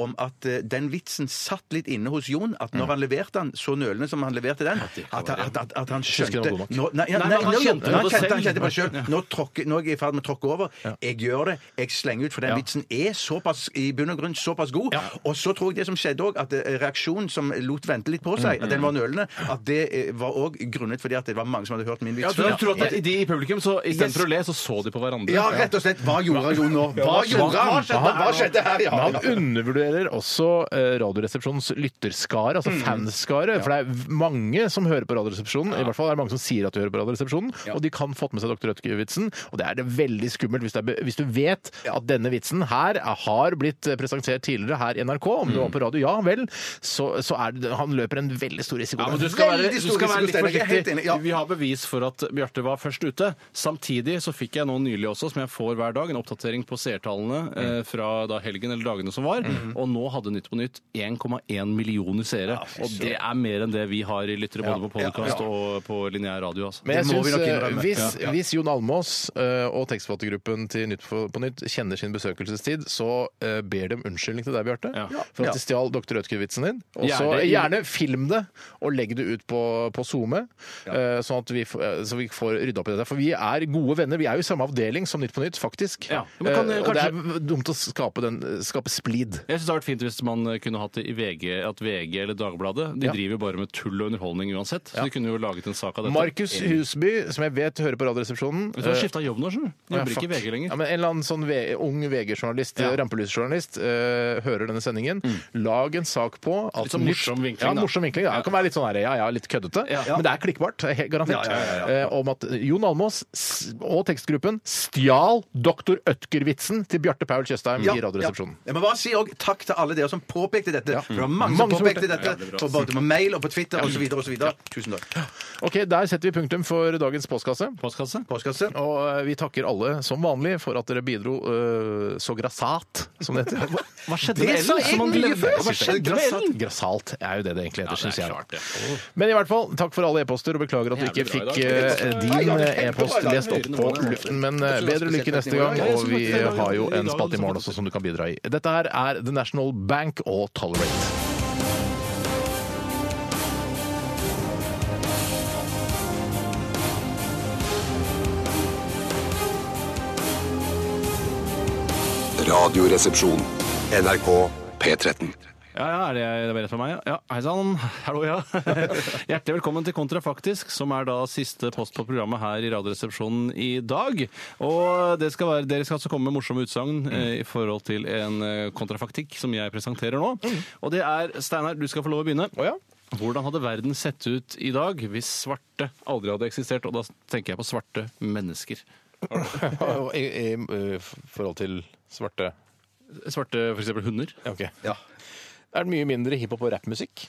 om at eh, den vitsen satt litt inne hos Jon. At
Mm.
når han leverte den så nølende som han leverte den, at, at, at, at han
synes ikke
skjønte
den var god nok.
Nå- Nei, ja,
Nei,
nei,
men han
nå-
kjente
nå- han
det
kjente-
selv.
han kjente på selv. Nå, tråkker- nå er jeg i ferd med å tråkke over. Jeg gjør det. Jeg slenger ut, for den vitsen er såpass, i bunn og grunn såpass god. Og så tror jeg det som skjedde òg, at eh, reaksjonen som lot vente litt på
Mm,
seg, at den var nølende, at det eh, var òg grunnet fordi at det var mange som hadde hørt min
Ja,
vits
du
før.
tror at de i publikum, så istedenfor å le, så så de på hverandre.
Ja, rett og slett. Hva gjorde han jo nå? Hva gjorde han? Hva skjedde her? Ja,
Men
ja.
han undervurderer også eh, Radioresepsjonens lytterskare, altså
Mm.
fanskare. For det er v- mange som hører på Radioresepsjonen, i hvert fall er det mange som sier at de hører på Radioresepsjonen, og de kan fått med seg Dr. Rødtke-vitsen. Og det er det veldig skummelt hvis, det er, be- hvis du vet at denne vitsen her er, har blitt eh, presentert tidligere her i NRK, om
Mm.
det var på radio, ja vel, så, så er det, han løper en veldig stor risiko.
Ja, men
der.
du skal være,
Veldig
du
stor
skal være litt
risiko, Steinar. Jeg er helt
forsiktig.
enig, ja.
Vi har bevis for at Bjarte var først ute. Samtidig så fikk jeg nå nylig også, som jeg får hver dag, en oppdatering på seertallene eh,
Mm.
fra da helgen eller dagene som var. Og nå hadde Nytt på Nytt 1,1 millioner seere. Og det er mer enn det vi har i lyttere både på podkast og på lineær radio. Altså.
Men jeg
Det må vi
synes,
nok
eh,
innrømme.
hvis,
Ja, ja.
hvis Jon Almås eh, og tekstforfattergruppen til Nytt for- på Nytt kjenner sin besøkelsestid, så eh, ber de om unnskyldning til deg, Bjarte,
Ja.
for
Ja.
at de stjal Dr. Rødtke-vitsen din. Og så
Gjerne-
gjerne film det, og legg det ut på, på SoMe, eh, sånn at vi, f- eh, så vi får rydda opp i dette. For vi er gode venner. Vi er jo i samme avdeling som Nytt på Nytt, faktisk.
Ja. Men kan-
Eh, og det er dumt å skape, den, skape splid.
Jeg synes det hadde vært fint hvis man kunne hatt det i VG, at VG eller Dagbladet De driver jo bare med tull og underholdning uansett, så de kunne jo laget en sak av dette.
Markus Husby, som jeg vet hører på Radioresepsjonen
Vet Du har
eh,
skifta jobb nå, skjønner du.
Ja,
Jobber ikke i
fuck.
VG lenger.
Ja, men en eller annen sånn ve ung VG-journalist,
Ja. Mm.
rampelysjournalist, eh, hører denne sendingen. Lag en sak på at
Litt sånn
nytt-
morsom vinkling,
Ja,
da.
morsom vinkling. Ja, det kan være litt sånn her, ja, ja, litt køddete, men det er klikkbart. he- Garantert. Eh, om at Jon Almås s- og tekstgruppen stjal Dr. Ødker-vitsen til Bjarte Paul Tjøstheim i Radioresepsjonen.
Jeg må bare si også takk til alle dere som påpekte dette. For det var mange,
Mange
som
som
påpekte
gjorde
dette på både på mail og på Twitter og så videre og så videre. Tusen takk.
Ok, der setter vi punktum for dagens postkasse.
Postkasse?
Postkasse.
Og eh, vi takker alle som vanlig for at dere bidro eh, så grassat, som det heter.
Hva skjedde
Det
med
sa
Ellen?
jeg
som man
mye
glemmer?
før.
Hva skjedde med Ellen?
Grassat er jo det det egentlig heter,
det
synes
er
jeg.
klart det.
Men i hvert fall, takk for alle e-poster, og beklager at du ikke
Jævlig bra
fikk
i dag.
eh,
Nei,
din
ja, det er
eh, e-post
kjempebra.
lest opp på luften. Men eh, bedre lykke neste gang, og vi har jo en spalte i morgen også som du kan bidra i. Dette her er The National Bank og Tolerate.
Radioresepsjon. NRK P13.
Ja, ja, er det, det var rett for meg? Ja, ja hei sann. Hallo, ja. Hjertelig velkommen til Kontrafaktisk, som er da siste post på programmet her i Radioresepsjonen i dag. Og det skal være, dere skal altså komme med morsomme
Mm.
utsagn eh, i forhold til en eh, kontrafaktikk som jeg presenterer nå. Og det er Steinar, du skal få lov å begynne.
Mm. Å ja.
Hvordan hadde verden sett ut i dag hvis svarte aldri hadde eksistert? Og da tenker jeg på svarte mennesker.
I, i, eh, forhold til svarte
Svarte f.eks. hunder.
Ja, OK. Er det mye mindre hiphop og rappmusikk?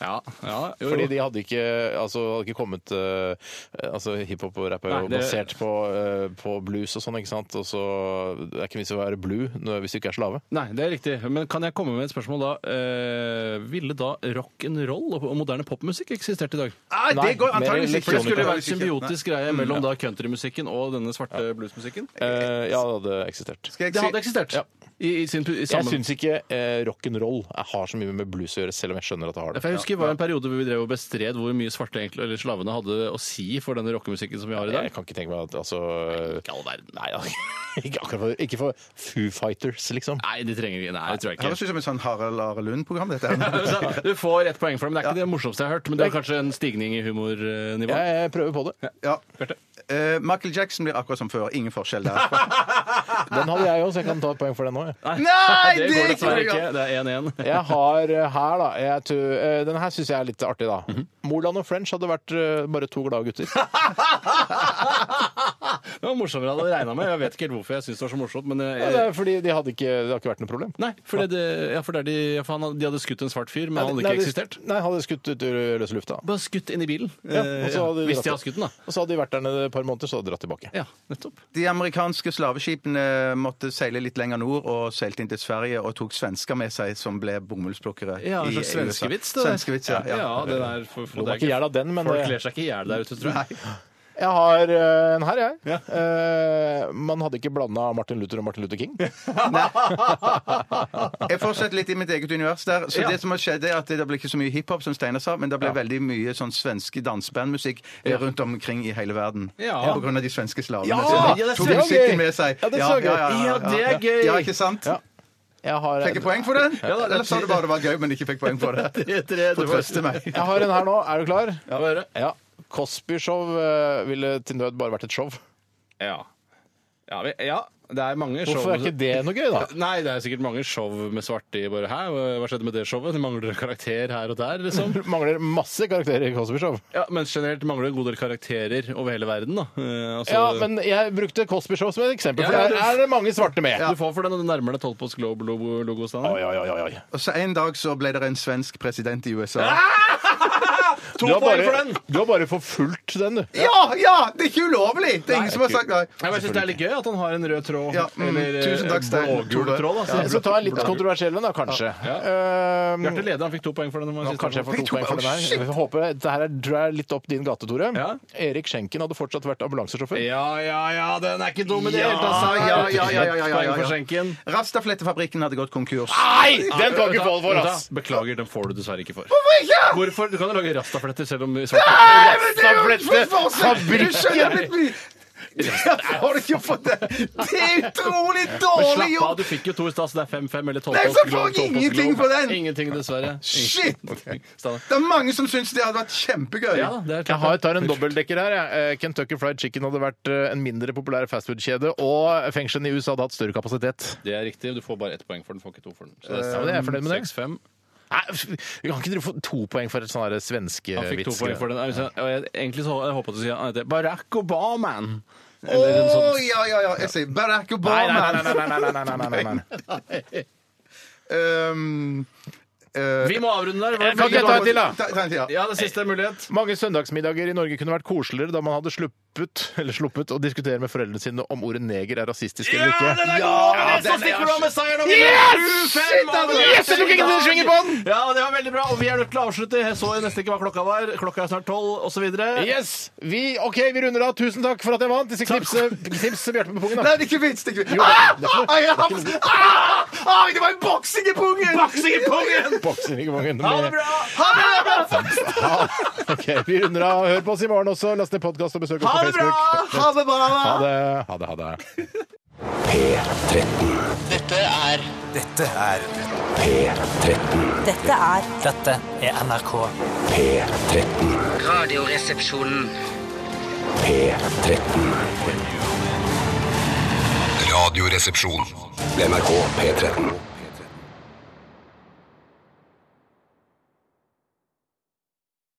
Ja, ja jo,
Fordi
jo.
de hadde ikke, altså, hadde ikke kommet eh, Altså Hiphop og rap er jo
Nei, det-
basert på, eh, på blues og sånn, ikke sant? Og så Det er ikke vits i å være blue når- hvis du ikke er slave.
Nei, det er riktig. Men kan jeg komme med et spørsmål da? Eh, ville da rock'n'roll og og moderne popmusikk eksistert i dag?
Nei, det går
mer
antageligvis
For
ikke.
det Mm. skulle
Elektronika.
være en symbiotisk greie mellom da countrymusikken og denne svarte bluesmusikken?
Eh, ja, det hadde eksistert.
Skal jeg
Det
si-
hadde eksistert.
Ja.
I, i sin, i
Jeg
sammen.
syns ikke eh, rock'n'roll har så mye med blues å gjøre, selv om jeg skjønner at det har det.
For jeg husker det var en periode hvor vi drev og bestred hvor mye svarte egentlig, eller slavene hadde å si for denne rockemusikken som vi har i
Jeg
dag.
kan ikke tenke meg at altså,
Ikke all verden. altså.
Nei, ja. ikke akkurat for, ikke for Foo Fighters, liksom.
Nei, de trenger vi. Nei, det tror jeg
Høres
ikke.
ut som et sånn Harald Are Lund-program, dette her.
Du får ett poeng for det, men det er ikke det morsomste jeg har hørt. Men det er kanskje en stigning i humornivå.
Jeg, jeg prøver på det.
Ja. Eh, Michael Jackson blir akkurat som før. Ingen forskjell der.
Den hadde jeg òg, så jeg kan ta et poeng for den òg. jeg.
Nei,
det går dessverre
bra.
ikke. Det er 1-1.
Jeg har eh, her, da jeg tror, eh, Denne her syns jeg er litt artig, da. Moland og French hadde vært eh, bare to glade gutter.
Det var morsommere enn jeg hadde regna med. Jeg vet ikke helt hvorfor jeg syns det var så morsomt, men
Ja,
jeg,
det er Eh, fordi de hadde ikke, det har ikke vært noe problem.
Nei, for, det, ja, for, det er de, ja, for han, de hadde skutt en svart fyr, men han hadde ikke
Nei, de-
eksistert.
Nei, hadde skutt ut i løse lufta.
Bare skutt inn i bilen.
Ja, og så hadde
Eh,
de
Hvis de
dratt
har skutt den, da.
Og så hadde de vært der nede et par måneder, så hadde de dratt tilbake.
Ja, nettopp.
De amerikanske slaveskipene måtte seile litt lenger nord og seilte inn til Sverige og tok svensker med seg som ble bomullsplukkere.
Ja, en
i
slags
USA.
svenskevits. det der.
Svenskevits, ja.
ja.
ja.
det der, for, for
Nå
det
var
er
ikke
ikke-
jeg av den, men eh,
Folk
det-
kler seg ikke i hjel der ute, tror jeg.
Jeg har eh, en her, jeg. Eh, man hadde ikke blanda Martin Luther og Martin Luther King.
Jeg fortsetter litt i mitt eget univers der. Så det som har skjedd er at det ble ikke så mye hiphop som Steinar sa, men det ble veldig mye sånn svenske dansebandmusikk eh, rundt omkring i hele verden.
Ja.
På grunn av de svenske slavene.
Ja,
som
ja, det er
tok
så gøy.
musikken med seg.
Ja, det er så gøy.
Ja, det er gøy.
Ja, ikke sant?
Jeg har,
Fikk jeg poeng for den? Eller sa du bare det var gøy, men ikke fikk poeng for det? For å trøste meg.
jeg har en her nå. Er du klar?
Få høre.
Ja. Cosby-show eh, ville til nød bare vært et show.
Ja. Ja, vi- ja, det er mange show
Hvorfor er ikke det noe gøy, da?
Nei, det er sikkert mange show med svarte i bare Hæ, hva skjedde med det showet? Det mangler karakter her og der, liksom.
Mangler masse karakterer i Cosby Show.
Ja, men generelt mangler det en god del karakterer over hele verden, da. Eh, altså-
Ja, men jeg brukte Cosby Show som et eksempel, for
Ja, ja,
der
du-
er det mange svarte med.
Du får for den, og du nærmer deg 12 Post Globe-logo.
Oi, oi, oi, oi.
Og så en dag så ble det en svensk president i USA.
To
Du har bare, du har bare forfulgt den, du.
Ja, ja! Det er ikke ulovlig! Det er ingen som har sagt nei.
Jeg synes Det er litt gøy at han har en rød tråd.
Ja, mm,
eller eh,
tusen takk, Stein.
blågul tråd. Da,
Jeg skal ta en litt kontroversiell en, da, kanskje. Ehm,
Bjarte Leder han fikk to poeng for den.
Nå, kanskje jeg får to
Fikk to
poeng for
poeng.
den her.
Shit!
Jeg håper dette her drar litt opp din gate, Tore.
Ja.
Erik Skjenken hadde fortsatt vært ambulansesjåfør.
Ja, ja, ja, den er ikke dum i det
Ja,
hele tatt! Stein.
ja, ja, ja, ja, ja, ja,
Poeng for
ja.
skjenken.
Rastaflettefabrikken hadde gått konkurs.
Nei! Den kan du ikke falle for,
Vent da,
ass!
Beklager, den får du dessverre ikke for.
Hvorfor ikke?
Hvorfor? Du kan jo lage rastafletter selv om
Nei, men det er jo
Rastaflette-
for forskjell!
fabrikken!
Du skjønner litt mye. Derfor har du ikke fått det! Det er utrolig dårlig
Slapp av,
gjort!
du fikk jo to i stad, så det er fem-fem eller tolv.
Nei,
post
så
Globe,
får jeg
tolv post
ingenting
Globe.
for den!
Ingenting, dessverre.
Shit!
Ok, Steinar.
Det er mange som syns det hadde vært kjempegøy.
Ja, da, det er
Jeg
klart.
har, tar en dobbeltdekker her. Jeg. Eh, Kentucky Fried Chicken hadde vært eh, en mindre populær fastfood-kjede, og fengslene i USA hadde hatt større kapasitet.
Det er riktig. Du får bare ett poeng for den. Får ikke to for den. Så det
Ja, men jeg er fornøyd med det.
6-5.
Nei, f- vi kan ikke dere få to poeng for et sånn her svenske
Han fikk to
vits?
poeng for den. Jeg, jeg, egentlig så jeg håpet å si han heter Barack Obama.
Å, ja, ja, ja. Jeg sier Barack
Nei, nei,
Obama.
nei, nei, nei, nei, nei, nei, nei, nei, nei.
Um, eh,
Vi må avrunde der. Hva-
Kan ikke jeg ta en til, da?
Ta- ta en til, ja.
Ja, det siste er mulighet.
Mange søndagsmiddager i Norge kunne vært koseligere da man hadde sluppet, eller sluppet å diskutere med foreldrene sine om ordet neger er rasistisk eller ikke.
er
Ja,
men
den er-
med seieren! og
Yes!
vinner 25
Shit, altså!
over
Yes, jeg tok ikke den svingen på den!
Ja, det var veldig bra, og vi er nødt til å avslutte. Jeg så jo nesten ikke hva klokka var. Klokka er snart tolv, osv.
Yes! Vi, ok, vi runder av. Tusen takk for at jeg vant. Jeg skal knipse, knipse Bjarte på pungen.
Nei,
da.
det er ikke vits! Det er ikke vits. Ah! Ah, jeg har- Ah! Ah, det var en boksing i pungen!
Boksing i pungen!
Bokser ikke mange
Ha
med-
det bra!
Ok, Vi runder av. Hør på oss i morgen også. Last ned podkast og besøk oss
Ha
på
det bra!
Facebook.
Ha det bra!
Ha det. Ha det, ha det.
Dette er
Dette er
Dette er NRK.
Radioresepsjonen.
Radioresepsjon. NRK P13.